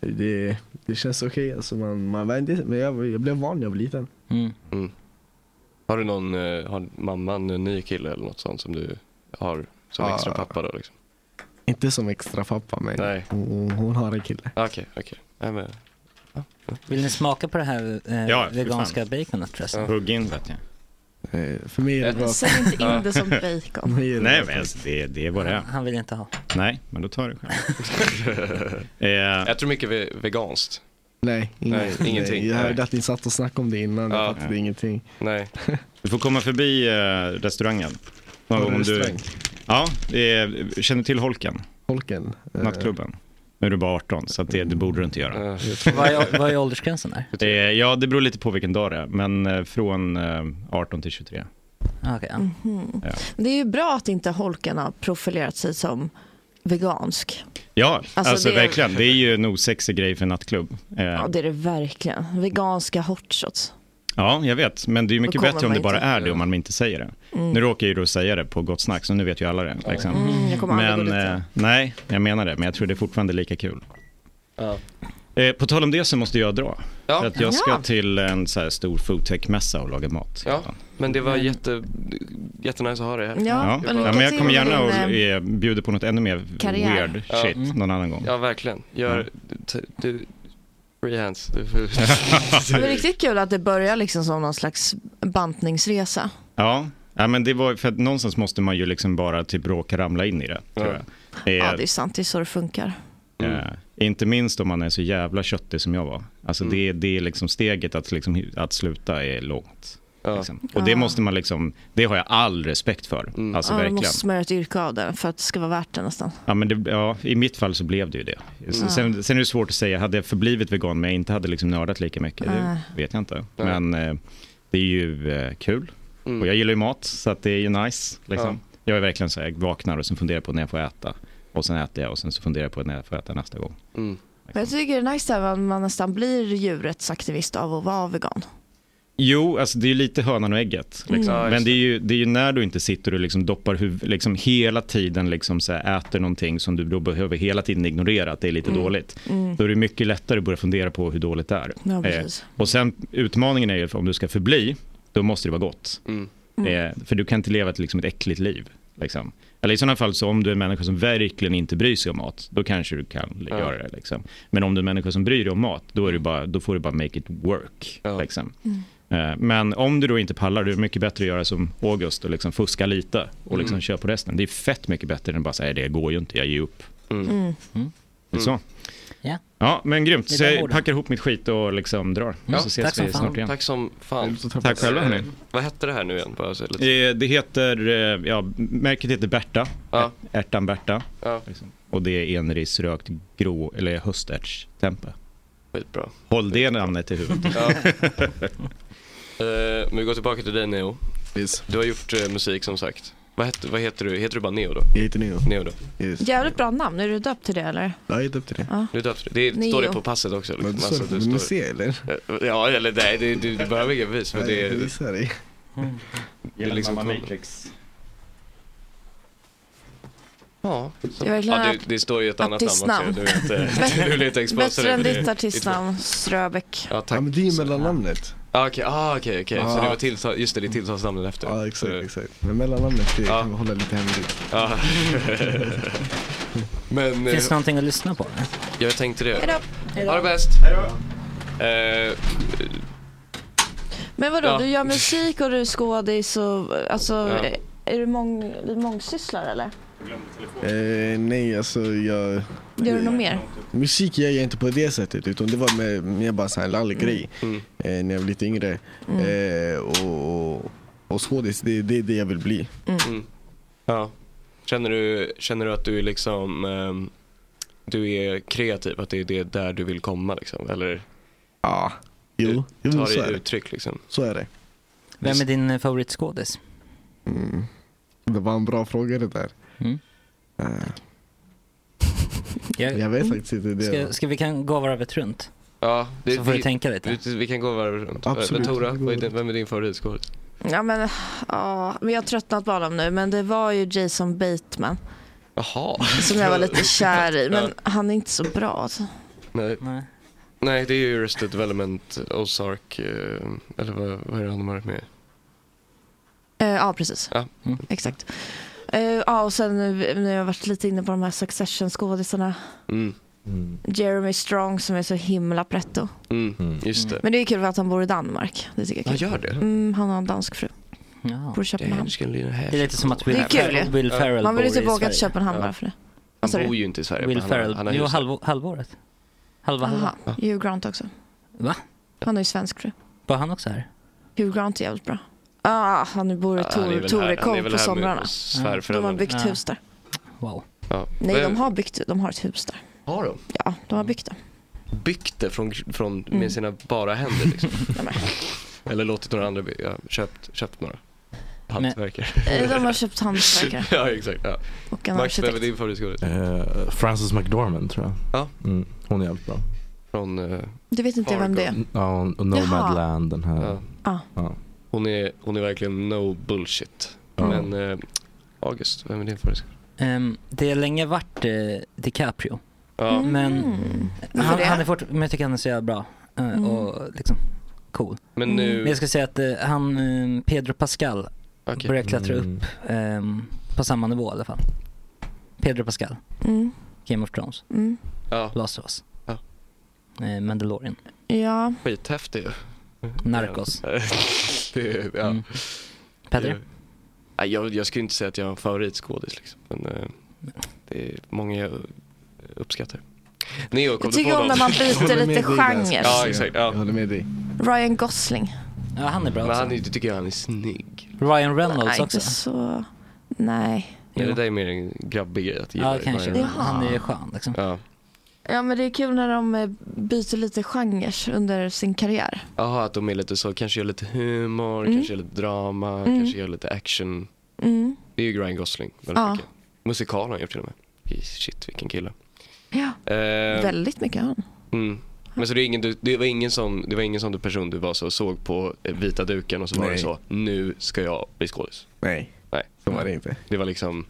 N: Det, det känns okej. Alltså man, man vänjer, men jag, jag blev van när jag var liten.
E: Mm. Har du någon, eh, har mamman en ny kille eller något sånt som du har som
N: Ja.
E: extra pappa då? Liksom?
N: Inte som extra pappa men hon, hon har en kille.
E: Ah, Okej, okej. Nej, men-
F: Vill ni smaka på det här eh,
N: Ja, för
F: veganska
N: fan.
F: baconet förresten?
N: Ja. Hugg
M: in vet jag.
N: Eh, för mig är det bra.
M: Nej, men alltså, det, det är vad det är.
F: Han vill inte ha.
M: Nej, men då tar du själv. eh,
E: Jag tror mycket ve- veganskt.
N: Nej, ingen,
E: Nej, ingenting.
N: jag hörde
E: Nej.
N: att ni satt och snackade om det innan.
M: Ja.
N: Jag fattade ingenting.
E: Nej.
M: Du får komma förbi eh, restaurangen.
N: Har du
M: Om
N: restaurang?
M: Ja, eh, känner du till Holken?
N: Holken? eh,
M: Nattklubben. Nu är du bara 18, så att det, det borde du inte göra.
E: Eh,
F: Vad är, vad är åldersgränsen där?
M: Eh, ja, det beror lite på vilken dag det är, men eh, från eh, 18 till 23.
F: Ah, Okej.
E: Mm.
F: ja.
H: Mhm.
M: Ja.
H: Det är ju bra att inte holken har profilerat sig som vegansk.
M: Ja,
H: Alltså,
M: alltså,
H: det-
M: verkligen. Det är ju en osexig grej för en nattklubb. Eh,
H: Ja, det är det verkligen. Veganska hot shots.
M: Ja, jag vet. Men det är ju mycket
H: kommer
M: bättre om
H: man
M: det bara
H: inte.
M: är det, om man inte säger det.
H: Mm.
M: Nu råkar jag ju då säga det på Gott Snack, så nu vet ju alla det. Liksom.
H: Mm, jag kommer aldrig gå
M: men,
H: dit, ja.
M: eh, nej, jag menar det, men jag tror det är fortfarande lika kul.
E: Ja.
M: Eh, på tal om det så måste jag dra.
E: Ja.
M: För att jag ska
E: Ja.
M: till en så här stor foodtech-mässa och laga mat.
E: Ja, men det var jätte, jättenice att ha det här.
M: Ja,
E: Det var-
M: ja, men jag kommer gärna och
E: eh,
M: eh, bjuder på något ännu mer
E: karriär.
M: weird
E: Ja.
M: shit
E: Mm.
M: någon annan gång.
E: Ja, verkligen. Gör, t- du, free hands. Du får...
H: Det är riktigt kul att det börjar liksom som någon slags bantningsresa.
M: Ja, ja men det var, för att någonstans måste man ju liksom bara typ råka ramla in i det. Tror jag. Eh,
H: Ja, det är sant. Det är så det funkar.
M: Eh, inte minst om man är så jävla köttig som jag var. Alltså
H: Mm.
M: det, det är liksom steget att, liksom, att sluta är långt. Liksom. Och det
H: Ja.
M: måste man liksom, det har jag all respekt för. Alltså
H: ja,
M: verkligen.
H: Då måste man göra ett yrke av det för att det ska vara värt det nästan.
M: Ja, men det, ja, i mitt fall så blev det ju det. S-
H: Ja.
M: Sen, sen är det svårt att säga, hade jag förblivit vegan men jag inte hade liksom nördat lika mycket, det
H: Nej. Mm.
M: vet jag inte. Men eh, det är ju eh, kul och jag gillar ju mat så att det är ju nice. Liksom. Jag är verkligen så här, jag vaknar och sen funderar på när jag får äta och sen äter jag och sen så funderar jag på när jag får äta nästa gång.
H: Mm. Men jag tycker det är nice att man nästan blir djurets aktivist av att vara vegan.
M: Jo, alltså det är ju lite hönan och ägget. Liksom.
H: Mm. Ja, just
M: Men det är, ju, det är ju när du inte sitter och liksom doppar huvudet, liksom hela tiden liksom så här äter någonting som du då behöver hela tiden ignorera att det är lite
H: Mm.
M: dåligt.
H: Mm.
M: Då är det mycket lättare att börja fundera på hur dåligt det är. Eh,
H: Ja, precis.
M: och sen utmaningen är ju om du ska förbli, då måste det vara gott.
H: Mm.
M: Eh, för du kan inte leva ett, liksom, ett äckligt liv. Liksom. Eller i sådana fall, så om du är en människa som verkligen inte bryr sig om mat, då kanske du kan göra det. Liksom. Men om du är en människa som bryr dig om mat, då, är du bara, då får du bara make it work. Liksom. Eh, Men om du då inte pallar, då är det mycket bättre att göra som August och liksom fuska lite och liksom
E: Mm.
M: köra på resten. Det är fett mycket bättre än att bara säga det går ju inte, jag ger upp.
F: Mm.
M: Det är Så.
E: Mm.
F: Ja.
M: Ja, men grymt.
E: Med
M: Så
E: de
M: jag
E: orden.
M: packar ihop mitt skit och liksom drar.
E: Ja,
M: så ses
E: tack som
M: vi
E: fan.
M: snart igen.
E: Tack som fan. Eh,
M: Tack själva, hörni.
E: Vad hette det här nu igen? Bara så lite.
M: Eh, Det heter, eh, ja, märket heter Berta. Liksom.
E: Ja.
M: Ärtan Berta.
E: Ja.
M: Och det är enris rökt grå, eller höstärtstempe.
E: Skitbra.
M: Håll det namnet i huvudet.
E: Ja. Eh, men vi går tillbaka till dig Neo. Du har gjort eh, musik som sagt. Vad heter, vad heter du? Heter du bara Neo då?
N: Jag heter Neo.
E: Neo då.
H: Jävligt bra namn. Är du döpt till det eller?
N: Jag är döpt till det.
H: Ja.
E: Du är döpt, det
H: Neo.
E: står det på passet också. Liksom.
N: Men du sa det på museet, eller?
E: Ja, eller nej, det, du, du behöver inga bevis. Men
N: Nej,
E: det,
N: jag visar dig.
E: det är liksom Ja,
H: Det är verkligen
E: ja, det, det står ju ett annat namn också.
H: artistnamn.
E: Du är inte, du är inte exposed för
H: Bättre
E: det,
H: än
E: för det
H: ditt
E: är-
H: artistnamn, Ströbeck.
E: Ja, tack.
N: men det är mellannamnet.
E: Ah, okej, ah, okej, okej. Så
N: Ja.
E: det var tilltal, just det, det är tilltalsnamnet efter.
N: Ja, exakt, exakt. Men mellannamnet, det kan vi hålla lite hemligt.
E: Ja. Men, eh,
F: Finns det någonting att lyssna på? eller?
E: Jag tänkte det.
H: Hejdå.
E: Ha det bäst. Eh,
H: Men vadå,
E: Ja.
H: du gör musik och du är skådis och alltså,
N: Ja.
H: är, är du mång, du mångsysslare eller?
N: Eh, nej, alltså jag...
H: Gör du något mer?
N: Musik gör jag inte på det sättet, utan det var mer, mer bara så här en lallgrej
E: Mm.
N: eh, när jag var lite yngre. Eh, och, och, och skådis, det, det är det jag vill bli.
E: Mm. Ja. Känner du, känner du att du är liksom, ehm, du är kreativ, att det är det där du vill komma liksom? Eller?
N: Ja, jo,
E: du
N: jo,
E: tar
N: så är
E: det i
N: det.
E: uttryck liksom?
N: Så är det.
F: Vem är din eh, favoritskådis?
N: Mm. Det var en bra fråga det där. Eh,
F: Jag,
N: vet faktiskt inte det.
F: Mm. Ska, ska vi kan gå varvet runt?
E: Ja, det,
F: Så får
E: vi,
F: du tänka lite.
E: Vi, vi kan gå varv runt. Eh,
F: Absolut.
E: Men Tora, vad är din, vem är din favoritskådis?
H: Ja men, ja, men jag har tröttnat på honom nu men det var ju Jason Bateman
E: Jaha.
H: som jag var lite kär i men
E: Ja.
H: han är inte så bra alltså.
E: Nej.
F: Nej.
E: det är ju Arrested Development, Ozark, eh, eller vad, vad är det han har varit med i?
H: Eh, Ja precis,
E: Ja.
F: Mm.
H: exakt. Eh, Ja och sen nu nu har jag varit lite inne på de här Succession skådisarna.
E: Mm.
H: Jeremy Strong som är så himla pretto.
E: Mm. Just det.
H: Men det är kul för att han bor i Danmark. Det tycker jag är
E: Ja,
H: kul.
E: gör det?
H: Mm, han har en dansk fru.
F: Ja.
H: Bor i Köpenhamn.
F: Det är lite som att Will,
H: Det är kul ju.
F: Ferrell- Will Ferrell
H: Man vill ju
F: bor i
H: typ åka till
F: Sverige.
H: Köpenhamn bara för det. Vad sa
E: Han
H: du?
E: bor ju inte i Sverige.
F: Will
E: men han har-
F: Ferrel,
E: han har
F: jo
E: hus här.
F: halv, halvåret. Halva, halva.
H: Aha, Hugh Grant också.
F: Va?
H: Han är ju svensk fru.
F: Var han också här?
H: Hugh Grant är jävligt bra. Ah, han bor i
F: Ja, han är väl
H: Tor-
F: här-
E: han är
H: Torekov
E: väl
H: på
E: här med
H: somrarna. De har
E: svärföräldrarna.
H: byggt
E: Ja.
H: hus där.
F: Wow.
E: Ja.
H: Nej,
E: Men-
H: de har, byggt, de har ett hus där.
E: Har de?
H: Ja, de har byggt det.
E: byggt det från, från,
H: Mm.
E: med sina bara händer. Liksom. Eller låtit några andra by- ja, köpt, köpt några hantverkare.
H: Eh, De har köpt hantverkare.
E: ja, exakt. Ja.
H: Och en
E: Max, vem är
H: arkitekt.
E: din favoritskådis?
I: Eh, Frances McDormand tror jag. Mm, hon är jävligt bra.
E: Från...
H: Du vet inte vem det är?
I: Ja, och Nomadland den här.
H: Ja.
I: Ja.
E: Hon, är, hon är verkligen no bullshit. Men eh, August, vem är din favoritskådis?
F: Ehm, det har länge varit eh, DiCaprio.
E: Ja.
F: Men,
E: Varför
F: han,
E: det?
F: han är fort, men jag tycker han är så jävla bra. eh, Och liksom cool.
E: Men nu-
F: jag ska säga att eh, han, eh, Pedro Pascal, börjar klättra upp
N: Mm.
F: ehm, på samma nivå i alla fall. Pedro Pascal,
H: Mm.
F: Game of Thrones,
H: Mm.
E: Ja.
F: Last of Us, eh,
E: ja.
F: Mandalorian,
H: Ja.
E: Skithäftig ju.
F: Narcos. Mm.
E: det, är- ja.
F: Petter?
E: Det är- Nej, Jag, jag skulle inte säga att jag har en favoritskådis liksom. Men eh, det är många jag uppskattar. Neo, kom
H: Jag
E: du
H: tycker
E: på
H: om
E: någon?
H: när man byter Jag håller med lite dig där, genre. ska jag
E: Ja,
H: säga.
E: exakt. Ja. Jag
N: håller med dig.
H: Ryan Gosling.
F: Ja, han är bra
E: Men
F: också.
E: han är, tycker jag han är snygg.
F: Ryan Reynolds
H: Nej,
F: också.
H: inte så... Nej.
E: Men det där är mer en grabbig grej att gilla
F: Ja, kanske.
E: Ryan.
F: Han är ju skön liksom.
E: Ja.
H: Ja, men det är kul när de eh, byter lite genre under sin karriär.
E: Jaha, att de är lite så, kanske gör lite humor,
H: Mm.
E: kanske gör lite drama,
H: Mm.
E: kanske gör lite action.
H: Mm.
E: Det är ju Ryan Gosling väldigt
H: Ja.
E: mycket. Musikal har han gjort till och med. Shit, vilken kille.
H: Ja.
E: Eh,
H: Väldigt mycket han.
E: Mm. Men så det, är ingen, du- det var ingen som, det var ingen som du person du var så såg på eh, vita duken och så var
N: Nej.
E: det så, nu ska jag bli skådis.
N: Nej,
E: Nej.
N: så var det inte.
E: Det var liksom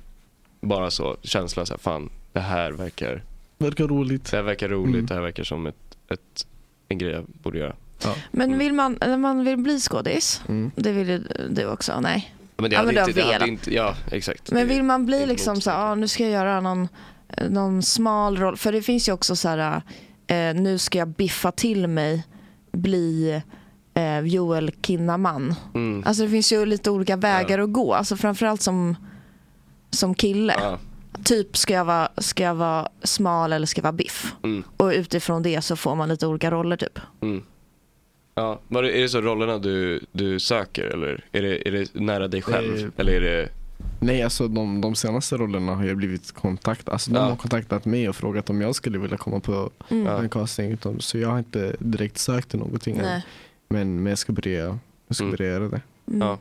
E: bara så, känslan så här, fan det här verkar,
N: Verkar roligt. Mm.
E: det här verkar roligt, det här verkar som ett, ett, en grej jag borde göra.
N: Ja.
E: Mm.
H: Men vill man, när man vill bli skådis, det vill ju du också, nej.
E: Men det
H: Ja,
E: hade
H: men du har
E: inte, det hade
H: velat.
E: inte, ja exakt.
H: Men
E: Det-
H: vill man bli
E: inte
H: liksom så här, ah, nu ska jag göra någon, eh, någon smal roll. För det finns ju också så här, eh, nu ska jag biffa till mig, bli eh, Joel Kinnaman.
E: Mm.
H: Alltså det finns ju lite olika vägar att gå. Alltså framförallt som, som kille. Typ ska jag, vara, ska jag vara smal eller ska jag vara biff?
E: Mm.
H: Och utifrån det så får man lite olika roller typ.
E: Mm. Ja, var det, är det så rollerna du, du söker eller är det, är det nära dig själv?
N: Eh,
E: Eller är det,
N: Nej, alltså de, de senaste rollerna har jag blivit kontakt, alltså de
E: Ja.
N: har kontaktat mig och frågat om jag skulle vilja komma på
H: Mm.
N: en casting. Utan, så jag har inte direkt sökt till någonting än.
H: Nej.
N: Men, men jag ska börja Jag
E: Mm.
N: skulle göra det.
E: Ja.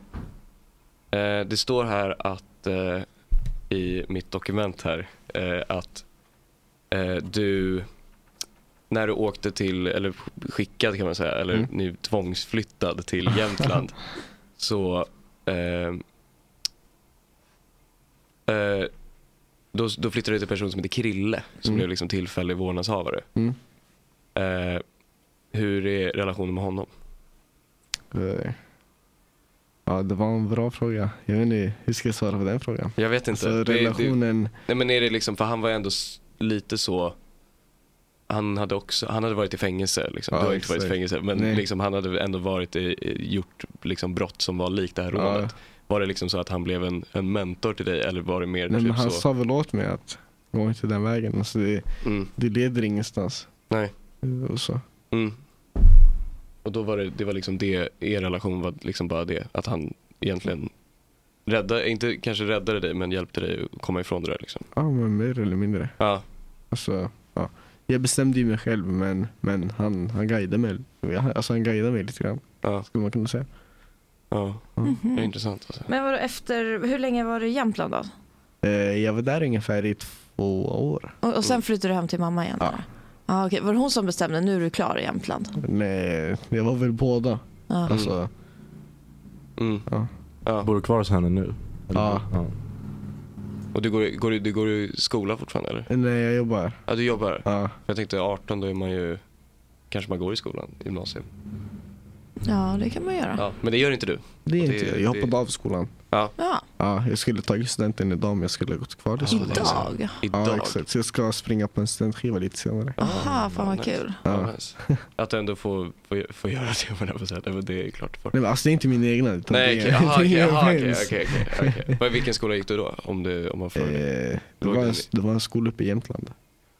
E: Eh, det står här att eh, i mitt dokument här eh, att eh, du när du åkte till, eller skickad kan man säga, eller
N: Mm.
E: nu tvångsflyttad till Jämtland så ehm, eh, då, då flyttade du till en person som heter Krille som
N: Mm.
E: blev liksom tillfällig vårdnadshavare.
N: Mm.
E: Eh, hur är relationen med honom?
N: Eh, Ja, det var en bra fråga. Jag vet inte hur ska jag svara på den frågan.
E: Jag vet inte.
N: Alltså,
E: Det- det-
N: relationen-
E: nej men är det liksom, för han var ändå s- lite så, han hade också, han hade varit i fängelse liksom.
N: Ja,
E: du har inte varit i
N: exakt.
E: fängelse men
N: Nej.
E: liksom, han hade ändå varit i, i- gjort liksom, brott som var likt det här
N: Ja.
E: rånet. Var det liksom så att han blev en, en mentor till dig eller var det mer
N: Nej, men
E: typ
N: han
E: så?
N: sa väl åt mig att gå inte den vägen. Alltså, det, det leder ingenstans.
E: Mm.
N: Eh,
E: Nej.
N: Och så.
E: Mm. Och då var det, det var liksom det, er relation var liksom bara det att han egentligen räddade, inte kanske räddade dig men hjälpte dig att komma ifrån det där liksom.
N: Ja, men mer eller mindre.
E: Ja.
N: Alltså, ja. Jag bestämde ju mig själv men, men han, han guidade mig. Alltså han guidade mig lite grann. Skulle man kunna säga.
E: Ja,
Q: Mhm.
E: det är intressant alltså.
Q: Men vadå, efter, hur länge var du i Jämtland då?
N: Eh, Jag var där ungefär i två år.
Q: Och, och
E: Mm.
Q: sen flyttade du hem till mamma igen? Ja. Ah, okej. Var det hon som bestämde, nu är du klar i Jämtland?
E: Mm.
N: Nej, jag var väl båda.
Q: Ja.
N: Alltså, ja.
I: Bor du kvar hos henne nu? Eller-
N: Ja.
E: Och du går, i- går, i- du går i skola fortfarande eller?
N: Nej, jag jobbar.
E: Ja, du jobbar?
N: Ja.
E: För jag tänkte 18 då är man ju, kanske man går i skolan, gymnasium.
Q: Ja, det kan man göra.
E: Ja, men det gör inte du?
N: Det är
E: Och
N: inte jag. Jag hoppade av skolan.
E: Ja.
Q: Ja.
N: Ja, jag skulle tagit studenten idag men jag skulle ha gått kvar i skolan.
Q: Idag?
N: Ja,
E: Idag?
N: exakt. Så jag ska springa på en studentskiva lite senare.
Q: Aha, fan vad kul.
E: Ja. Nice. Att du ändå får, får, får göra det, höll jag på att säga. Nej, men det är klart. du får.
N: Nej, men alltså det är inte min egna. Utan
E: Nej,
N: det
E: okej,
N: är,
E: jaha,
N: det är
E: okej, jaha, okej,
N: Jens.
E: okej, okej, okej. Men vilken skola gick du då? Om, du, om man får...
N: Eh, det, var en, det var en skola uppe i Jämtland.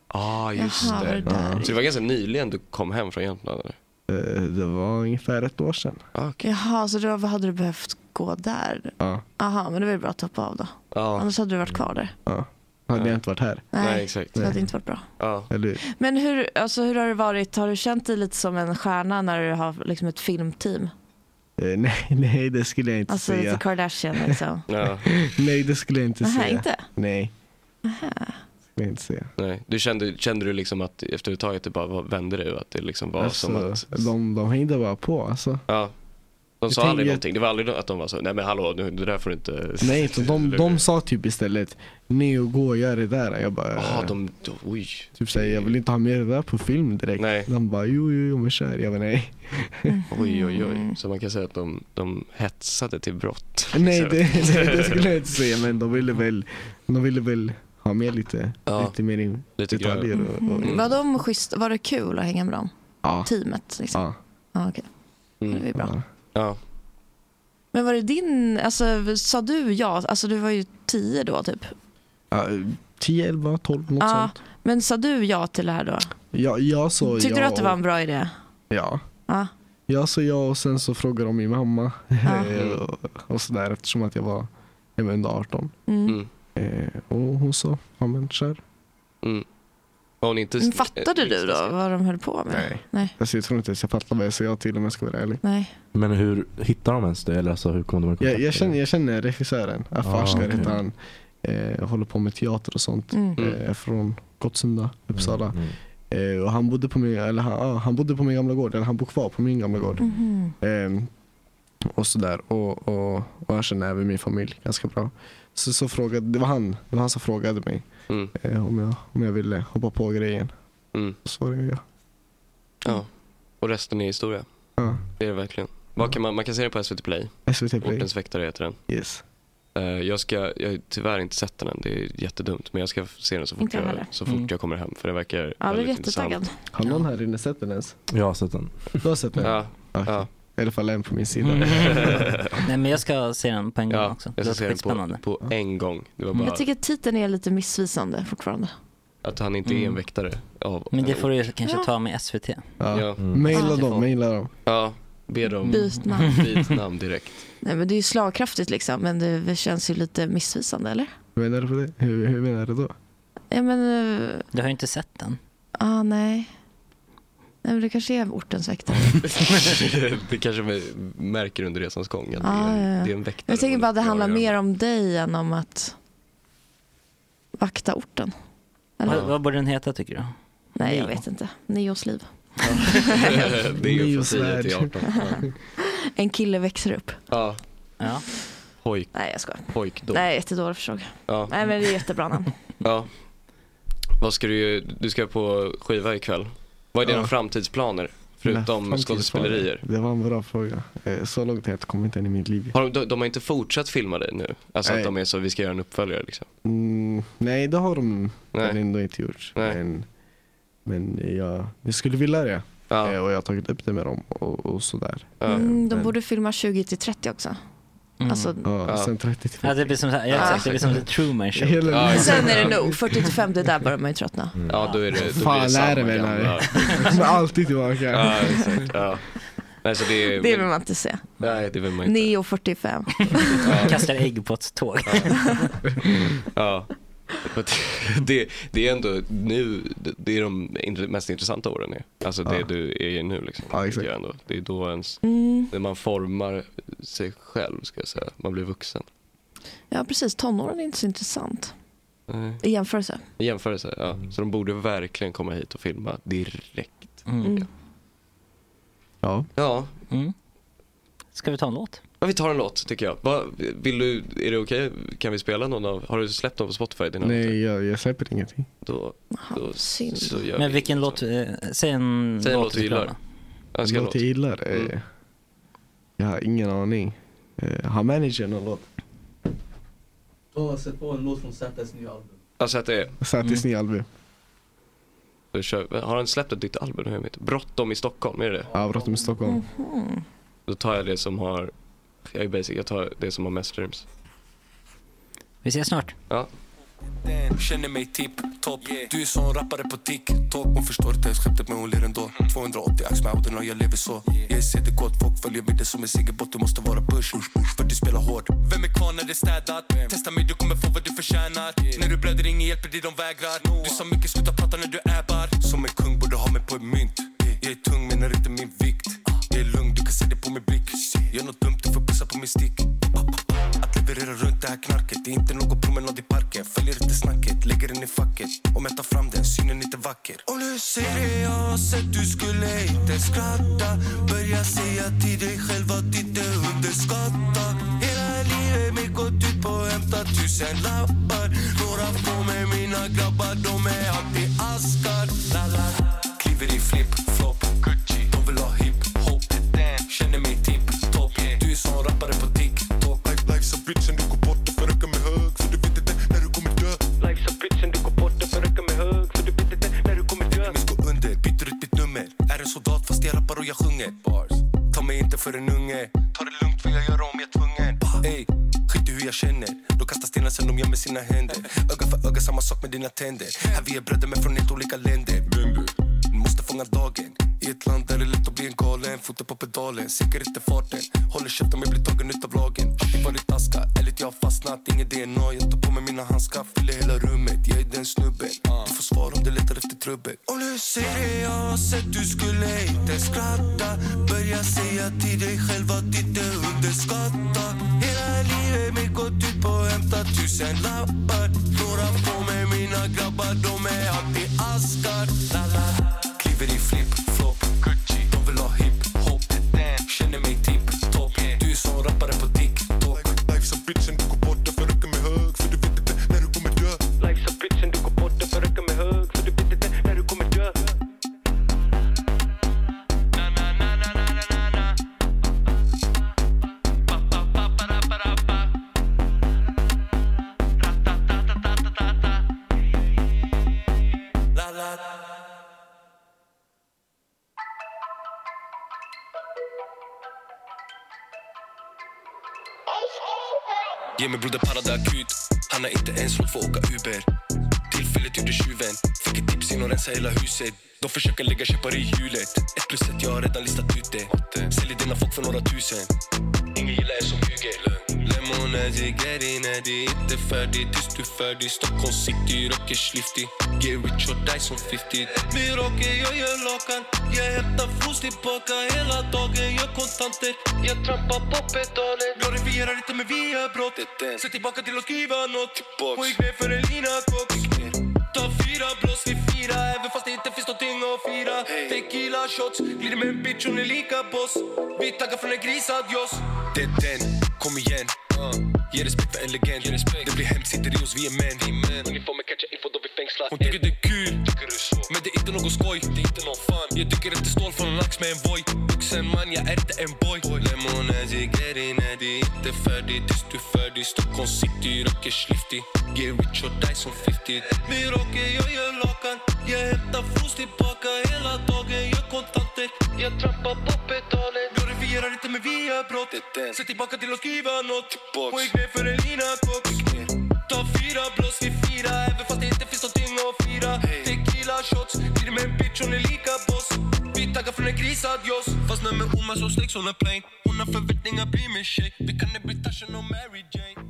E: ah, just
Q: Jaha,
E: det.
Q: var det där?
E: Så det var ganska nyligen du kom hem från Jämtland? Eller?
N: Eh, det var ungefär ett år sedan.
E: Ah,
Q: Jaha, så då hade du behövt gå där?
N: Ja.
Q: Aha, men det var ju bra att hoppa av då.
E: Ja.
Q: Annars hade du varit kvar där.
N: ja. Hade jag inte varit här.
Q: Nej, Nej,
E: exakt.
Q: Det hade inte varit bra.
E: Ja.
N: Eller hur?
Q: Men hur, alltså, hur har det varit? Har du känt dig lite som en stjärna när du har liksom ett filmteam?
N: Eh, nej, nej, det skulle jag inte
Q: Alltså
N: säga.
Q: The Kardashian liksom.
N: nej, det skulle jag inte
Q: Nähä,
N: säga.
Q: inte?
N: Nej. Skulle jag inte säga.
E: Nej. Du kände, kände du liksom att efter ett tag att det bara var- vände dig och att det liksom var
N: alltså,
E: som att...
N: de, de hängde bara på alltså.
E: Ja. De
N: Jag
E: sa
N: tänker
E: aldrig
N: att-
E: någonting. Det var aldrig att de var så, nej men hallå, nu, det där får du inte...
N: Nej, utan de, de sa typ istället, nej och gå och gör det där. Jag bara, eh,
E: Jaha, Ah, de, de, oj.
N: typ säger jag vill inte ha med det där på film direkt.
E: Nej.
N: De bara, jo, jo, jo, men kör. Jag bara, nej.
Q: Mm.
E: Oj, oj, oj. Så man kan säga att de, de hetsade till brott.
N: nej,
E: Så-
N: det, nej, det skulle jag inte säga, men de ville väl, de ville väl ha med lite, lite mer in,
E: Lite
N: detaljer.
E: grövre.
N: Och, och,
Q: Mm. Var, de schysst, var det kul att hänga med dem?
N: Mm. Ja.
Q: Teamet liksom?
N: Ja.
Q: Ja, okej. Det är bra.
E: Ja.
Q: Men var det din, alltså sa du ja? Alltså du var ju tio då typ.
N: Ja, 10, 11, 12, något
Q: ja,
N: sånt.
Q: men sa du ja till det här då?
N: Ja, jag sa
Q: Tyckte
N: ja
Q: du att det var
N: och-
Q: en bra idé?
N: Ja.
Q: Ja.
N: Jag sa ja och sen så frågade de min mamma Eh,
Q: Ja.
N: och, och sådär eftersom att jag var jag var under 18.
Q: Mm.
N: Eh, och hon sa, ja men kör.
E: Mm. Var hon inte...
Q: Men fattade du då vad de höll på med?
N: Nej.
Q: Nej.
N: Alltså, jag tror inte ens jag fattar vad jag sa ja till om jag ska vara ärlig.
Q: Nej.
I: Men hur hittar de ens det? Eller alltså, hur kommer de i kontakt?
N: Jag, jag, känner, jag känner regissören,
I: Ah,
N: Afashkar
I: okej.
N: heter han. Eh, håller på med teater och sånt.
Q: Mm.
N: Eh, från Gottsunda, Uppsala.
E: Mm,
N: Eh, och han bodde, på min, eller han, ah, han bodde på min gamla gård, eller han bor kvar på min gamla gård.
Q: Mhm.
N: Ehm, och sådär. Och, och, och jag känner även min familj ganska bra. Så, så frågade, det, var han, det var han som frågade mig eh, om, jag, om jag ville hoppa på grejen.
E: Mm.
N: Så var det jag.
E: Ja. Och resten är historia.
N: Ja.
E: Det är det verkligen. Vad kan man, man kan se det på SVT Play.
N: SVT Play.
E: Ortens väktare heter den.
N: Yes.
E: Eh, jag, ska, jag har tyvärr inte sett den än, det är jättedumt. Men jag ska se den så fort,
Q: Inte jag
E: jag,
Q: heller.
E: så fort
Q: Mm.
E: jag kommer hem. För det verkar
Q: Ja, du är
E: väldigt intressant.
Q: jättetaggad.
N: Har någon här inne sett den ens?
I: Jag har sett den.
N: Du har sett den?
E: Ja.
N: Okej. I alla fall en på min sida.
F: Mm. Nej men jag ska se den på en gång
E: Ja,
F: också.
E: jag ska se den på,
F: skitspännande.
E: på en gång. Det var bara
Q: Jag tycker att titeln är lite missvisande fortfarande.
E: att han inte
N: Mm.
E: är en väktare. Av,
F: Men det får du kanske
Q: Ja.
F: ta med SVT.
N: Ja. Mm.
E: Ja.
N: Maila dem, maila dem.
E: Ja, be dem
Q: Byt namn.
E: byt namn direkt.
Q: Nej, men det är ju slagkraftigt liksom, men det det känns ju lite missvisande eller?
N: Hur menar du på det? Hur, hur menar du då?
Q: Ja men, eh,
F: Du har ju inte sett den.
Q: ah nej. Nej, men det kanske är ortens väktare.
E: det kanske vi märker under resans gång. Att
Q: Ja,
E: det, är en,
Q: Ah, ja, ja.
E: det är en väktare.
Q: Jag tänker bara att det handlar mer om dig än om att vakta orten. Eller?
F: Vad, vad borde den heta tycker du?
Q: Nej, jag vet inte. Nios liv.
E: det är ju från
F: Neosvärd.
E: 10 till 18. Ja.
Q: En kille växer upp.
E: Ja.
F: ja.
E: Hojk.
Q: Nej, jag skojar.
E: Hojkdom.
Q: Nej, jättedålig förslag.
E: Ja.
Q: Nej, men det är jättebra namn.
E: Ja. Vad ska du, du ska på skiva ikväll. Vad är dina
N: Ja.
E: framtidsplaner?
N: Nej,
E: Förutom
N: fan,
E: skådespelerier.
N: Det var en bra fråga. Eh, Så långt har jag inte kommit än i mitt liv.
E: Har de, de, de har inte fortsatt filma dig nu? Alltså att
N: Nej.
E: de är så, vi ska göra en uppföljare liksom.
N: Mm, nej, det har de
E: Nej.
N: väl ändå inte gjort. Men, men jag, jag skulle vilja det.
E: Eh,
N: Och jag har tagit upp det med dem och, och sådär.
Q: Mm, de
N: Men-
Q: borde filma 20 till 30 också.
E: Mm.
Q: Alltså,
N: ja, sen 30 till
F: Ja, det blir som, så här, ja, exakt, det blir som The Truman Show.
N: Hela Ja, livet. Mm.
Q: Sen är det nog. 40 till 50, där börjar man ju tröttna.
E: Ja, då är det, då blir det
N: Fan,
E: samma
N: lär det mig
E: gamla.
N: Larry. Men alltid tillbaka.
E: Ja, exakt. Ja. Nej, så det, är-
Q: Det vill man inte se.
E: Nej, det vill man inte.
Q: Neo 45.
F: Kastar ägg på ett tåg.
E: Ja. För att Det, det är ändå nu, det är de int- mest intressanta åren. Är. Alltså det
N: Ja.
E: du är nu liksom. Ja, exakt. Ändå. Det är då ens,
Q: Mm.
E: när man formar sig själv ska jag säga. Man blir vuxen.
Q: Ja, precis. Tonåren är inte så intressant
E: Nej.
Q: i jämförelse.
E: I jämförelse, ja. Så de borde verkligen komma hit och filma direkt.
Q: Mm.
N: Ja.
E: Ja.
F: Mm. Ska vi ta en låt?
E: Ja, vi tar en låt tycker jag. Va, vill du, är det okej? Kan vi spela någon av, har du släppt någon på Spotify? Dina
N: Nej, jag, jag släpper ingenting.
E: Då, då så gör
F: Men
E: vi.
F: vilken låt, eh, säg en
E: Säg en låt
F: vi
E: du gillar.
F: spelar.
E: Önska en
N: låt jag gillar? eh,
E: Mm.
N: Jag har ingen aning. Eh, Har managern någon låt?
R: Då sätt på en låt från Zätas nya album.
E: Alltså att det är.
N: Satis nya album.
E: Då kör, vi. har han släppt ett nytt album? Hur heter det? Bråttom i Stockholm, är det det?
N: Ja, Bråttom i Stockholm.
E: Då tar jag det som har, jag är basic, jag tar det som har mest streams.
F: Vi ses snart.
E: Ja.
S: Den känner mig tipptopp Du är som rappare på TikTok Hon förstår inte ens skämtet men hon ler ändå 280 ax med Auden och jag lever så Jag ser det gott, folk följer med det som en segerbott Du måste vara push, för du spelar hårt Vem är kvar när det är städat? Testa mig, du kommer få vad du förtjänar När du blöder, ingen hjälper dig, de vägrar Du sa mycket, sluta prata när du äbar Som en kung borde ha mig på ett mynt Jag är tung men är inte min vikt Jag är lugn, du kan se det på min blick Gör något dumt, du får pussa på min stick Att leverera runt det här knarket Det är inte någon promenad i parken Följer inte snacket, lägger den i facket Om jag tar fram den, synen är inte vacker Om du ser det jag har sett, du skulle inte skratta Börja säga till dig själv att inte underskatta Hela livet mitt gått ut på att hämta tusen lappar Några få med mina grabbar, de är alltid askar la, la. Kliver i flip-flop, Gucci, de vill ha hip-hop Känner mig tipp-topp, du är som rappare på TikTok Life, Life's a bitch, sen du går bort och förökar mig hög För du vet inte när du kommer dö Life's a bitch, sen du går bort och förökar mig hög För du vet inte när du kommer dö Min går under, byter ut mitt nummer Är en soldat fast jag rappar och jag sjunger Bars. Ta mig inte för en unge Ta det lugnt, vill jag göra om jag är tvungen Ey, skit i hur jag känner De kastar stenar sen de gör med sina händer Öga för öga, samma sak med dina tänder Här vi är bröder men från helt olika länder Du måste fånga dagen i ett land där det är lätt att bli en galen Foten på pedalen, sänker inte farten Håller käften om jag blir tagen utav lagen Alltid varit aska, ärligt jag har fastnat Ingen DNA, jag tar på mig mina handskar Fyller hela rummet, jag är den snubben Du får svar om du letar efter trubbel Om du ser det jag har sett, du skulle inte skratta Börja säga till dig själv att inte underskatta Hela livet mitt gått ut på att hämta tusen lappar Några få med mina grabbar, de är alltid askar la, la. Kliver i flip-flop, Gucci, de vill ha hip-hop Känner mig tipp-topp, du är som rappare på TikTok Life's a bitch, sen du går bort och förökar mig hög För du vet inte när du kommer dö Life's a bitch, sen du går bort och förökar mig hög För du vet inte när du kommer dö La, la, la. Ge mig broder Parada akut Han har inte ens råd för att åka Uber Tillfället gjorde tjuven Fick ett tips in och rensa hela huset De försöker lägga käppar i hjulet Ett plus ett, jag har redan listat ut det Säljer dina folk för några tusen Ingen gillar en som ljuger Lem månad i gardina Det är inte färdigt tills du är färdig Stockholm city rocker slifty Get rich or die som 50 Vi rocker, jag gör lakan Jag hämtar fos tillbaka hela dagen Gör kontanter, jag trampar på pedalen Glorifierar inte men vi gör brottet Se tillbaka till att skriva nåt Och gick ner för en lina kock Ta fyra blås, vi firar Även fast det inte finns någonting att fira Tequila shots, glider med en bitch, hon är lika boss Vi taggar från en gris, adios Det är den, kom igen Ge respekt för en legend Det blir hemskt, sitter i oss, vi är män Uniformen catchar info, de blir fängslad Hon tycker det är kul, men det är inte något skoj Det är inte någon fun Jag dyker efter stål från en lax med en boy Vuxen man, jag är inte en boy Lemonade, get in, nej, det är inte färdigt tills du är färdig Stockholm city, rocker slifty Get rich or die som 50 Vi rocker, jag gör lakan Jag hämtar fos tillbaka hela dagen Gör kontanter, jag trampar på pedalen Glorifierar inte men vi gör brottet Se tillbaka till att skriva nåt Och gick ner för en lina kock Ta fyra blås, vi firar Även fast det inte finns någonting att fira Tequila shots, glider med en bitch, hon är lika boss Vi taggar från en gris, adios Fastnar med Oma som släcks, hon är plain Hon har förväntningar, blir min tjej Vi kan det bli Tarzan och Mary Jane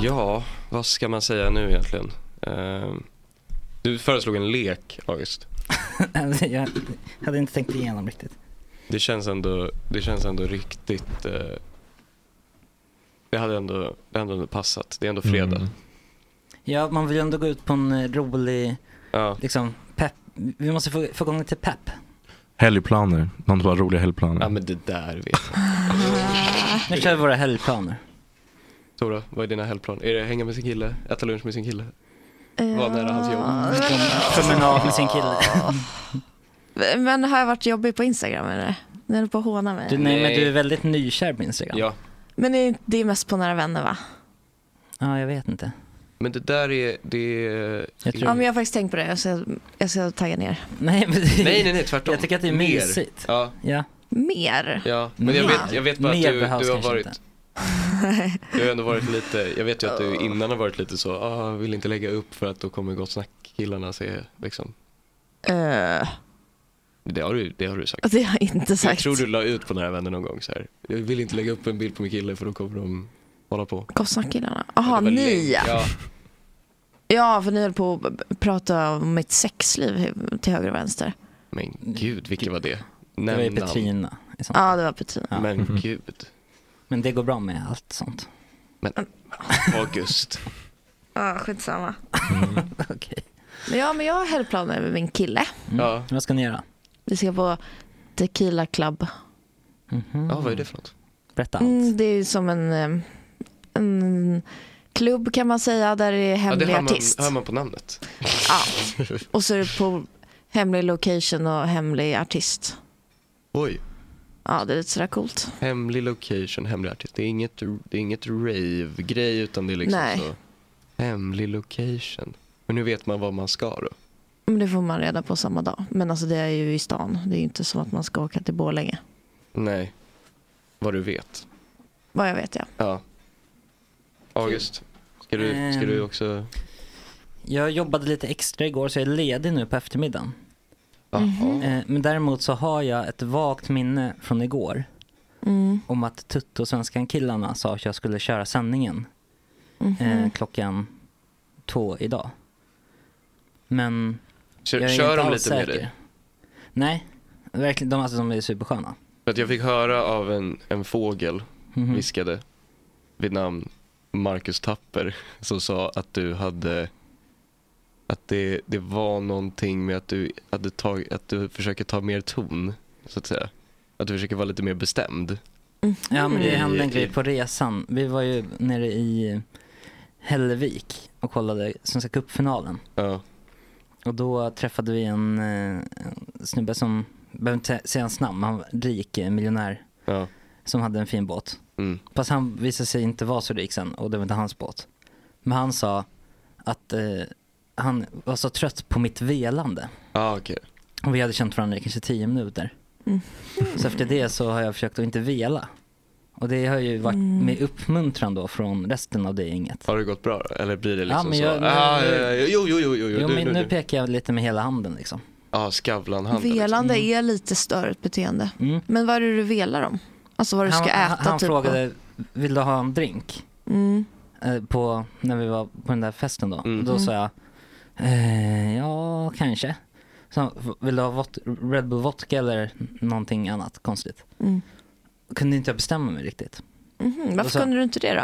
E: Ja, vad ska man säga nu egentligen? Ehm, du föreslog en lek, August.
F: jag hade inte tänkt igenom riktigt.
E: Det känns ändå, det känns ändå riktigt... eh, det hade ändå, det hade ändå passat. Det är ändå fredag.
F: Ja, man vill ju ändå gå ut på en eh, rolig, liksom, pepp. Vi måste få, få igång lite pepp.
I: Helgplaner. Någon som har roliga helgplaner.
E: Ja, men det där vet
F: Nu kör vi våra helgplaner.
E: Tora, vad är dina helgplaner? Är det hänga med sin kille? Äta lunch med sin kille? Vara nära hans jobb?
F: Promenad med sin kille.
Q: Mm. Men har jag varit jobbig på Instagram eller? Ni håller på att håna mig.
F: Du, nej, men du är väldigt nykär på Instagram.
E: Ja.
Q: Men det är, det är mest på nära vänner va?
F: Ja, jag vet inte.
E: Men det där är... Det är...
Q: Ja, men jag har faktiskt tänkt på det. Jag ska, jag ska tagga ner.
F: Nej, men det...
E: Nej, nej, nej, tvärtom.
F: Jag tycker att det är
E: Mer.
F: mysigt.
E: Ja.
F: Ja.
Q: Mer?
E: ja, men jag
F: Mer.
E: vet, jag vet bara att
F: Mer
E: du, du
F: behövs
E: har
F: kanske
E: varit...
F: inte.
E: Du har ändå varit lite, jag vet ju att du innan har varit lite så, ah, vill inte lägga upp för att då kommer Gott Snack-killarna se liksom.
Q: Eh,
E: Det har du, det har du sagt.
Q: Det har jag inte
E: Jag
Q: sagt.
E: tror du la ut på Nära Vänner någon gång så här. Jag vill inte lägga upp en bild på min kille för då kommer de hålla på.
Q: Gossnackkillarna. Jaha,
E: Det var
Q: ni
E: länge-
Q: ja.
E: ja.
Q: Ja, för ni höll på att b- prata om mitt sexliv till höger och vänster.
E: Men gud, vilken var det?
F: Det var ju
E: Nämn namn.
F: Petrina. i sånt.
Q: Ja, det var Petrina.
E: Men gud.
F: Men det går bra med allt sånt.
E: Men Mm. August.
Q: Ja, skitsamma.
F: Okej.
Q: Men ja, men jag har helgplaner med min kille.
F: Mm. Vad ska ni göra?
Q: Vi ska på Tequila Club.
E: Ja, vad är det för något?
F: Mhm. Berätta.
Q: Mm, det är som en, eh, en klubb kan man säga där det är hemlig
E: ja, det hör man,
Q: artist.
E: hör man på namnet.
Q: Ja. Och så är det på hemlig location och hemlig artist.
E: Oj.
Q: Ja, det är lite sådär coolt.
E: Hemlig location, hemlig artist. Det är inget, det är inget rave-grej utan det är liksom
Q: Nej.
E: så. Hemlig location. Men nu vet man vad man ska då.
Q: Men det får man reda på samma dag. Men alltså det är ju i stan. Det är ju inte som att man ska åka till Borlänge.
E: Nej. Vad du vet.
Q: Vad jag vet ja.
E: Ja. August, ska du, ska du också...
F: Jag jobbade lite extra igår så jag är ledig nu på eftermiddagen.
E: Mhm.
F: Eh, Men däremot så har jag ett vagt minne från igår
Q: Mm.
F: om att Tutto och Svenskan-killarna sa att jag skulle köra sändningen
Q: Mm,
H: Mhm.
F: eh, klockan två idag. Men
E: Kör-
F: jag är
E: kör
F: inte
E: de
F: alls
E: lite med
F: säker.
E: dig?
F: Nej, verkligen. De, alltså, de är supersköna.
E: För att jag fick höra av en, en fågel,
F: Mhm.
E: viskade, vid namn Marcus Tapper, som sa att du hade att det, det var någonting med att du, hade tag, att du försöker ta mer ton, så att säga. Att du försöker vara lite mer bestämd.
F: Ja men det
E: Mm.
F: hände en
E: I-
F: grej
E: i-
F: på resan. Vi var ju nere i Hällevik och kollade Svenska cupfinalen.
E: Ja.
F: Och då träffade vi en, eh, en snubbe som, behöver inte säga hans namn, men han var rik eh, miljonär. Som hade en fin båt.
E: Mm.
F: Fast han visade sig inte vara så rik sen och det var inte hans båt. Men han sa att eh, han var så trött på mitt velande.
E: Ah, okay.
F: Och vi hade känt varandra i kanske tio minuter.
J: Mm.
F: Så efter det så har jag försökt att inte vela. Och det har ju varit med uppmuntran då från resten av det gänget.
E: Har det gått bra då? Eller blir det liksom
F: men
E: så?
F: jag-
E: ah,
F: nu-
E: ja, ja, jo, jo, jo, jo, jo,
F: Jo,
E: nu,
F: men
E: nu,
F: nu
E: nu.
F: pekar jag lite med hela handen liksom.
E: Ja, Skavlan-handen. liksom.
Q: Velande är lite större ett beteende. Men vad är det du velar om?
H: Alltså vad du ska
F: han,
H: äta
F: Han
H: typ.
F: frågade, vill du ha en drink?
H: Mm.
F: Eh, På, när vi var på den där festen då.
H: Mm.
F: Och då
H: Mm.
F: sa jag, eh, ja kanske. Så, han, "V- vill du ha vod- Red Bull vodka eller någonting annat konstigt?
H: Mm.
F: Kunde inte jag bestämma mig riktigt.
H: Mhm,
F: Och
H: Varför
F: så-
H: kunde du inte det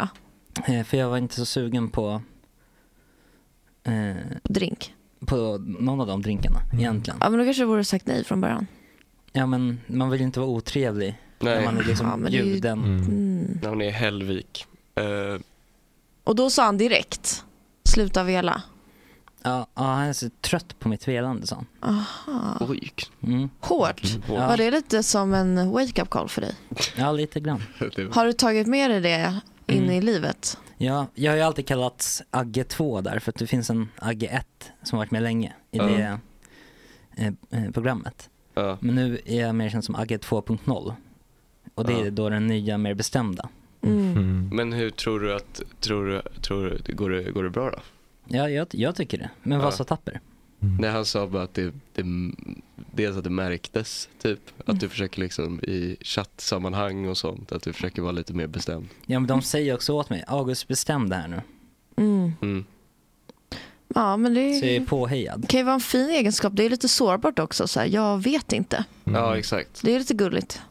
H: då?
F: Eh, För jag var inte så sugen på eh,
H: Drink?
F: På någon av de drinkarna
E: Mm.
F: egentligen.
H: Ja men då kanske du borde ha sagt nej från början.
F: Ja men man vill ju inte vara otrevlig
E: Nej.
F: när man är liksom
E: Ja, men det är ju-
F: bjuden.
H: Mm.
E: När hon är i Hällvik. Eh,
H: Och då sa han direkt, sluta vela.
F: Ja, ja, han är så trött på mitt velande sa han.
H: Aha.
E: Oj.
F: Mm.
H: Ah, Hårt.
F: Ja.
H: Var det lite som en wake-up call för dig?
F: Ja, lite grann.
H: Har du tagit med dig det in
F: Mm.
H: i livet?
F: Ja, jag har ju alltid kallats Agge 2 där för att det finns en Agge 1 som har varit med länge i
H: Ja.
F: det eh, eh, programmet. Men nu är jag mer känd som Agge 2.0 och det
E: Ja.
F: är då den nya mer bestämda.
H: Mm.
E: Men hur tror du att, tror du, tror du, går, det, går det bra då?
F: Ja, jag, jag tycker det. Men vad
E: Ja.
F: sa Tapper?
E: Nej, han sa bara att det, det, dels att det märktes, typ. Att du försöker liksom i chattsammanhang och sånt, att du försöker vara lite mer bestämd.
F: Ja, men de säger också åt mig, August bestäm det här nu.
H: Mm.
E: Mm.
H: Ja men det
F: Så jag är påhejad.
H: kan ju vara en fin egenskap. Det är lite sårbart också. Så här, jag vet inte.
E: Ja, exakt.
H: Det är lite gulligt.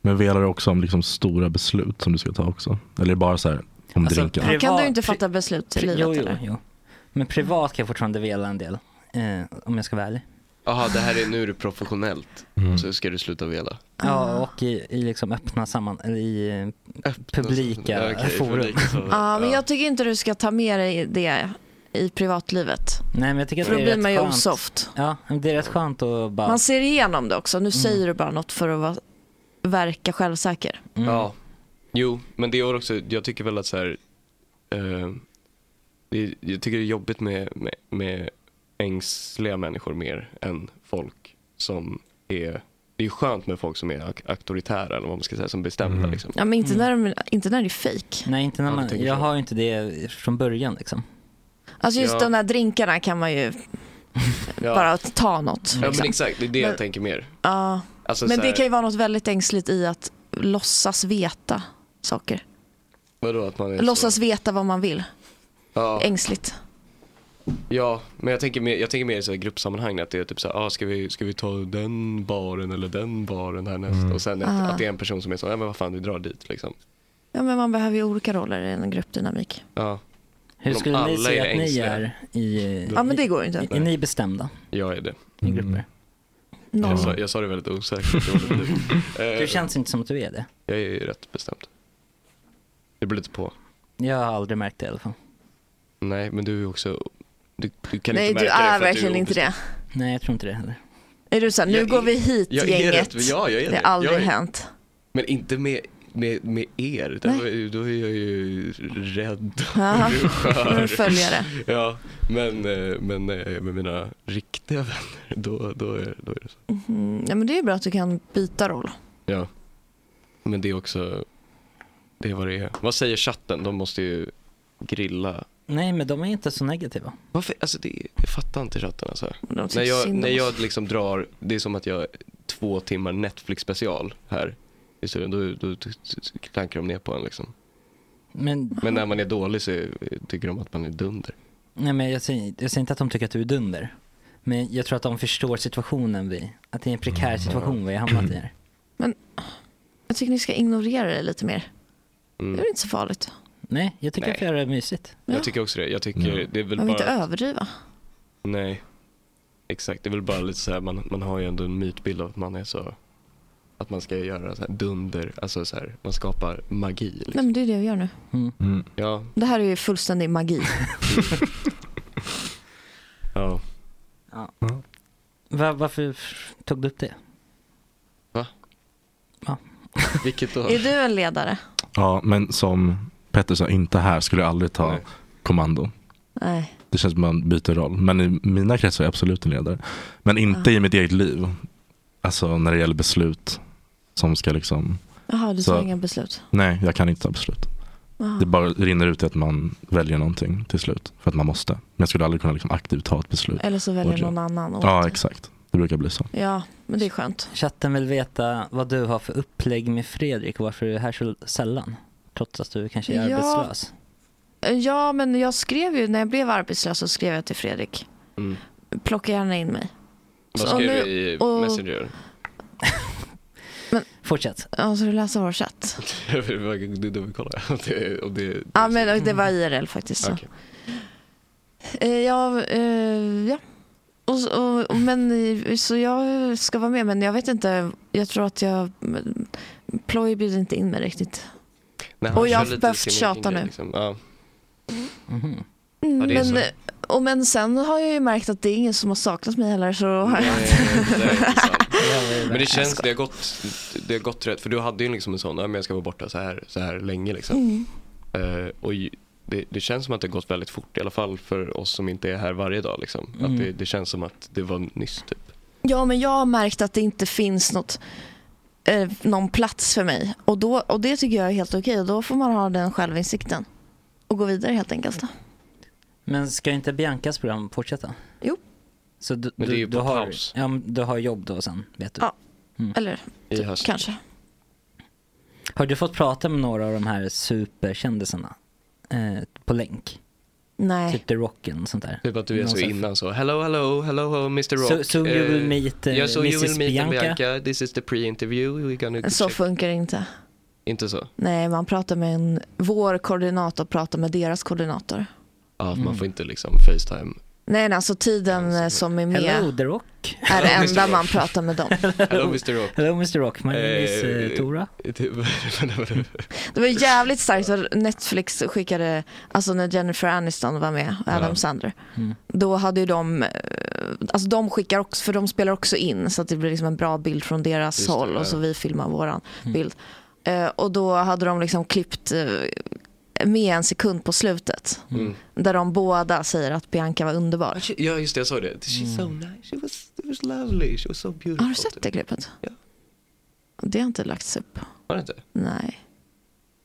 I: Men velar du också om liksom stora beslut som du ska ta också? Eller är det bara så här om
E: Alltså,
I: drinken?
H: Här kan du
F: privat-
H: ju inte fatta beslut i livet.
F: Jo, jo,
H: eller?
F: jo. Men privat kan jag fortfarande vela en del, eh, om jag ska vara ärlig.
E: Jaha, det här är, nu är det professionellt, så ska du sluta vela.
F: Ja, och i, i liksom öppna samman, eller i eh, publika
E: okej,
F: forum.
E: publika forum.
H: Ja, men jag tycker inte du ska ta med dig det i privatlivet.
F: Nej, men jag tycker att
H: För då
F: det är
H: blir
F: rätt
H: man ju
F: skönt.
H: osoft.
F: Ja, men det är rätt skönt att bara... Mm.
H: Man ser igenom det också. Nu säger du bara något för att vara, verka självsäker.
E: Ja, jo, men det är också, jag tycker väl att så här, eh, det, är- jag tycker det är jobbigt med, med, med ängsliga människor mer än folk som är, det är skönt med folk som är ak- auktoritära eller vad man ska säga, som bestämda liksom.
H: Ja, men inte, när, de- inte när det är fejk.
F: Nej, inte när
E: Ja, det
F: man,
E: tänker
F: jag
E: så.
F: har ju inte det från början liksom.
H: Alltså just
E: Ja.
H: de där drinkarna kan man ju
E: Ja.
H: bara ta något.
E: Ja
H: liksom.
E: men exakt, det är det
H: Men-
E: jag tänker mer.
H: Ja.
E: Alltså,
H: men
E: så
H: det
E: här,
H: kan ju vara något väldigt ängsligt i att låtsas veta saker.
E: Vadå att man är så?
H: Låtsas veta vad man vill.
E: Ja.
H: Ängsligt.
E: Ja, men jag tänker mer, jag tänker mer i så här gruppsammanhang att det är typ så här, ah, ska, vi, ska vi ta den baren eller den baren härnäst?
F: Mm.
E: Och sen att,
H: Ah.
E: att det är en person som är så, ja men vad fan vi drar dit liksom.
H: Ja, men man behöver ju olika roller i en gruppdynamik.
E: Ja.
F: Hur
E: Men om
F: skulle ni
E: alla
F: säga att ni
E: ängsliga,
F: är i...
H: Ja, men det går ju inte.
F: Är ni bestämda?
E: Jag är det. Mm.
F: I grupper?
H: Noll.
E: Jag, sa, jag sa det väldigt osäkert. Det var lite dumt. Eh,
F: Du känns inte som att du är det.
E: Jag är ju rätt bestämd. Det beror lite på.
F: Jag har aldrig märkt det i alla fall.
E: Nej, men du är också, du, du kan
H: Nej,
E: inte
H: du
E: märka det för
H: är
E: att du
H: verkligen inte
E: obestämd.
H: det.
F: Nej, jag tror inte det heller.
H: Är du såhär, nu
E: Jag är-
H: går vi hit
E: jag är
H: gänget.
E: rätt- ja, jag är
H: det har
E: det.
H: aldrig
E: Jag är-
H: hänt.
E: Men inte med, med, med er. Då är, då är jag ju rädd
H: Jaha.
E: och skör.
H: En följare.
E: Ja, men, eh, men när jag är med mina riktiga vänner, då, då, är, då är det så.
H: Mhm. Ja, men det är ju bra att du kan byta roll.
E: Ja. Men det är också, det är vad det är. Vad säger chatten? De måste ju grilla.
F: Nej, men de är inte så negativa.
E: Varför? Alltså det, jag fattar inte chatten alltså.
F: de
H: typ
F: tycker
E: När jag,
F: synd om
E: när jag
F: oss.
E: liksom drar, det är som att jag har två timmar Netflix special här i studion, då, då, då klankar de ner på en liksom.
F: Men,
E: Men när man är dålig så är- tycker de att man är dunder.
F: nej, men jag, säger, jag säger inte att de tycker att du är dunder. Men jag tror att de förstår situationen vi, att det är en
E: Mm.
F: prekär situation vi har hamnat i här.
H: Jag tycker ni ska ignorera det lite mer.
E: Mm.
H: Det är väl inte så farligt.
F: Nej, jag tycker
E: Nej.
F: att vi har det mysigt.
H: Ja.
E: Jag tycker också det. Jag tycker det är väl
H: Man vill inte
E: bara...
H: överdriva.
E: Nej. Exakt, det är väl bara lite så här, man, man har ju ändå en mytbild av att man är så... Att man ska göra så här dunder, alltså så här, man skapar magi. Liksom.
H: Nej men det är det vi gör nu.
E: Ja.
H: Det här är ju fullständig magi.
E: ja.
F: Ja. Va, varför tog du upp det?
E: Va?
F: Ja.
E: Vilket då?
H: är du en ledare?
I: Ja, men som Petter sa, inte här skulle jag aldrig ta kommando.
H: Nej.
I: Det känns som att man byter roll. Men i mina kretsar är jag absolut en ledare. Men inte i mitt eget liv. Alltså när det gäller beslut som ska liksom...
H: Jaha, du
I: Så-
H: tar inga beslut.
I: Nej, jag kan inte ta beslut.
H: Aha.
I: Det bara rinner ut i att man väljer någonting till slut. För att man måste. Men jag skulle aldrig kunna liksom aktivt ta ett beslut.
H: Eller så väljer
I: Och-
H: någon annan åt
I: Ja,
H: dig.
I: exakt. Det brukar bli så.
H: Ja, men det är skönt.
F: Chatten vill veta vad du har för upplägg med Fredrik och varför du är här så sällan. Trots att du kanske är
H: Ja.
F: arbetslös.
H: Ja, men jag skrev ju, när jag blev arbetslös så skrev jag till Fredrik.
E: Mm.
H: Plocka gärna in mig.
E: Vad
H: Och
E: skrev
H: nu-
E: du i
H: och-
E: Messenger?
F: Fortsätt.
H: Ja, så du läser vår chatt?
E: Jag vill bara dubbelkolla om det, om det
H: Ja, men det var IRL faktiskt. Så.
E: Okej.
H: Eh, Ja, eh, ja. Och, så- och, och, men, eh, så jag ska vara med, men jag vet inte. Jag tror att jag... men, Ploy bjöd inte in mig riktigt.
E: Nej, han
H: och jag
E: kör
H: har
E: lite
H: behövt
E: sin egen
H: tjata
E: grej,
H: nu.
E: liksom. Ja.
H: Mm,
E: Ja, det är
H: men,
E: så.
H: eh, och, men sen har jag ju märkt att det är ingen som har saknat mig heller. Så då har jag...
E: Nej, det där är inte sant. Men det känns, det har gått, det har gått rätt, för du hade ju liksom en sån, "Ja, men jag ska vara borta så här, så här länge liksom.
H: Mm.
E: Eh, och ju- det, det känns som att det har gått väldigt fort, i alla fall för oss som inte är här varje dag liksom.
H: Mm.
E: Att det, det känns som att det var nyss typ.
H: Ja, men jag har märkt att det inte finns något, eh, någon plats för mig. Och, då, och det tycker jag är helt okej. Och då får man ha den självinsikten. Och gå vidare helt enkelt. Då.
F: Men ska inte Biancas program fortsätta?
H: Jo.
F: Så du,
E: Men det är ju
F: du, du,
E: på
F: har,
E: paus.
F: ja, men du har jobb då sen, vet du?
H: Ja. Eller
E: I höst.
H: kanske.
F: Har du fått prata med några av de här superkändisarna? Eh, på länk?
H: Nej.
F: Typ The Rocken och sånt där.
E: Typ att du är
F: Någon
E: så
F: sån-
E: innan så, hello, hello, hello, Mr Rock.
F: So- so you
E: Eh,
F: will meet, eh,
E: yeah, so you
F: Mrs.
E: will meet
F: Bianca.
E: Bianca. This is the pre-interview. We're gonna
H: Så
E: check.
H: funkar det inte.
E: Inte så?
H: Nej, man pratar med en, vår koordinator pratar med deras koordinator.
E: Ja,
F: Mm.
E: man får inte liksom facetime.
H: Nej, nej, alltså tiden eh, som är med
F: Hello, The Rock.
H: är det
E: Hello,
H: enda
E: Mr.
H: man
E: Rock.
H: pratar med dem.
E: Hello Mr Rock. typ-
F: Hello Mr Rock, my name is eh, Tora.
H: Det var jävligt starkt när Netflix skickade, alltså när Jennifer Aniston var med och Adam
F: Ja.
H: Sandler.
F: Mm.
H: Då hade ju de, eh, alltså de skickar också, för de spelar också in så att det blir liksom en bra bild från deras
D: Just det,
H: håll
D: ja.
H: och så vi filmar våran
E: Mm.
H: bild. Eh, och då hade de liksom klippt eh, med en sekund på slutet.
E: Mm.
H: Där de båda säger att Bianca var underbar.
E: Ja just det, jag sa det. She's
F: Mm.
E: so nice, she was, she was lovely, she was so beautiful.
H: Har du sett det klippet? Det har inte lagts upp.
E: Har du inte?
H: Nej.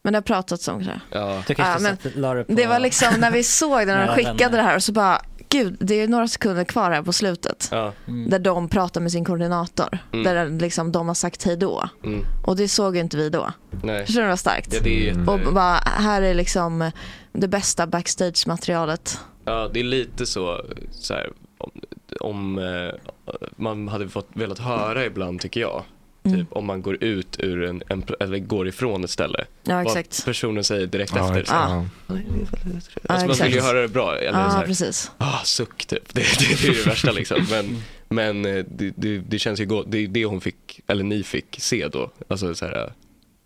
H: Men det har pratats om det.
E: Ja.
F: Du kanske
H: Ja,
F: satt, la det på...
H: Det var liksom när vi såg det, när de
F: Nära
H: skickade
F: vänner.
H: det här och så bara, gud det är några sekunder kvar här på slutet.
E: Ja.
F: Mm.
H: Där de pratar med sin koordinator.
E: Mm.
H: Där liksom de har sagt hej då.
E: Mm.
H: Och det såg ju inte vi då.
E: Nej.
H: Förstår du vad starkt?
E: Ja, det är
F: Mm.
E: jätte-
H: Och bara, här är liksom det bästa backstage-materialet.
E: Ja, det är lite så, så här, om, om eh, man hade fått, velat höra ibland tycker jag.
H: Mm.
E: Typ om man går ut ur en, en pl- eller går ifrån ett ställe.
H: Ja,
E: Vad
H: exakt. Ah.
E: personen säger direkt
I: Ja,
E: efter.
I: exakt. Ja.
H: Ja,
E: Alltså, man
H: exakt.
E: vill ju höra det bra. Eller
H: Ja,
E: så här,
H: precis. Mm.
E: Ah, suck typ. Det, det, det är det värsta liksom. Men, men eh, det, det, det känns ju gott. Det är det hon fick, eller ni fick se då. Alltså så här,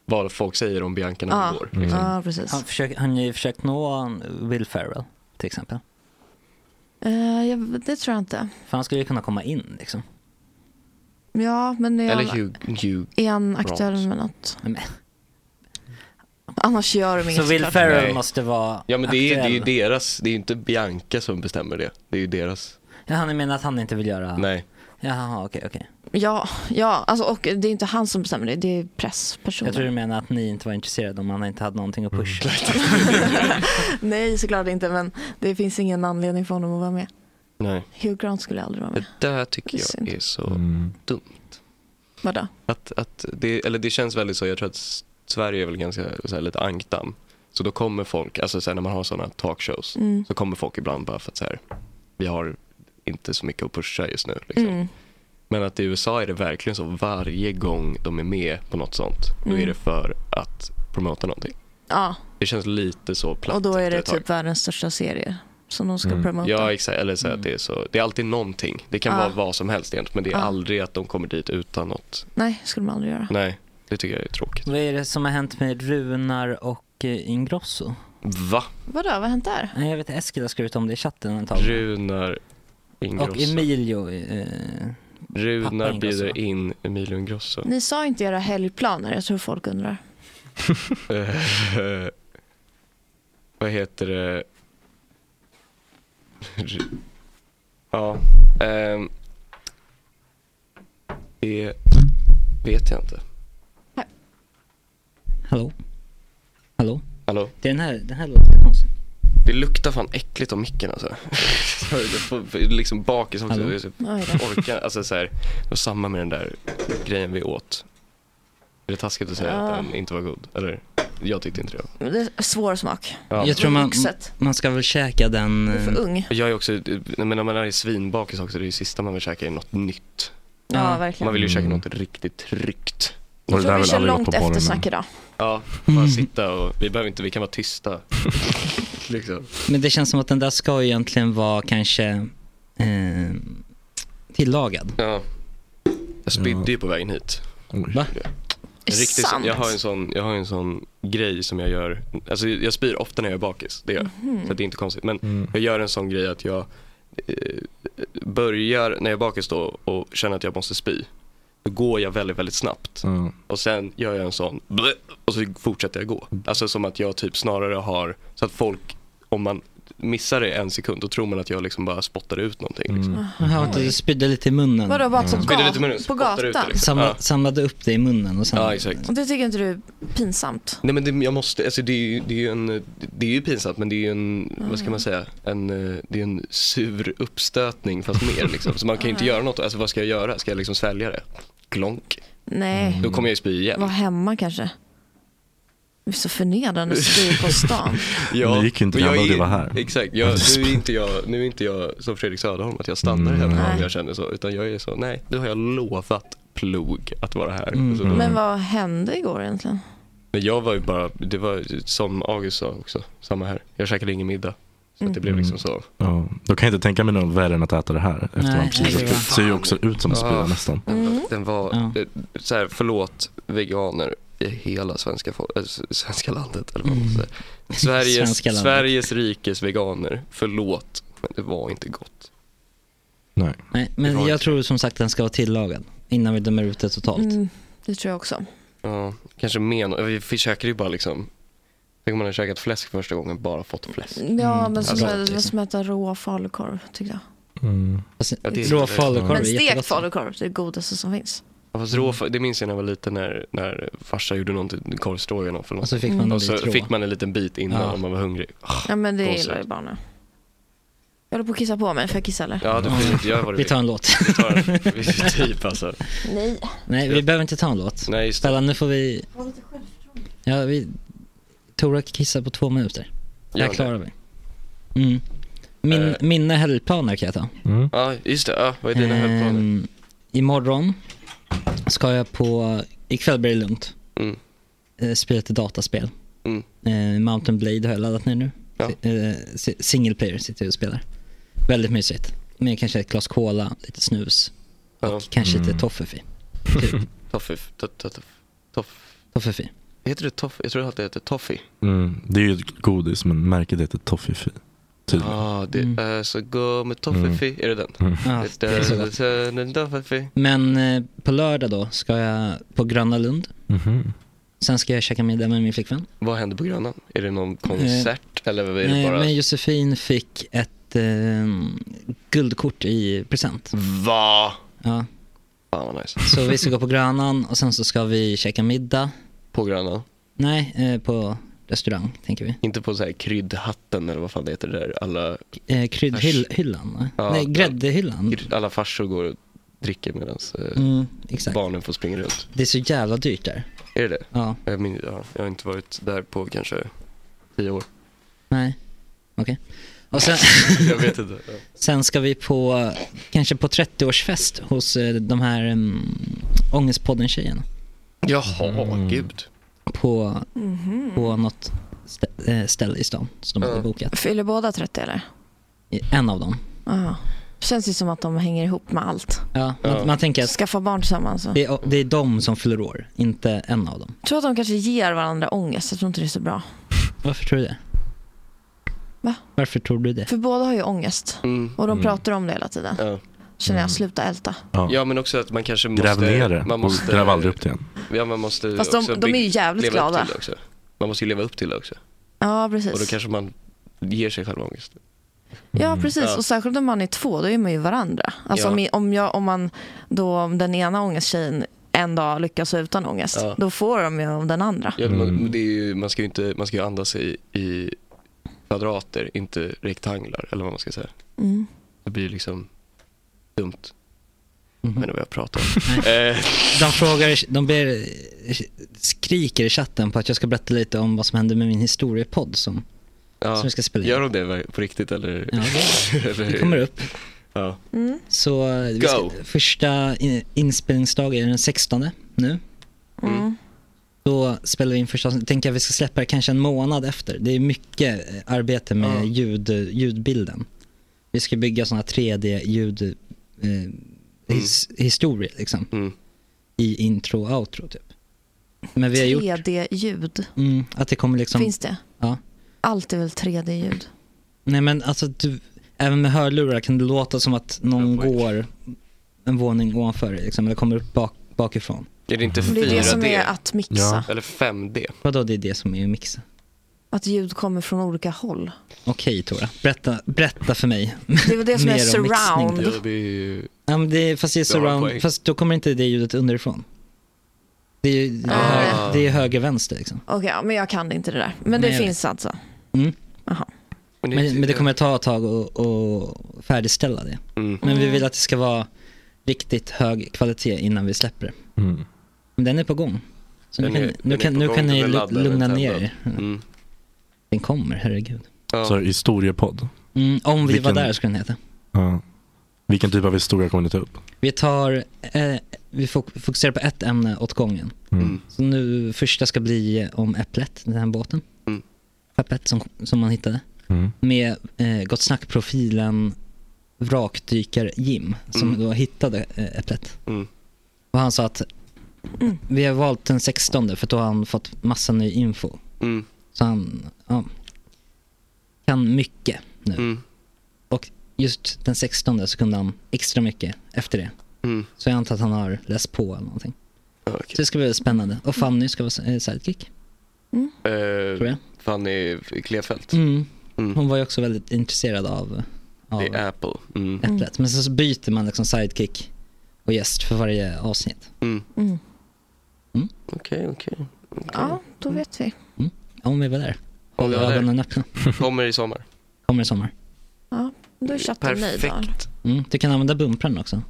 E: vad folk säger om Bianca när hon går. Liksom.
H: precis.
F: Han försöker, har ni försökt nå Will Ferrell till exempel?
H: Eh, jag, det tror jag inte.
F: För han skulle ju kunna komma in liksom.
H: Ja, men är
E: Eller
H: han-
E: Hugh, Hugh
H: är han
E: Grant.
H: aktuell med något? Annars gör de inget.
F: Så Will
H: såklart.
F: Ferrell måste vara
E: Ja men det är, det är ju
F: aktuell.
E: deras, det är ju inte Bianca som bestämmer det. Det är ju deras.
F: Ja, han menar att han inte vill göra...
E: Nej.
F: Jaha, okej, okej.
H: Ja, ja alltså, och det är inte han som bestämmer det, det är presspersoner.
F: Jag tror du menar att ni inte var intresserade om han inte hade någonting att
E: Mm.
F: pusha.
H: Nej, såklart inte, men det finns ingen anledning för honom att vara med.
E: Nej.
H: Hugh Grant skulle aldrig vara med.
E: Det där tycker jag
H: Synd.
E: är så dumt.
H: Vadå?
E: Att, att det, eller det känns väldigt så, jag tror att S- Sverige är väl ganska så här, lite ankdamm. Så då kommer folk, alltså så här, när man har sådana talkshows,
H: Mm.
E: så kommer folk ibland bara för att så här, vi har inte så mycket att pusha just nu. Liksom.
H: Mm.
E: Men att i USA är det verkligen så, varje gång de är med på något sånt, då
H: Mm.
E: är det för att promota någonting.
H: Ja,
E: Det känns lite så platt
H: och då är
E: efter
H: det
E: ett tag.
H: typ världens största serie som de ska
F: Mm.
H: promota. Mm. Ah.
E: Ja, exakt. Eller så att det, är så, det är alltid någonting. Det kan
H: Ja.
E: vara vad som helst egentligen, men det är
H: Ja.
E: aldrig att de kommer dit utan något.
H: Ah. Nej, det skulle man aldrig göra.
E: Nej, det tycker jag är tråkigt.
F: Vad är det som har hänt med Runar och eh, Ingrosso?
E: Va?
H: Vadå, vad har hänt där?
F: Nej, jag vet inte, Eskil har skrivit om det i chatten ett tag.
E: Runar Ingrosso.
F: Och Emilio. Eh,
E: Runar
F: pappa Ingrosso.
E: bjuder in Emilio Ingrosso.
H: Ni sa inte era helgplaner, jag tror folk undrar.
E: Eh, vad heter det? Ru- ja. ehm, det vet jag inte.
F: Hallå? Hallå?
E: Hallå?
F: Det är den här, den här låten är konstig.
E: Det luktar fan äckligt av micken alltså. liksom bakis också.
J: Hallå?
E: Jag typ
J: Oj då.
E: orkar, alltså så här, det var samma med den där grejen vi åt. Är det taskigt att säga
Q: Ja.
E: att den inte var god? Eller? Jag tyckte inte det.
Q: Det är svår smak.
E: Ja.
F: Jag tror man, Mm.
Q: Vuxet.
F: man ska väl käka den...
Q: Du är för ung.
E: Jag är också, nej, men när man är svinbakis också, det är det sista man vill käka är något nytt.
Q: Ja, verkligen.
E: Man vill ju käka något riktigt tryggt.
Q: Jag tror vi kör långt eftersnack idag.
E: Ja, bara sitta och, vi behöver inte, vi kan vara tysta. liksom.
F: Men det känns som att den där ska ju egentligen vara kanske eh, tillagad.
E: Ja. Jag spydde ju på vägen hit.
F: Va?
E: En riktig,
F: sant?
E: jag, har en sån, jag har en sån grej som jag gör, alltså jag spyr ofta när jag är bakis, det gör jag.
J: Mhm.
E: Så det är inte konstigt. Men jag gör en sån grej att jag eh, börjar, när jag är bakis då och känner att jag måste spy, då går jag väldigt, väldigt snabbt. Och sen gör jag en sån bleh, och så fortsätter jag gå. Alltså som att jag typ snarare har, så att folk, om man missar det en sekund, då tror man att jag liksom bara spottar ut någonting. Liksom.
F: Jaha, att du spydde lite i munnen.
Q: Vadå, bara
F: Mm.
Q: på,
E: Spydde lite i
Q: ga-
E: munnen,
Q: på
E: spottar ut det,
Q: gatan?
E: liksom.
F: Samla,
E: Ja.
F: Samlade upp det i munnen och sen...
E: Ja, exakt.
Q: Och det tycker inte du är pinsamt?
E: Nej men det, jag måste, alltså det är ju, det är ju en, det är ju pinsamt men det är ju en,
Q: Mm.
E: vad ska man säga, en, eh, det är en sur uppstötning fast mer liksom. Så man kan ju inte göra något, alltså vad ska jag göra? Ska jag liksom svälja det? Klonk.
Q: Nej.
F: Mm.
E: Då kommer jag ju spy igen.
Q: Var hemma kanske? Det är så förnedrande att spy på stan.
E: Ja,
I: Det gick ju inte
E: men jag
I: hemma och
E: är-
I: du var här.
E: Exakt, jag, nu, är inte jag, nu är inte jag som Fredrik Söderholm att jag stannar
I: Mm.
E: hemma om jag känner så. Utan jag är så, nej nu har jag lovat plog att vara här.
I: Mm.
E: Så då-
F: Mm.
Q: Men vad hände igår egentligen?
E: Men jag var ju bara, det var som August sa också, samma här. Jag käkade ingen middag. Så att det
I: Mm.
E: blev liksom så.
I: Ja, då kan jag inte tänka mig något värre än att äta det här. Efter
E: Nej,
I: man precis
E: nej,
I: det
E: det var-
I: ser ju också ut som en spya
E: Ja.
I: nästan.
E: Den var, eh, så här, förlåt veganer i hela svenska, fol- eh, s- svenska landet. Eller vad man säger. Sveriges,
I: Mm. Svenska landet.
E: Sveriges rikes veganer, förlåt. Men det var inte gott.
I: Nej.
F: Nej, men jag tror som sagt den ska vara tillagad innan vi dömer ut det totalt.
Q: Mm, det tror jag också.
E: Ja, kanske men, vi vi käkade ju bara liksom, tänk om man hade käkat fläsk första gången, bara fått fläsk.
F: Mm.
Q: Ja, men som,
E: Alltså,
Q: det var som att äta rå falukorv tyckte jag.
E: Ja, det är-
F: Rå Alltså, falukorv
Q: Men
F: är
Q: stekt
F: jättegott.
Q: falukorv, det är det godaste som finns.
E: Ja, fast rå, det minns jag när jag var liten när, när farsa gjorde någonting, korvstroganoff eller något.
F: Och så fick man en
E: och så
F: bit rå.
E: fick man en liten bit innan
F: Ja.
E: om man var hungrig. Ah,
Q: Ja, men det
E: gosigt.
Q: gillar ju barnen. Jag håller på att kissa på mig, får jag kissa eller?
E: Ja, du får inte göra vad du
F: Vi
E: vill.
F: tar en låt.
E: Vi tar en- vi- typ alltså.
Q: Nej.
F: Nej, vi behöver inte ta en låt.
E: Nej, just
F: Stella, nu får vi... Ja, vi... Tora kissar på två minuter. Det här
E: Gör det.
F: klarar vi. Mm. Min, Mina helgplaner kan jag ta.
E: Ja, just det. Ja, vad är dina
F: Ehm,
E: helgplaner?
F: Imorgon ska jag på, ikväll blir det lugnt.
E: Mm.
F: Eh, Spela lite dataspel.
E: Mm.
F: Eh, Mountain Blade har jag laddat ner nu. Si- eh, si- Single player sitter jag och spelar. Väldigt mysigt. Med kanske ett glas cola, lite snus och kanske lite
E: Mm.
F: toffefi.
E: Toffee. to- to- to- Toff.
F: Toffefi.
E: Heter det toff? Jag tror att det heter toffee.
I: Mm. Det är ju ett godis men märket heter Toffifee. Tydligen.
E: Ja, det är så gott med
I: Mm.
E: toffee. Är det den?
I: Mm.
F: Ja, det är så gott.
E: Den toffee.
F: Men eh, på lördag då ska jag på Gröna Lund.
I: Mhm.
F: Sen ska jag käka middag med min flickvän. Eh,
E: Vad händer på Grönan? Är det någon konsert eller vad är det
F: Nej,
E: bara?
F: men Josefin fick ett eh, guldkort i present.
E: Va?
F: Ja.
E: Mm. Fan vad nice.
F: Så vi ska gå på Grönan och sen så ska vi käka middag.
E: På Grönan?
F: Nej, eh, på restaurang tänker vi.
E: Inte på så här kryddhatten eller vad fan det heter där alla...
F: Eh, kryddhyllan? va?
E: Ja,
F: Nej, gräddhyllan.
E: gr- Alla farsor går och dricker medan eh,
F: Mm, exakt.
E: barnen får springa runt.
F: Det är så jävla dyrt där.
E: Är det det?
F: Ja.
E: Jag, min, ja, jag har inte varit där på kanske tio år.
F: Nej, okej. Och sen,
E: jag vet inte. Ja.
F: sen ska vi på, kanske på 30-årsfest hos eh, de här um, Ångestpodden-tjejerna.
E: Jaha,
Q: Mm.
E: gud.
F: På,
Q: Mhm.
F: på något stä- eh, ställe i stan som de hade bokat.
Q: Fyller båda 30 eller?
F: En av dem.
Q: Ja. Känns ju som att de hänger ihop med allt.
F: Ja, man, man tänker att
Q: Skaffa barn tillsammans.
F: det är, det är de som fyller år, inte en av dem.
Q: Jag tror att de kanske ger varandra ångest. Jag tror inte det är så bra.
F: Varför tror du det?
Q: Va?
F: Varför tror du det?
Q: För båda har ju ångest. Och de
E: Mm.
Q: pratar om det hela tiden.
E: Ja.
Q: Känner
F: Mm.
Q: jag, sluta älta.
E: Ja. men också att man kanske måste...
I: Gräv ner det
E: man måste,
I: och gräv aldrig upp det igen.
E: Ja, man måste
Q: Fast de-
E: också
Q: de är ju
E: bygg-
Q: jävligt
E: leva upp
Q: glada.
E: till det också. Man måste ju leva upp till det också.
Q: Ja,
E: Och då
Q: precis.
E: kanske man ger sig själv ångest.
Q: Ja, precis.
E: Mm, Ja.
Q: Och särskilt om man är två, då är man ju varandra. Alltså
E: Ja.
Q: om, om, jag, om, man, då, om den ena ångesttjejen en dag lyckas utan ångest,
E: Ja.
Q: då får de ju av den andra.
F: Mm.
E: Ja, man, det är ju, man ska ju inte, man ska ju andas i, i kvadrater, inte rektanglar eller vad man ska säga.
Q: Mm.
E: Det blir liksom dumt.
F: Mhm.
E: Men det var jag pratar om. Eh,
F: De frågar, de ber, skriker i chatten på att jag ska berätta lite om vad som hände med min historiepodd som,
E: ja.
F: som vi ska spela in.
E: Gör de det ver- på riktigt eller?
F: Ja, det-
E: eller-
F: det kommer upp.
E: Ja.
Q: Mm.
F: Så eh, vi
E: Go.
F: ska, första in, inspelningsdagen är den 16 nu.
E: Mm.
F: Då spelar vi in första avsnittet. Tänker jag vi ska släppa det kanske en månad efter. Det är mycket eh, arbete med ljud, ljudbilden. Vi ska bygga sådana 3D-ljud eh, his, historier liksom. I intro och outro typ. Men vi har gjort
Q: 3D-ljud.
F: mm, att det kommer liksom...
Q: Finns det?
F: Ja.
Q: Allt är väl 3D-ljud?
F: Nej men alltså, du, även med hörlurar kan det låta som att någon går en våning ovanför dig, liksom, eller kommer upp bak, bakifrån.
E: Är det inte
Q: Det är
E: 4D?
Q: det som är att mixa. Ja.
E: Eller 5D?
F: Vadå det är det som är mixen?
Q: Att ljud kommer från olika håll.
F: Okej Tora, berätta, berätta för mig.
Q: Det är väl det som är
F: Mer om mixning.
Q: surround. Ja,
F: Ja, men det är, fast det är
E: Du har en
F: surround,
E: poäng.
F: fast då kommer inte det ljudet underifrån. Det är, ju- det är,
Q: Ah.
F: hö- det är höger vänster liksom.
Q: Okej, ja, men jag kan inte det där. Men det
F: Nej, jag
Q: finns alltså.
F: Mm.
Q: Aha.
F: Men, men det kommer ta ett tag att- att färdigställa det. Men vi
Q: Mm.
F: vill att det ska vara riktigt hög kvalitet innan vi släpper det.
I: Mm.
F: Men Den är på gång. Så nu
E: Den
F: kan,
E: är- den
F: nu
E: är
F: kan,
E: på
F: nu
E: gång,
F: kan
E: den är
F: ni lu-
E: laddad och
F: lugna
E: tändad.
F: ner er.
E: Mm.
F: Den kommer, herregud.
I: Så historiepodd.
F: Mm, om vi
I: Vilken-
F: var där skulle den heta.
I: Ja. Vilken typ av historia kommer ni ta upp?
F: Vi tar, eh, vi fok- fokuserar på ett ämne åt gången.
I: Mm.
F: Så nu, första ska bli om Äpplet, den här båten.
E: Mm.
F: Skeppet som, som man hittade.
I: Mm.
F: Med eh, Gott Snack-profilen Vrakdykar-Jim som
E: Mm.
F: då hittade eh, Äpplet.
E: Mm.
F: Och han sa att vi har valt den 16 för då har han fått massa ny info.
E: Mm.
F: Så han ja, kan mycket nu.
E: Mm.
F: Och just den 16 så kunde han extra mycket efter det.
E: Mm.
F: Så jag antar att han har läst på eller någonting.
E: Okej.
F: Så det ska bli spännande. Och Fanny ska vara eh, sidekick.
Q: Mm.
E: Eh,
F: Tror jag.
E: Fanny Klefelt.
F: Mm.
E: Mm.
F: Hon var ju också väldigt intresserad av, av
E: Det är Apple. Mm.
F: Äpplet. Men sen så byter man liksom sidekick och gäst för varje avsnitt. Mm.
E: Mm.
Q: Mm.
E: Okej, okej.
Q: Ja, då
E: Mm.
Q: vet vi.
F: Om vi var där.
E: Om
F: Håll
E: vi var där.
F: ögonen öppna.
E: Kommer i sommar.
F: Kommer i sommar.
Q: Ja, då är chatten nöjd. då.
E: Perfekt.
F: Mm. Du kan använda bumprarna också.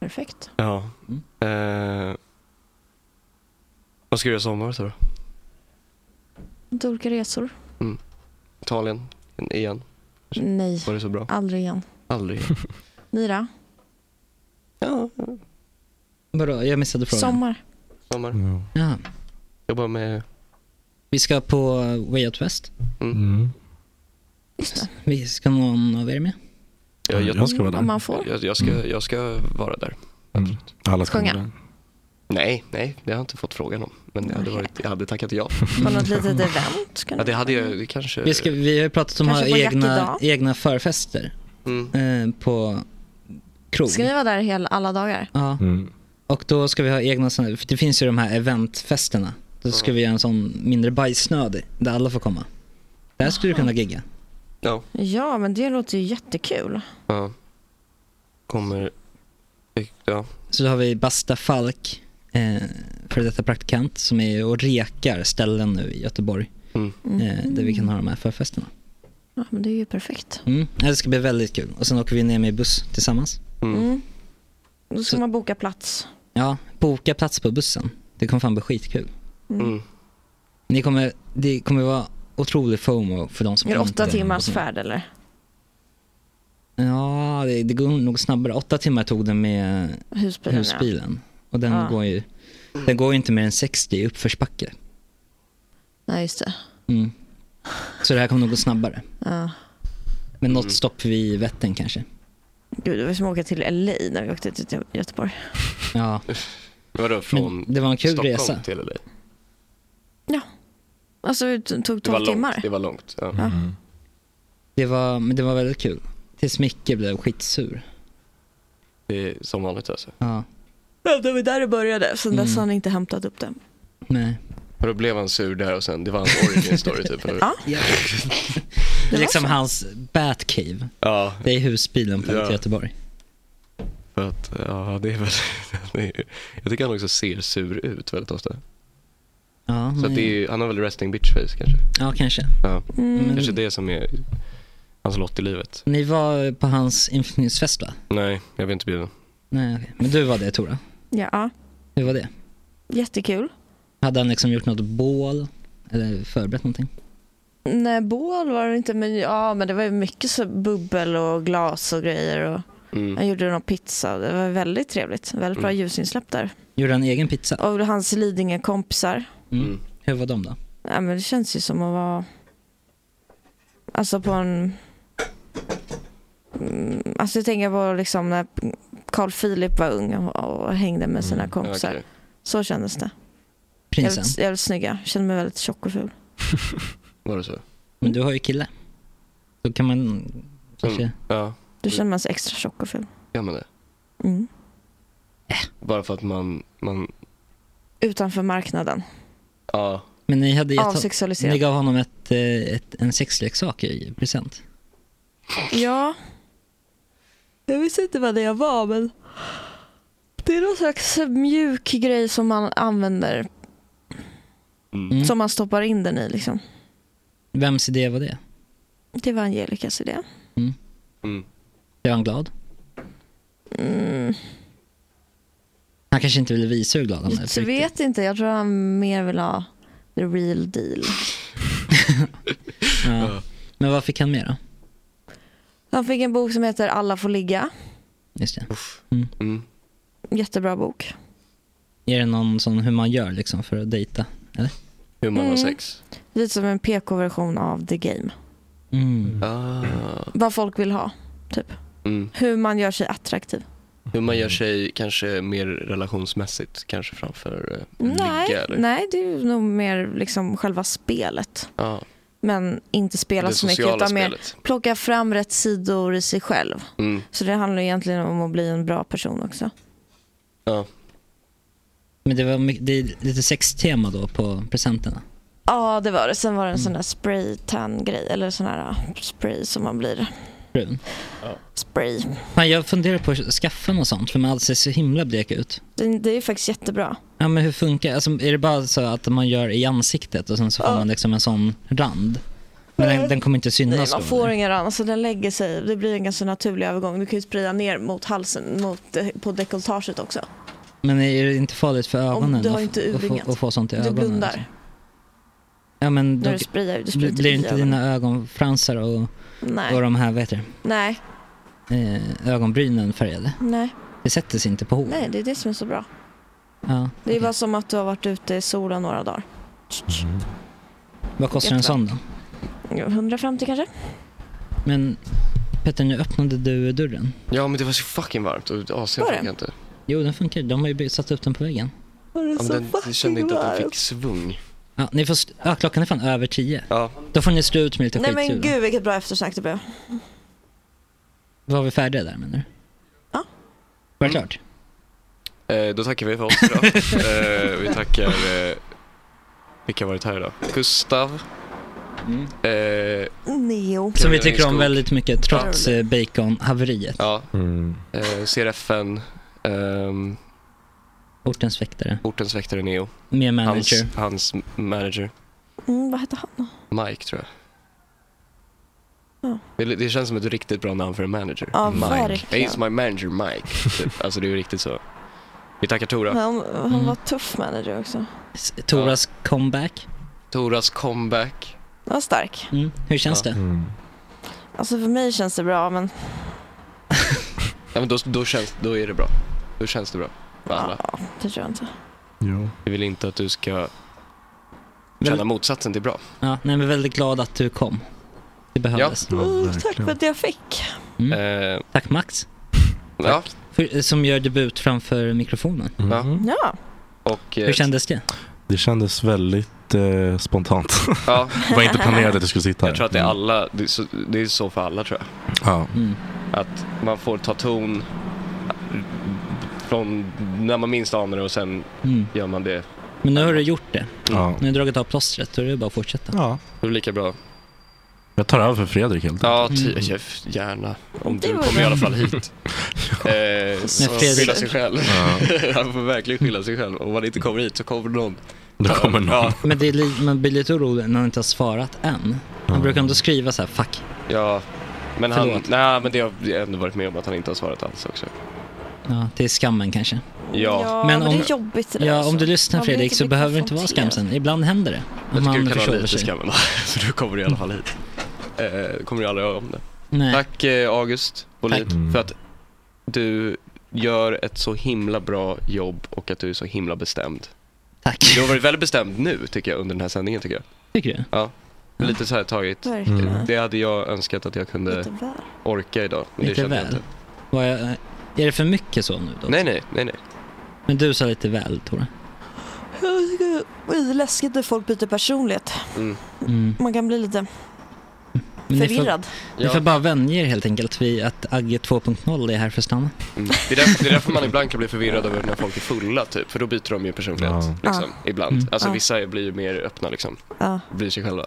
Q: Perfekt.
E: Ja.
F: Mm.
E: Eh, vad ska du göra i sommar tror du?
Q: Lite olika resor.
E: Mm. Italien? Igen?
Q: Nej,
E: Var det så bra?
Q: aldrig igen.
E: Aldrig.
Q: Ni då?
E: Ja.
F: Vadå, jag missade frågan.
Q: Sommar.
E: Sommar.
F: Ja.
E: Jobbar med... Mm.
F: Vi ska på Way Out West.
I: Mm.
F: Vi ska någon av er med?
E: Ja,
I: Jag ska vara där. Om man
Q: får.
E: Jag, jag, ska, jag ska vara där.
I: Mm. Alla ska
Q: Sjunga.
I: vara där.
E: Nej, nej, det har jag inte fått frågan om. Men jag hade, varit, jag hade tackat ja.
Q: På något litet
E: Mm.
Q: event?
E: Ja, det hade jag det kanske.
F: Vi, ska, vi har ju pratat om att ha
Q: Kanske på Jack
F: egna,
Q: idag?
F: egna förfester
E: Mm.
F: eh, på krog.
Q: Ska ni vara där hela, alla dagar?
F: Ja.
I: Mm.
F: Och då ska vi ha egna sådana, för det finns ju de här eventfesterna. Då ska vi göra en sån mindre bajsnödig där alla får komma. Där skulle du kunna gigga.
E: Ja.
Q: Ja, men det låter ju jättekul.
E: ja. Kommer... Ja.
F: Så då har vi Basta Falk, eh, före detta praktikant, som är och rekar ställen nu i Göteborg.
E: Mm.
F: Eh, där vi kan ha de här förfesterna.
Q: Ja, men det är ju perfekt.
F: Mm. Ja, Det ska bli väldigt kul. Och sen åker vi ner med buss tillsammans.
Q: Mm. Då ska man boka plats.
F: Ja, boka plats på bussen. Det kommer fan bli skitkul.
Q: Mm.
E: Mm.
F: Ni kommer, det kommer vara otrolig fomo för de som
Q: Är det åtta
F: inte-
Q: timmars färd eller?
F: Ja, det, det går nog snabbare. Åtta timmar tog den med
Q: Husbilen, ja.
F: husbilen. Och den,
Q: Ja.
F: går ju, den går ju inte mer än 60 i uppförsbacke.
Q: Nej, just det.
F: Mm. Så det här kommer nog gå snabbare.
Q: Ja.
F: Men
E: Mm.
F: något stopp vid Vättern kanske.
Q: Gud, det var som att åka till LA när vi åkte till Göteborg.
F: Ja.
E: Vadå, från
F: det var en kul
E: Stockholm
F: resa.
E: till LA?
Q: Alltså, det tog
E: Det var
Q: 12 timmar.
E: långt. Det var långt. Ja.
F: Det var, men det var väldigt kul. Tills Micke blev skitsur.
E: Det är som vanligt alltså.
F: Ja.
Q: Ja, det var där det började. Sen
E: Mm.
Q: dess har han inte hämtat upp den.
F: Nej.
E: Och då blev han sur där och sen, det var hans origin story typ. eller hur?
Q: Ja.
F: Det är liksom hans Batcave.
E: Ja.
F: Det är husbilen på
E: Ja.
F: Göteborg.
E: För att, ja, det är väl, det är, ju- jag tycker han också ser sur ut väldigt ofta.
F: Ja,
E: Så att
F: men-
E: det är,
Q: Mm.
E: ju- han har väl resting bitch face kanske.
F: Ja, kanske.
E: Ja.
F: Mm.
E: Kanske det som är hans lott i livet.
F: Ni var på hans inflyttningsfest va?
E: Nej, jag blir inte bjuden.
F: Nej, okej. Men du var det Tora?
H: Ja,
F: Hur var det?
H: jättekul.
F: Hade han liksom gjort något bål? Eller förberett någonting?
H: Nej, bål var det inte, men ja, men det var ju mycket så bubbel och glas och grejer. Och
E: Mm.
H: Han gjorde någon pizza. Det var väldigt trevligt. Väldigt bra
F: Mm.
H: ljusinsläpp där.
F: Gjorde han egen pizza?
H: Och hans Lidingö-kompisar.
F: Mm. Hur var de då?
H: Nej, men det känns ju som att vara... Alltså på en... Mm, Alltså jag tänker på liksom när Carl Philip var ung och och hängde med sina kompisar.
E: Mm, okej.
H: Så kändes det.
F: Prinsen.
H: Jävligt, jävligt snygga. Kände mig väldigt tjock och ful.
E: Var det så?
F: Men du har ju kille. Då kan man kanske...
E: Mm. Ja.
H: Då känner man sig extra tjock och ful.
E: Gör man det?
H: Mm.
E: Bara för att man, man
H: Utanför marknaden.
E: ja.
F: Men ni hade gett
H: Avsexualiserad.
F: Ni gav honom ett, eh, ett, en sexleksak i present.
H: Ja. Jag visste inte vad det var men det är någon slags mjuk grej som man använder.
E: Mm.
H: Som man stoppar in den i liksom.
F: Mm. Vems idé var det?
H: Det var Angelicas idé.
F: Blev han glad?
H: Mm.
F: Han kanske inte ville visa hur glad han är.
H: Så jag vet inte, jag tror han mer vill ha the real deal.
F: Ja. Men vad fick han mer då?
H: Han fick en bok som heter Alla får ligga.
F: Just det. Mm.
H: Jättebra bok.
F: Är det någon sån hur man gör liksom för att dejta? Eller?
E: Hur
H: man har Mm. sex. Lite som en PK-version av The Game.
F: Mm.
E: Ah.
H: Vad folk vill ha, typ.
E: Mm.
H: Hur man gör sig attraktiv.
E: Hur man gör sig kanske mer relationsmässigt kanske framför eh,
H: Nej,
E: ligga eller?
H: nej, det är ju nog mer liksom själva spelet.
E: Ja.
H: Men inte spela
E: Det
H: så mycket
E: sociala
H: utan
E: spelet.
H: mer plocka fram rätt sidor i sig själv.
E: Mm.
H: Så det handlar egentligen om att bli en bra person också.
E: Ja.
F: Men det var my- det är lite sextema då på presenterna.
H: Ja, det var det. Sen
F: Mm.
H: var det en sån där spraytan-grej. Eller sån här ah, spray som man blir.
F: Brun.
H: Spray.
F: Fan, jag funderar på att skaffa något sånt för man alltid ser så himla blek ut.
H: Det, det är faktiskt jättebra.
F: Ja men hur funkar alltså, Är det bara så att man gör i ansiktet och sen så får man liksom en sån rand? Men den, den kommer inte
H: Nej,
F: synas
H: man
F: då?
H: får
F: eller?
H: ingen annan, så den lägger sig. Det blir en ganska naturlig övergång. Du kan ju spraya ner mot halsen, mot, eh, på dekolletaget också.
F: Men är det inte farligt för ögonen
H: du har
F: att-
H: inte
F: att, få,
H: urringat.
F: att få sånt i
H: Du
F: ögonen?
H: blundar.
F: liksom? Ja men
H: När
F: då
H: du sprayar, du
F: blir
H: sprayar
F: blir
H: i
F: inte
H: ögonen.
F: dina ögonfransar och,
H: Nej.
F: och de här, vad heter
H: Nej,
F: det, eh, ögonbrynen färgade?
H: nej,
F: Det sätter sig inte på hår?
H: nej, det är det som är så bra.
F: Ja.
H: Det är bara som att du har varit ute i solen några dagar.
E: Mm.
F: Vad kostar en sån då?
H: 150 kanske?
F: Men Petter, nu öppnade du dörren.
E: ja men det var så fucking varmt och AC'n
F: Var det?
E: funkar inte.
F: Jo, den funkar. De har ju by- satt upp den på väggen.
H: Var
E: Ja, men den, jag kände inte att den fick svung.
F: Ja, ni får st- ja, klockan är fan över tio.
E: Ja.
F: Då får ni stå ut med lite
H: Nej
F: skitljud.
H: men gud vilket bra eftersnack det blev.
F: Var vi färdiga där menar du? Ja. Var det klart?
E: Eh, då tackar vi för oss idag. eh, vi tackar, eh, vilka har varit här idag? Gustav.
F: Mm.
E: Eh,
H: Neo.
F: Som vi tycker om
E: Skog.
F: väldigt mycket trots
E: Ja.
F: eh, baconhaveriet.
E: Ja. Eh, CRFN. ehm,
F: Ortens väktare.
E: Ortens väktare Neo.
F: Med manager.
E: Hans, hans manager.
H: Mm, vad hette han då?
E: Mike tror jag.
H: Ja.
E: Det, det känns som ett riktigt bra namn för en manager.
H: Ja,
E: Mike.
H: verkligen.
E: He's my manager Mike. typ. alltså det är ju riktigt så. Vi tackar Tora.
H: Han, han
F: Mm.
H: var tuff manager också.
F: Toras comeback.
E: Toras comeback.
H: Han var stark.
F: Mm. Hur känns det?
H: Alltså för mig känns det bra men
E: Ja, men då, då, känns, då är det bra. Då känns det bra för alla.
H: det tror jag inte.
E: Vi vill inte att du ska känna motsatsen till bra.
F: Ja, nej, men väldigt glad att du kom. Det behövdes. Mm.
H: Tack för att jag fick.
E: Oh, Eh,
F: Tack Max.
E: Ja.
F: För, eh, som gör debut framför mikrofonen.
H: Ja.
E: Och, eh,
F: Hur kändes det?
I: Det kändes väldigt eh, spontant.
E: Ja.
I: Det var inte planerat att jag skulle sitta här.
E: Jag tror att det är alla, det är så, det är så för alla tror jag.
I: Ja.
F: Mm.
E: Att man får ta ton från när man minst anar det och sen
F: Mm.
E: gör man det.
F: Men nu har du gjort det.
E: Ja.
F: Nu har du dragit av plåstret, då är det bara att fortsätta.
E: Det är lika bra.
I: Jag tar över för Fredrik helt
E: Ja, ty, ja, gärna. Om du
I: Det var
E: kommer i alla fall
I: bra.
E: hit. eh, så
I: Fredrik-
E: skylla sig själv.
I: Ja.
E: Han får verkligen skylla sig själv. Om han inte kommer hit så kommer någon.
I: Då kommer någon.
E: Ja,
F: Men det är li- man blir lite orolig när han inte har svarat än. Han brukar ändå skriva så här, fuck.
E: ja. Men, han,
F: Förlåt.
E: nej, men det har jag ändå varit med om att han inte har svarat alls också.
F: Ja, det är skammen kanske.
E: Ja.
H: men det är jobbigt det där
F: ja,
H: alltså.
F: om du lyssnar
H: Man blir
F: Fredrik
H: inte
F: så
H: riktigt
F: behöver det inte vara
H: konfronterad.
F: skamsen. Ibland händer det.
E: Jag
F: Om
E: tycker
F: han
E: du kan ha
F: försover
E: lite
F: sig.
E: skammen då, för du kommer du i alla fall hit. Eh, kommer du aldrig göra om det. Mm.
F: Nej.
E: Tack eh, August Bolin för att du gör ett så himla bra jobb och att du är så himla bestämd.
F: Tack.
E: Du har varit väldigt bestämd nu tycker jag under den här sändningen tycker jag.
F: Tycker du?
E: Ja. Lite så här tagit.
F: Verkligen.
E: Eh, Det hade jag önskat att jag kunde
F: Lite väl.
E: orka idag. Men det
F: Lite
E: kände jag
F: väl.
E: inte.
F: Var jag, är det för mycket så nu då?
E: Nej, nej, nej, nej.
F: Men du sa lite väl, Tore.
H: Jag tycker Det är läskigt när folk byter personlighet.
E: Mm.
F: Mm.
H: Man kan bli lite
F: Men ni får-
H: förvirrad.
F: Ni får bara vänja er helt enkelt vid att Agge 2.0 är här för att stanna.
E: Mm. Det, är därför, det är därför man ibland kan bli förvirrad över när folk är fulla typ, för då byter de ju personlighet.
F: Ja.
E: Liksom,
F: Ja.
E: Ibland.
F: Mm.
E: Alltså
F: Ja.
E: vissa blir ju mer öppna liksom.
H: Ja.
E: Blir sig själva.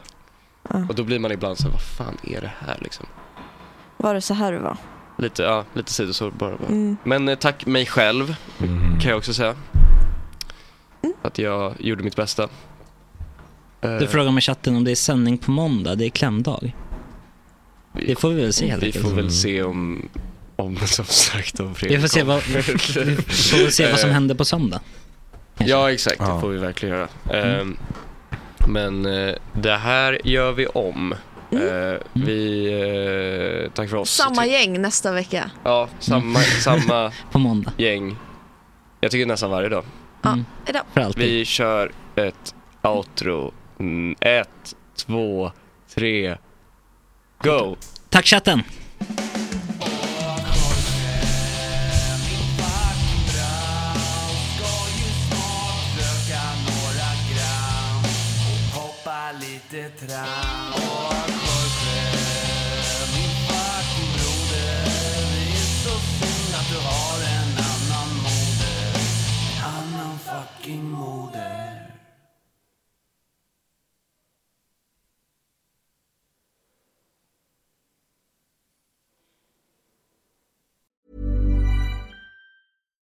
E: Och då blir man ibland så här, vad fan är det här liksom?
H: Var det så här du var?
E: Lite, ja, lite sidosår bara. bara.
H: Mm.
E: Men eh, tack mig själv, kan jag också säga. Att jag gjorde mitt bästa. Eh,
F: Du frågar med chatten om det är sändning på måndag, det är klämdag. Det får vi väl se helt
E: Vi
F: enkelt.
E: får väl se om, om som sagt, om Fredrik
F: Vi får se vad,
E: kommer.
F: vi får väl se vad som
E: Eh,
F: händer på söndag.
E: Ja, exakt. Det får vi verkligen göra.
F: Mm.
E: Ehm, men eh, det här gör vi om. Eh, vi, eh, tack för oss.
Q: Samma
F: typ-
Q: gäng nästa vecka.
E: Ja, samma, samma
F: Mm. på måndag.
E: gäng. Jag tycker nästan varje dag.
F: Mm.
Q: Hejdå.
E: Vi kör ett outro. Mm, ett, två, tre, go!
F: Tack chatten!
J: Hoppa lite tram och Jorge, min fucking broder Det är så synd att du har en annan moder Annan fucking moder